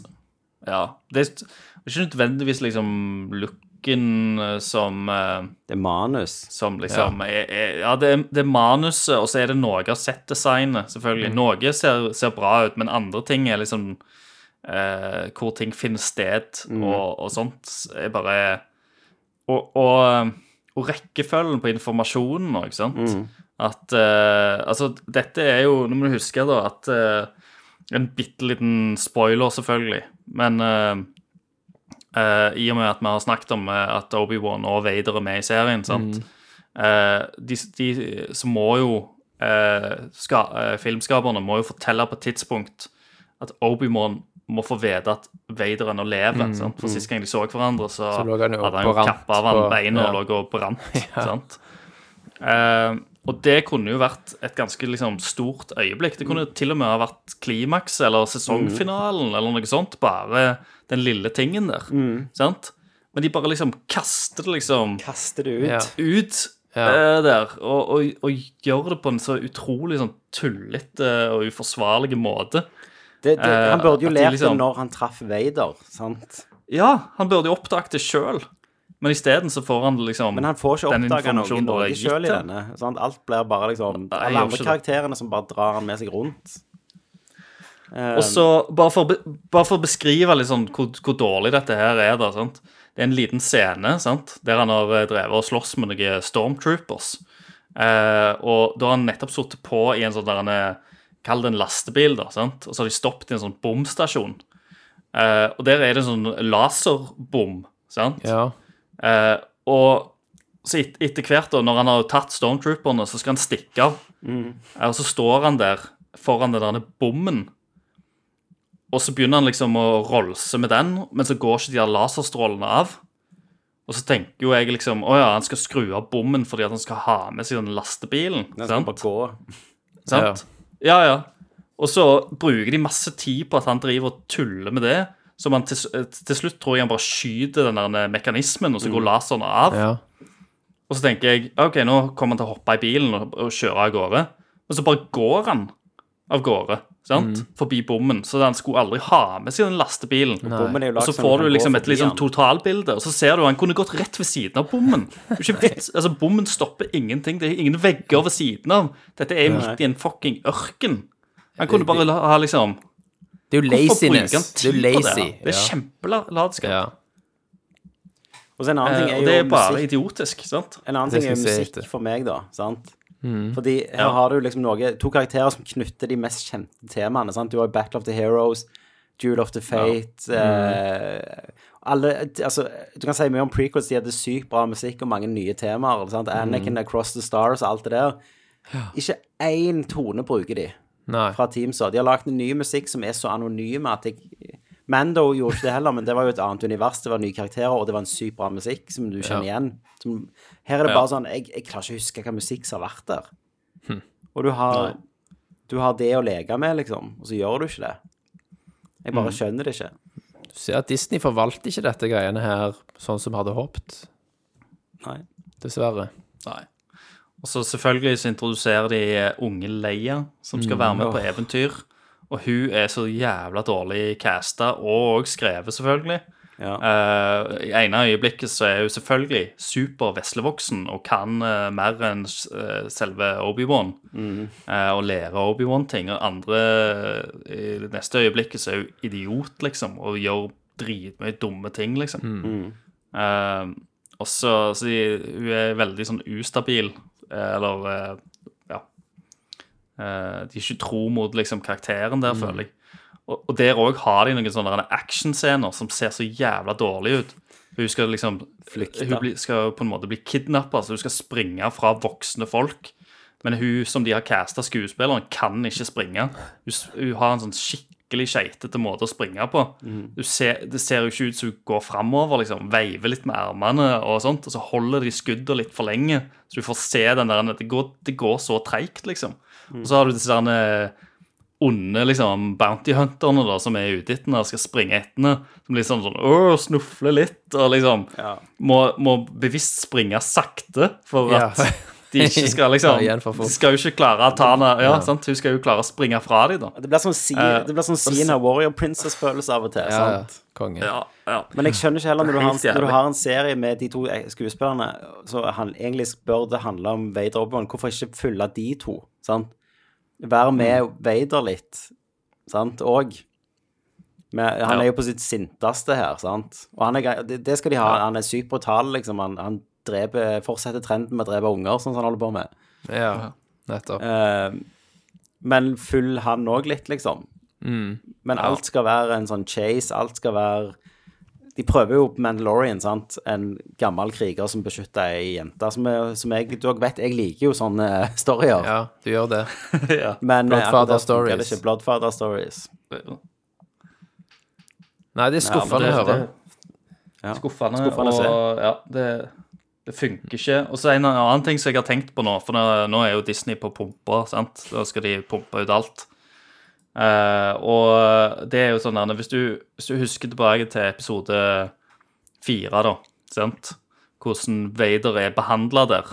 Ja. Det er s- det er ikke nødvendigvis liksom look boken eh, som eh,
Det er manus.
som liksom er, er, Ja, det er, det er manuset, og så er det noe av settdesignet, selvfølgelig. Noe ser, ser bra ut, men andre ting er liksom eh, Hvor ting finner sted og, og sånt, er bare Og, og, og rekkefølgen på informasjonen òg, ikke sant? At eh, Altså, dette er jo Nå må du huske, da, at eh, En bitte liten spoiler, selvfølgelig, men eh, Eh, I og med at vi har snakket om eh, at Obi-Wan og Vader er med i serien,
Mm.
sant? Eh, de, de, så må jo eh, ska, eh, Filmskaperne må jo fortelle på et tidspunkt at Obi-Wan må få vite at Vader ennå lever. sant? For sist gang de så hverandre, så,
Mm, Så lå han jo
hadde han
på
jo
rant
kappa av han
på-
beina
ja.
og lå og brant. sant? Eh, og det kunne jo vært et ganske liksom, stort øyeblikk. Det kunne
Mm.
jo til og med ha vært klimaks eller sesongfinalen eller noe sånt. Bare den lille tingen der.
Mm.
Sant? Men de bare liksom kaster det liksom
Kaste det ut.
Ja.
ut
Ja.
eh, der. Og, og, og gjør det på en så utrolig sånn tullete og uforsvarlig måte.
Det, det,
Eh,
han burde jo
at de
lært
liksom-
det når han traff Vader, sant?
Ja, han burde jo oppdaget det sjøl, men isteden så får han liksom
Men han får ikke
den
oppdaga noe
informasjonen bare
Norge
gitt
sjøl i
han.
denne. Sant? Alt blir bare liksom
Nei,
Alle
jeg gjør
andre
ikke
karakterene som bare drar han med seg rundt.
Og så, bare for, å be- bare for å beskrive litt sånn hvor, hvor dårlig dette her er, da, sant? det er en liten scene sant? der han har eh, drevet og slåss med noen stormtroopers. Eh, og da har han nettopp sittet på i en sånn der han er- Kall det en lastebil, da. sant? Og så har de stoppet i en sånn bomstasjon. Eh, og der er det en sånn laserbom, sant?
Ja.
Eh, og så et, etter hvert, da, når han har tatt stormtrooperne, så skal han stikke av.
Mm.
Eh, Og så står han der foran den der bommen. Og så begynner han liksom å rolse med den, men så går ikke de der laserstrålene av. Og så tenker jo jeg liksom Å ja, han skal skru av bommen fordi at han skal ha med seg den lastebilen.
Han skal
sant?
bare gå.
Sant? Ja, ja. Og så bruker de masse tid på at han driver og tuller med det. Så man til, til slutt tror jeg han bare skyter den der mekanismen, og så
Mm.
går laseren av.
ja.
Og så tenker jeg OK, nå kommer han til å hoppe i bilen og, og kjøre av gårde. Men så bare går han av gårde, sant?
Mm.
Forbi bommen. Så han skulle aldri ha med seg den lastebilen.
Bommen er jo
Og
lagd
så
sånn at
får du
han går
liksom et
forbi
litt sånn
han.
totalbilde, og så ser du han kunne gått rett ved siden av bommen. Det er ikke vits, altså Bommen stopper ingenting. Det er ingen vegger ved siden av. Dette er midt i en fucking ørken. Han kunne bare la- ha liksom
Det er jo
Hvorfor bruker
laziness.
han
Det er
tid
jo
på det?
lazy.
her? Det er kjempelatskap.
ja.
Og så en annen
Eh,
ting
Og
er
det
jo
er bare
musikk.
idiotisk, sant?
En annen
Det
ting er jo
skal jeg se
musikk
etter. Mm.
for meg, da. sant? Fordi her
Ja.
har du liksom noe, to karakterer som knytter de mest kjente temaene. sant? Du har jo Battle of the Heroes, Duel of the Fate eh, alle, altså, Du kan si mye om prequels. De hadde sykt bra musikk og mange nye temaer. sant?
Mm.
Anakin, Across the Stars og alt det der. Ikke én tone bruker de
Nei.
fra Teamsa. De har lagd ny musikk som er så anonyme at jeg Mando gjorde ikke det heller, men det var jo et annet univers. Det var nye karakterer, og det var en sykt bra musikk som du kjenner igjen. Som, her er det bare sånn jeg, jeg klarer ikke å huske hva musikk som har vært der.
Hm.
Og du har, du har det å leke med, liksom, og så gjør du ikke det. Jeg
Hm.
bare skjønner det ikke.
Du ser at Disney forvalter ikke dette greiene her sånn som vi hadde håpet,
Nei.
dessverre.
Nei. Og så selvfølgelig så introduserer de eh, unge Leia, som skal være med på eventyr. Og hun er så jævla dårlig casta, og skrevet, selvfølgelig.
Ja.
Eh, I ene øyeblikket så er hun selvfølgelig super veslevoksen og kan eh, mer enn eh, selve Obi-Wan. eh, og lærer Obi-Wan ting. Og andre eh, I det neste øyeblikket så er hun idiot, liksom, og gjør dritmye dumme ting, liksom. Eh, og så så de- hun er veldig sånn ustabil, eh, eller eh, ja Eh, De er ikke tro mot liksom karakteren der, føler jeg. Og, og der òg har de noen sånne der actionscener som ser så jævla dårlig ut. Hun skal liksom
Flykte.
Hun blir- skal på en måte bli kidnappa, så hun skal springe fra voksne folk. Men hun som de har casta skuespilleren, kan ikke springe. Hun, s- hun har en sånn skikkelig skeitete måte å springe på. Hun ser, det ser jo ikke ut som hun går framover, liksom. Veiver litt med armene og sånt. Og så holder de skuddet litt for lenge, så du får se den der Det går, det går så treigt, liksom. Og så har du disse der onde liksom, bounty hunterne da, som er ute etter henne og skal springe etter henne. Som blir sånn sånn Åh, snufler litt og liksom må, må bevisst springe sakte for
Ja.
at de de ikke skal liksom
Ta igjen for fort.
De skal jo ikke klare å ta henne ja, sant? Hun skal jo klare å springe fra dem, da.
Det blir sånn, si,
Eh,
det blir sånn Sina Warrior Princess-følelse av og til.
Ja, ja.
sant?
Konge.
Ja, ja.
Men jeg skjønner ikke heller når du,
Helt
har,
jævlig.
når du har en serie med de to eh, skuespillerne, så han, egentlig bør det handle om Vader og Obi-Wan. Hvorfor ikke følge de to? sant? Være med
Mm.
Vader litt, sant, og men han
Ja.
er jo på sitt sinteste her, sant? Og han er, det det skal de ha. Han er sykt brutal, liksom. Han, han dreper, fortsetter trenden med å drepe unger, sånn som han holder på med.
Ja, nettopp.
Eh, men full han òg litt, liksom.
Mm.
Men alt skal være en sånn chase, alt skal være De prøver jo på Mandalorian, sant, en gammel kriger som beskytter ei jente, som, er- som jeg Du også vet, jeg liker jo sånne eh, storyer.
Ja, du gjør det.
men eh,
Bloodfather
akkurat der funker det
stories.
ikke. Bloodfather stories.
Nei, det er skuffende å høre.
Ja.
Skuffende,
Skuffende å se.
og ja, det, det funker ikke. Og så en annen ting som jeg har tenkt på nå, for nå, nå er jo Disney på pumpa, sant? Da skal de pumpe ut alt. Eh, og det er jo sånn, Arne, hvis du, hvis du husker tilbake til episode fire, da, sant? Hvordan Vader er behandla der,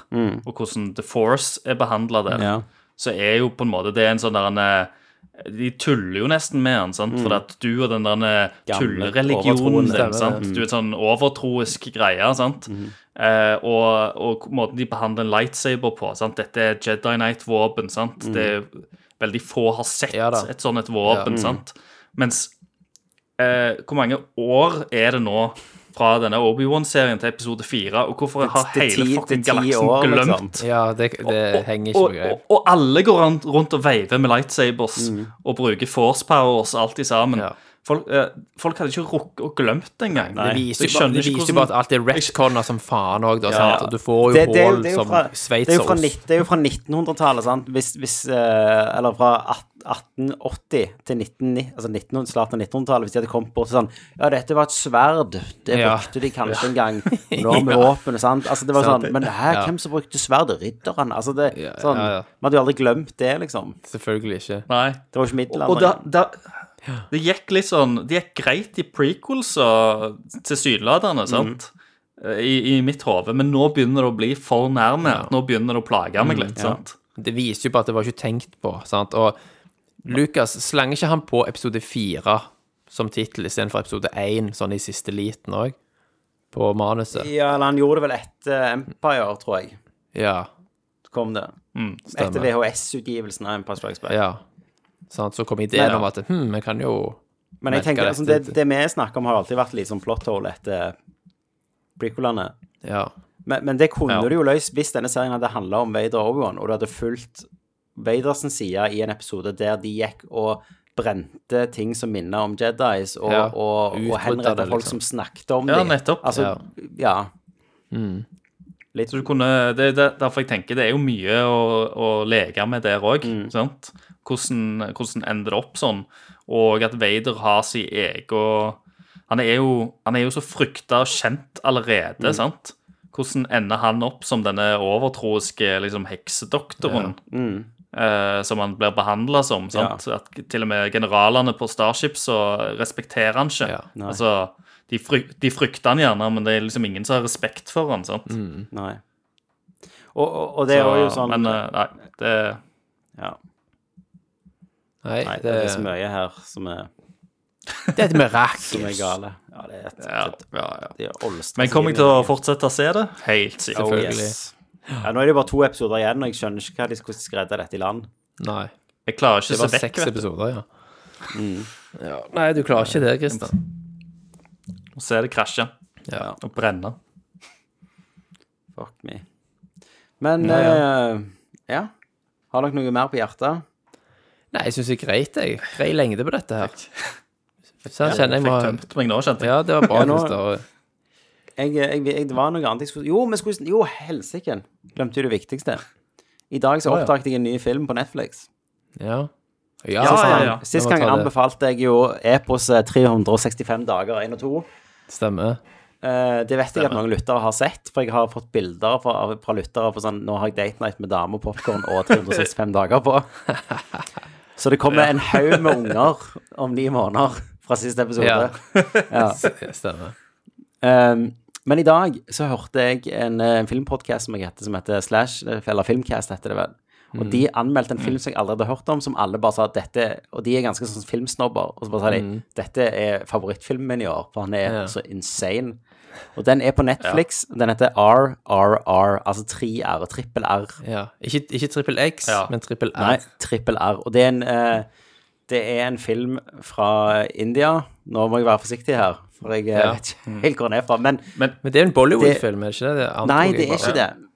og hvordan The Force er behandla der,
Ja.
så er jo på en måte det er en sånn der en eh, De tuller jo nesten med han, sant? For at du og den der eh,
Mm. Gamle mm. overtroen,
tullereligionen
stemmer
din,
det.
sant? Du er sånn overtroisk greie, sant?
Mm.
Eh, og, og måten de behandler en lightsaber på, sant? Dette er Jedi Knight-våpen,
Mm.
sant? Det er veldig få har sett
Ja da.
et sånn et
Mm.
våpen, sant? Mens eh, hvor mange år er det nå fra denne Obi-Wan-serien til episode 4, og hvorfor har
til
hele
ti-
fucking
til ti
galaksen
år, liksom.
glemt
Ja, det, det henger ikke
og,
på greip.
og, og alle går an- rundt og veiver med lightsabers og bruker force powers alltid sammen.
Mm. Ja.
Folk, eh, folk hadde ikke rukket og glemt det engang.
Det viser jo
Jeg
bare,
skjønner
det
ikke
viser jo
hvordan-
bare at alt er retconna som faen òg, da. sant? Og du får jo
Det, det, er jo-
hull
det, er jo
som
fra, det, er jo fra,
sveitserost.
nitt- det er jo fra 1900-tallet, sant? Hvis, hvis, eh, eller fra at- 1880 til 1990, altså 1900, starten av 1900-tallet, hvis de hadde kommet bort til sånn Ja, dette var et sverd, det
Ja.
brukte de kanskje en gang. Nå har vi våpen, sant? Altså, det var sånn Men hæ, hvem som brukte sverdet? Ridderen? Altså, det
Ja,
sånn
ja, ja.
Vi hadde jo aldri glemt det, liksom.
Selvfølgelig ikke.
Nei.
Det var ikke
Og da,
middelalderen.
da Det gikk litt sånn Det gikk greit i prequels og
Mm.
tilsynelatende, sant? Eh, I, I mitt hode. Men nå begynner det å bli for nærme. Nå begynner det å plage
Mm,
meg litt. sant?
Det viser jo bare at det var ikke tenkt på. sant? Og Lucas slenger ikke han på episode fire som tittel istedenfor episode én, sånn i siste liten òg, på manuset?
Ja, eller han gjorde det vel etter Empire, tror jeg.
Ja.
Kom det.
Mm.
stemmer.
Etter VHS-utgivelsen av Empire Strikes Back.
ja. Sant? Så kom ideen
Nei, ja.
om at hm, vi kan jo
Men jeg
merker
tenker,
det.
altså, det, det vi snakker om, har alltid vært litt sånn plot hole etter prequelene.
Ja.
Men, men det kunne
Ja.
du jo løst hvis denne serien hadde handla om Vader og Obi-Wan, og du hadde fulgt Vaders side i en episode der de gikk og brente ting som minner om Jedis, og,
Ja,
og, og
utrydda
henretta
det,
folk
liksom.
som snakket om
Ja,
dem.
nettopp.
Altså,
Ja. Mm.
ja. Litt
Så du kunne, det, det, derfor jeg tenker det er jo mye å, å leke med der òg.
Mm.
sant? Hvordan, hvordan ender det opp sånn? Og at Vader har sin egen han, er jo- han er jo så frykta og kjent allerede,
Mm.
sant? Hvordan ender han opp som denne overtroiske liksom, heksedoktoren?
Mm.
eh, som han blir behandla som. sant? At til og med generalene på Starship så respekterer han ikke.
Ja.
Nei.
altså, de, fryk, de frykter han gjerne, men det er liksom ingen som har respekt for han, sant?
Nei. Og, og, og det er jo
Så-
sånn
Men eh, nei, det
ja.
Nei,
Nei,
det,
det er så mye her som er,
det er et
som er
mirakel.
gale. Ja, det er et,
ja, ja, ja.
det er olst-
Men kommer jeg til å fortsette å se det? Helt sikkert.
Oh,
Selvfølgelig.
yes. Ja, nå er det jo bare to episoder igjen, og jeg skjønner ikke hva de, hvordan de skal redde dette i land.
Nei.
Jeg klarer ikke
Det
å
var
se vekk.
seks
vet du.
episoder, ja.
Mm.
ja. Nei, du klarer ikke det, Christian.
Å se det krasje
Ja.
og brenne.
Fuck me. Men
Ja,
eh, ja. Har dere noe mer på hjertet?
Nei, jeg syns det er greit, jeg. Grei lengde på dette her. Så jeg kjenner jeg
Jeg fikk
må
tømt meg nå, kjente jeg.
Ja, det var bra,
Ja, nå-
Christer.
Jeg, eh, jeg, jeg, det var noe annet jeg skulle Jo, vi skulle Jo, helsiken! Glemte jo det viktigste. I dag så
Å, ja.
oppdaget jeg en ny film på Netflix.
Ja.
Ja, Ah, ja, ja.
Sist gang
Jeg må ta det.
anbefalte jeg jo eposet 365 dager 1 og 2.
Stemmer.
Eh, det vet jeg at noen lyttere har sett, for jeg har fått bilder fra, av- fra lyttere på sånn Nå har jeg date night med dame og popkorn og 365 dager på. Så det kommer en haug med unger om ni måneder fra siste episode.
Ja.
Ja.
Stemmer.
Ehm, Men i dag så hørte jeg en, eh, en filmpodcast som jeg heter, som heter Slash, eller Filmcast heter det vel. Og
Mm.
de anmeldte en film som jeg aldri hadde hørt om, som alle bare sa at dette Og de er ganske sånn filmsnobber. Og så bare sa de dette er favorittfilmen min i år, for han er
Mm. Ja.
så insane. Og den er på Netflix. Den heter RRR, altså tre r trippel R.
Ja. Ikke, ikke trippel X,
Ja.
men trippel R.
Nei, trippel R. Og det er, en, eh, det er en film fra India. Nå må jeg være forsiktig her, for jeg eh,
Ja.
vet ikke helt hvor den er fra. Men
Men det er jo en Bollywood-film, er det ikke det? det antok
nei,
jeg
det er
bare.
ikke det.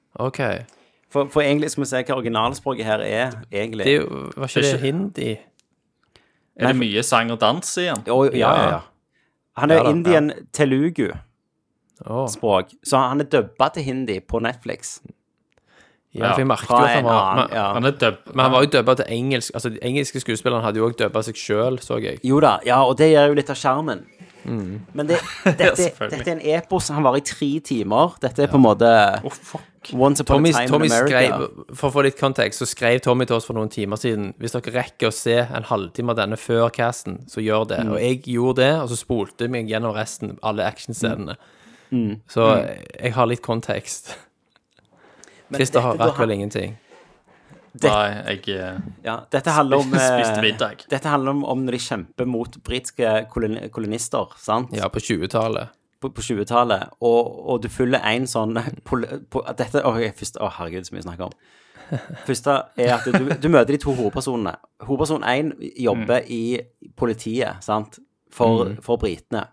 Ok.
For, for egentlig skal vi se hva originalspråket her er, egentlig.
Det er jo, var ikke det hindi?
Er det mye sang og dans igjen?
Å, ja, ja, ja. Han er
Ja da,
indian telugu-språk,
Å,
så han er dubba til hindi på Netflix.
ja, for jeg merket jo
Fra
at han
en
var
annen
men-
ja.
Han er dub...
Men han var jo dubba til engelsk. Altså, de engelske skuespillerne hadde jo òg dubba seg sjøl, så jeg.
Jo da, ja, og det gjør jo litt av skjermen. Men det, dette,
selvfølgelig.
dette er en epos. Han varer i tre timer. Dette er på en måte
Å, fuck.
Once upon
Tommy,
a time
Tommy
in America.
skrev, For å få litt kontekst, så skrev Tommy til oss for noen timer siden Hvis dere rekker å se en halvtime av denne før casten, så gjør
Mm.
det. Og jeg gjorde det, og så spolte meg gjennom resten, alle actionscenene.
Mm.
Så jeg har litt kontekst.
Men
Christer
dette-
har
da
rakk vel
han-
ingenting.
Nei, jeg eh,
Ja, dette handler om eh,
spiste middag.
Dette handler om, om når de kjemper mot britiske koloni kolonister, sant?
Ja, på 20-tallet.
på, på 20-tallet, og, og du følger en sånn pol, po- dette, å, jeg, først, å, herregud, så mye å snakke om. Første er at du, du møter de to hovedpersonene. Hovedperson 1 jobber
Mm.
i politiet, sant, for, for britene.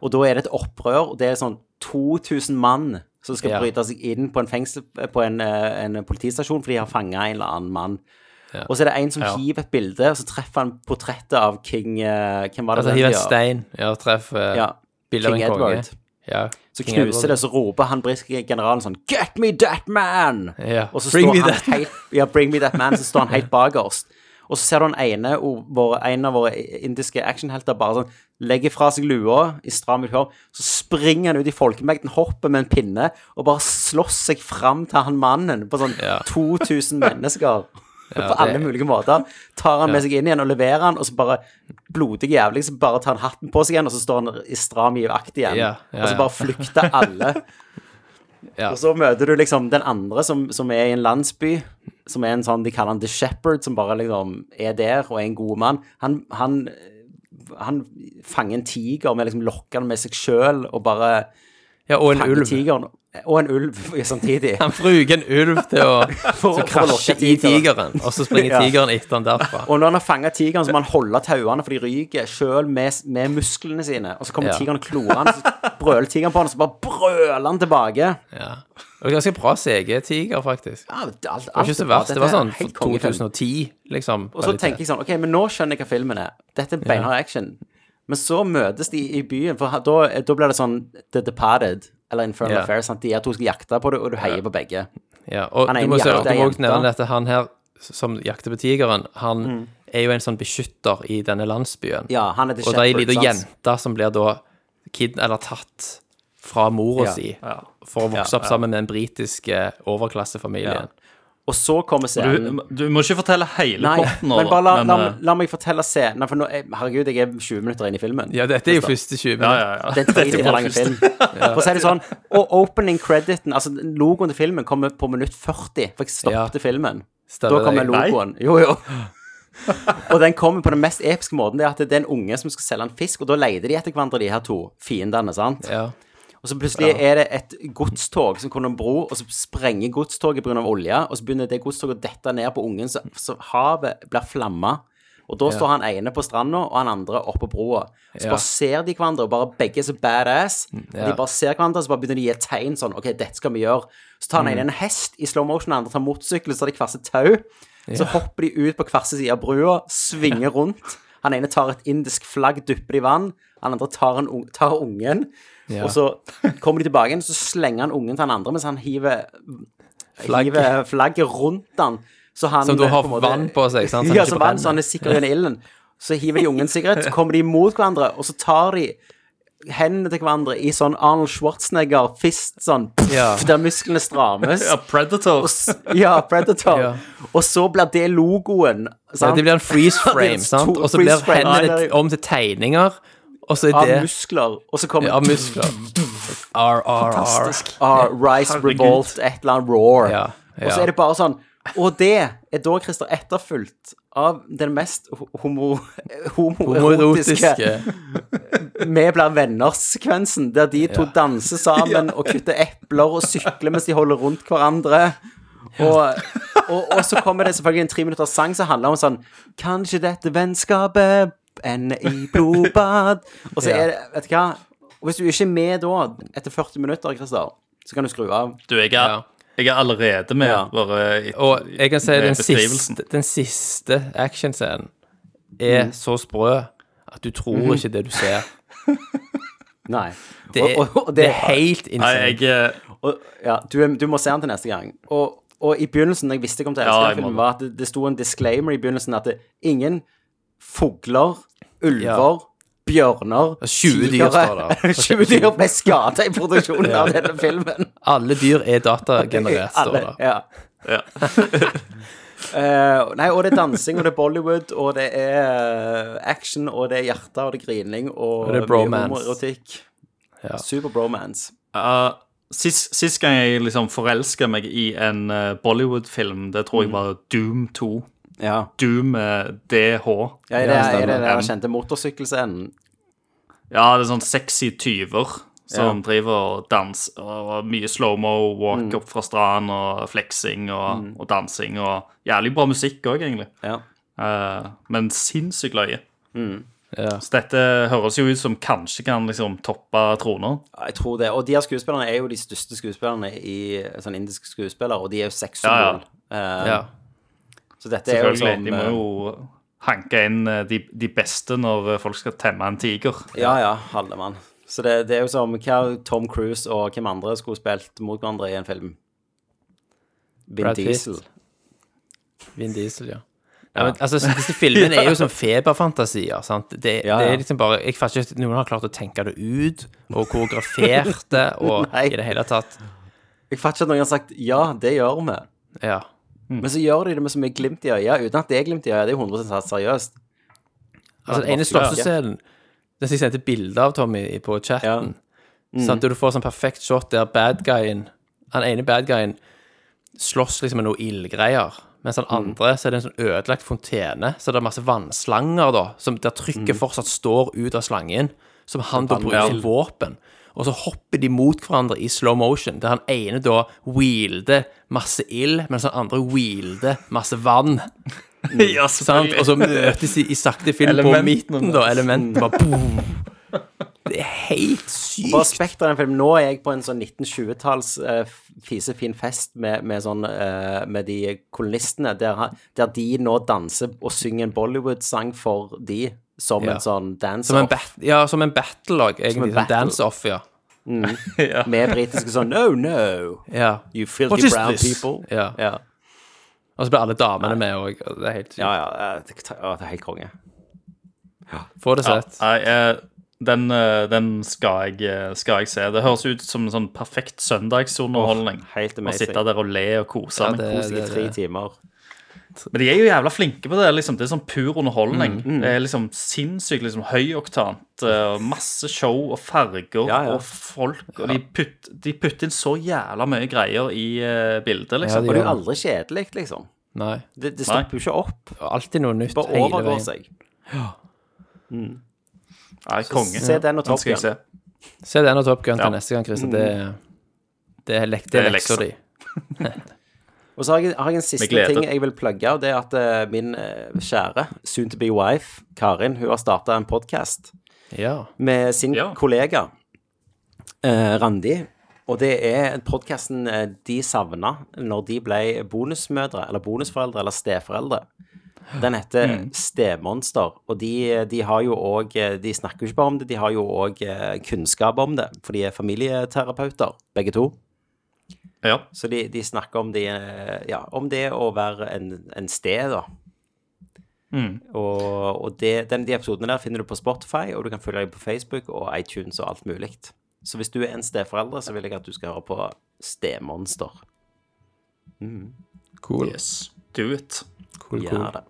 Og da er det et opprør, og det er sånn 2000 mann som skal
Ja.
bryte seg inn på en, fengsel, på en, eh, en politistasjon, for de har fanget en eller annen mann. Og så er det en som hiver et bilde, og så treffer han portrettet av King, eh, hvem var det?
Altså,
den
hiv en
gjør?
stein. Ja, treff eh,
Ja.
bilde av
King
en konge.
Edward.
Ja.
Så knuser det, så roper han britiske generalen sånn Get me that man!
Ja.
Og så
Bring
står
me
han
that
helt, ja, bring me that man, så står han helt bakerst. Og så ser du han ene, o- våre, en av våre indiske actionhelter bare sånn legger fra seg lua i stram uniform, så springer han ut i folkemengden, hopper med en pinne og bare slåss seg fram til han mannen på sånn
Ja.
2000 mennesker. på
det-
alle mulige måter. Tar han med
Ja.
seg inn igjen og leverer han, og så bare blodig jævlig, så bare tar han hatten på seg igjen, og så står han i stram givakt igjen.
Ja,
Og
ja,
så
ja.
bare flykter alle.
Ja.
Og så møter du liksom den andre som, som er i en landsby, som er en sånn, de kaller han The Shepherd, som bare liksom er der og er en god mann. Han, han, han fanger en tiger med liksom lokkene med seg sjøl og bare
Ja, og en
fanger
ulv.
tigeren. Og en ulv samtidig.
Han bruker en ulv til å
For,
så krasje i tigeren, og så springer
Ja.
tigeren etter han derfra.
Og når han har fanga tigeren, så må han holde tauene, for de ryker sjøl med, med musklene sine. Og så kommer
Ja.
tigeren og klorer han, så brøler tigeren på han, og så bare brøler han tilbake.
Ja. Og ganske bra CG-tiger, faktisk.
Ja, alt, alt
Det var ikke så verst. Det var sånn
helt kongefilm.
2010, liksom.
Og så tenker jeg sånn, ok, men nå skjønner jeg hva filmen er. Dette er beinhard action. Men så møtes de i byen, for ha- da, da blir det sånn The Departed eller Infernal
Ja.
Affair. sant? De her to skal jakte på det, og du heier på begge.
Ja, og
Han er
du
en
må se-
jævla
du må også
jente. Mm.
nevne at han her som jakter på tigeren, han er jo en sånn beskytter i denne landsbyen.
Ja, han er The
og det er ei
Shepherd,
lita
sant?
jente som blir da kid eller tatt fra mora
Ja,
si for å vokse opp sammen med den britiske overklassefamilien.
Og så kommer scenen
du, du må ikke fortelle hele
Nei,
potten nå,
men bare la,
da,
la,
eh,
la meg fortelle scenen. For nå, jeg, herregud, jeg er 20 minutter inn i filmen.
Ja, dette er jo første 20
ja,
minutter.
ja, ja.
Det er en tre
Dette
timer
var
lang
først.
film. For å si det sånn, og opening crediten, altså logoen til filmen, kommer på minutt 40, for jeg stoppet
Ja.
filmen.
Stemmer
da kommer
det.
logoen. Jo, jo. og den kommer på den mest episke måten. Det er at det er en unge som skal selge en fisk, og da leter de etter hverandre, de her to fiendene, sant?
Ja.
Og så plutselig er det et godstog som kommer over en bro, og så sprenger godstoget pga. olje, og så begynner det godstoget å dette ned på ungen, så, så havet blir flamma. Og da står han ene på stranda, og han andre oppå broa. Så
Ja. Mm,
bare ser de hverandre, og bare begge er så badass. Og
ja.
de bare ser hverandre, så bare begynner de å gi tegn sånn OK, dette skal vi gjøre. Så
Mm.
tar han ene en hest i slow motion, den andre tar motorsykkel, så tar de hver sitt tau. Så hopper de ut på hver sin side av brua, svinger rundt. Han ene tar et indisk flagg, dypper det i vann. Han andre tar, en, ung- tar ungen. Og så kommer de tilbake igjen, så slenger han ungen til han andre, mens han hiver
Flagget.
hiver flagget rundt han. Så han eh,
Som da har
på en måte-
vann på seg, sant? Så han
Ja,
ikke
som vann,
brenner.
så han er sikker under ilden. Så hiver de ungen sigarett, så kommer de mot hverandre, og så tar de hendene til hverandre i sånn Arnold Schwarzenegger, fist sånn, pff,
Ja.
der musklene strammes.
Ja, Predator.
Ja, Predator.
Ja.
Og så blir det logoen.
Ja,
Sant?
det blir en freeze frame,
to-
sant? Og så blir
freeze frame. Nei,
hendene
det er-
om til tegninger, og så er
av
det
muskler, og så kommer
Ja, muskler. RRR.
Ah, Rise, Revolt, et eller annet Roar.
Ja, ja.
Og så er det bare sånn Og det er da, Christer, etterfulgt av den mest ho- homo, homoerotiske
Homoerotiske.
Vi blir venner-sekvensen, der de to danser sammen og kutter epler og sykler mens de holder rundt hverandre. Og, og, og så kommer det selvfølgelig en tre minutters sang som handler om sånn Kanskje dette vennskapet ender i blodbad. Og så er det Vet du hva? Og hvis du ikke er med da, etter 40 minutter, Christer, så kan du skru av.
Du, jeg er, jeg er allerede med,
Ja.
bare i-
Og jeg kan si
med
den
beskrivelsen. Mm.
siste, den siste actionscenen er så sprø at du tror
Mhm.
ikke det du ser.
Nei.
Det,
og, og, og det
det er helt
Nei,
insane.
jeg eh,
og, ja, du, er- du må se den til neste gang. Og, og i begynnelsen, når jeg visste jeg kom til å elske
Ja, jeg
den
må
filmen,
det.
var at det, det sto en disclaimer i begynnelsen at det, ingen fugler, ulver, bjørner,
20 dyr står der.
20 dyr ble skada i produksjonen av denne filmen.
Alle dyr er datagenerert, står
Alle,
det.
ja. Eh, nei, og det er dansing, og det er Bollywood, og det er eh, action, og det er hjerte, og det er grining, og,
Og det er
mye
bromance.
homoerotikk.
Ja.
Super bromance.
eh, sist, sist gang jeg liksom forelska meg i en eh, Bollywood-film, det
Mm.
tror jeg var Doom 2.
Ja.
Doom med DH.
Ja, er det, er det,
stemmer.
den
M.
kjente motorsykkelscenen?
Ja, det er sånn sexy tyver som driver og danser, og mye slow-mo,
Mm.
walk up fra stranden, og fleksing og, og dansing, og jævlig bra musikk òg, egentlig.
Ja.
Eh, men sinnssykt løye.
Mm.
Ja.
Så dette høres jo ut som kanskje kan liksom toppe troner.
Ja, Jeg tror det. Og de her skuespillerne er jo de største skuespillerne i sånn indiske skuespillere, og de er jo
Ja,
sexsymbol.
ja.
Eh,
Ja.
Så dette er jo
Selvfølgelig.
liksom
De må jo hanke inn eh, de, de beste når eh, folk skal temme en tiger.
eh, Ja, ja, Hallemann. Så det, det er jo som hva Tom Cruise og hvem andre skulle spilt mot hverandre i en film. Vin
Brad Pitt.
Diesel.
Vin Diesel, ja. Nei, men, altså, disse filmene er jo som feberfantasier. sant? Det,
Ja,
det
ja.
er liksom bare, Jeg fatter ikke at noen har klart å tenke det ut, og koreografert det, og
Nei.
i det hele tatt
Jeg fatter ikke at noen har sagt 'ja, det gjør vi',
Ja.
Mm.
men så gjør de det med så mye glimt i øyet, uten at det er glimt i øyet. Det er 100 seriøst.
Altså, den ene slåssescenen Den som jeg sendte bilde av, Tommy, i- på
Mm.
chatten sant? Der du får sånn perfekt shot der bad guyen Han ene bad guyen slåss liksom med noe ildgreier. Mens han andre så er det en sånn ødelagt fontene. Så det er masse vannslanger, da, som der trykket fortsatt står ut av slangen. Som han da bruker som våpen. Og så hopper de mot hverandre i slow motion. Der han ene da wielder masse ild, mens han andre wielder masse vann.
ja,
Sant? Og så møtes de i sakte film på
Elementene
midten, da. Elementene bare boom. Det er
Bare
helt sykt.
respekt av den filmen. Nå er jeg på en sånn 1920-talls eh, fisefin fest med, med, sånn, eh, med de kolonistene, der, han- der de nå danser og synger en Bollywood-sang for de, som
Ja.
en sånn
Som en,
dance-off
bat ja, som en battle-lag, egentlig. Som
battle.
dance-off, ja.
Mm. med britiske sånn No, no,
ja.
you
What
filthy
is
brown
this?
people.
Ja.
Ja,
Og så blir alle damene med òg. Det er helt sykt.
ja. ja eh, det, å, det er helt konge.
Få det sett.
Nei, eh, den, eh, den skal, jeg, eh, skal jeg se. Det høres ut som en sånn perfekt søndagsunderholdning.
Åh, helt
Å
amazing.
sitte der og le og kose.
Ja,
meg.
det-
Kos deg i tre timer.
Men de er jo jævla flinke på det. liksom. Det er sånn pur underholdning. Det er liksom sinnssykt liksom, høyoktant. eh, og Masse show og farger
Ja, ja.
og folk. Og de putt- de putter inn så jævla mye greier i eh, bildet,
Ja,
liksom.
de
Og det er
gjør
jo
det.
aldri kjedelig, liksom.
Nei.
Det, det stopper jo ikke opp.
Alltid noe nytt
Bare
hele
overgår
veien.
seg.
Nei, konge.
se den og
Den
Top
skal
Gun.
jeg se.
Se den og Top Gun til
Ja.
neste gang, Christer. Det, er- det er, lek det
Det
er
er
leksa di.
Og så har jeg, har jeg en siste
Med glede.
ting jeg vil plugge, og det er at eh, min eh, kjære, soon to be wife, Karin, hun har starta en podkast
Ja.
med sin
Ja.
kollega eh, Randi. Og det er podkasten de savna når de ble bonusmødre, eller bonusforeldre, eller steforeldre. Den heter
Mm.
Stemonster, og de, de har jo òg De snakker jo ikke bare om det, de har jo òg kunnskap om det, for de er familieterapeuter, begge to.
Ja.
Så de, de snakker om, de, ja, om det å være en, en sted, da. Og, og det, den, de episodene der finner du på Spotify, og du kan følge dem på Facebook og iTunes og alt mulig. Så hvis du er en steforeldre, så vil jeg at du skal høre på Stemonster.
Cool.
Yes. Do it.
cool, cool.
Gjør det.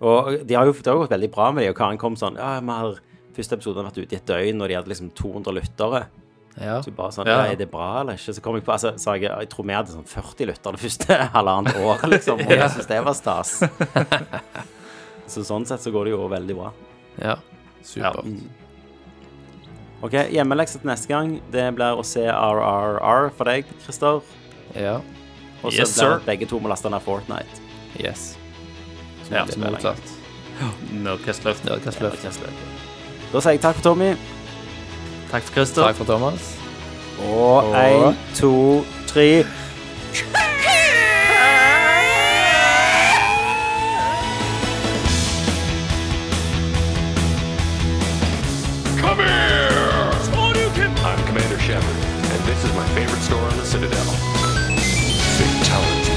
Og de har jo, det har jo gått veldig bra med det, og Karen kom sånn Ja, vi har første episoden hadde vært ute i et døgn, og de hadde liksom 200 lyttere.
Ja.
Så bare sånn,
Ja.
«Nei, Er det bra eller ikke? Så kom jeg på altså, sa jeg, jeg tror vi hadde sånn 40 lyttere det første halvannet år, liksom. Og jeg synes det var stas. så sånn sett så går det jo veldig bra.
ja. Supert.
Ok, Hjemmelekse til neste gang det blir å se RRR for deg, Christer.
Ja.
Og så blir
Yes, sir.
det at begge to må laste ned Fortnite.
Yes.
Ja,
Det er motsatt.
Nerdcast-løft.
Nerdkast løft.
Da sier jeg takk for Tommy.
Takk for Christer.
Takk for Thomas.
Og én, to, tre.
Come here! I'm Commander Shepard, and this is my favorite store on the Citadel. Fatality.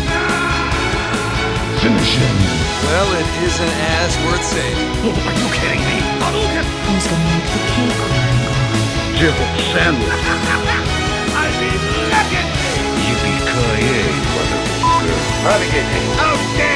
Finish him.
Well, it isn't as worth saying.
Are you kidding me?
Who's gonna make the cake?
Jibble sandwich.
I mean, look at me!
Yippee-ki-yay, motherfucker.
Outstanding!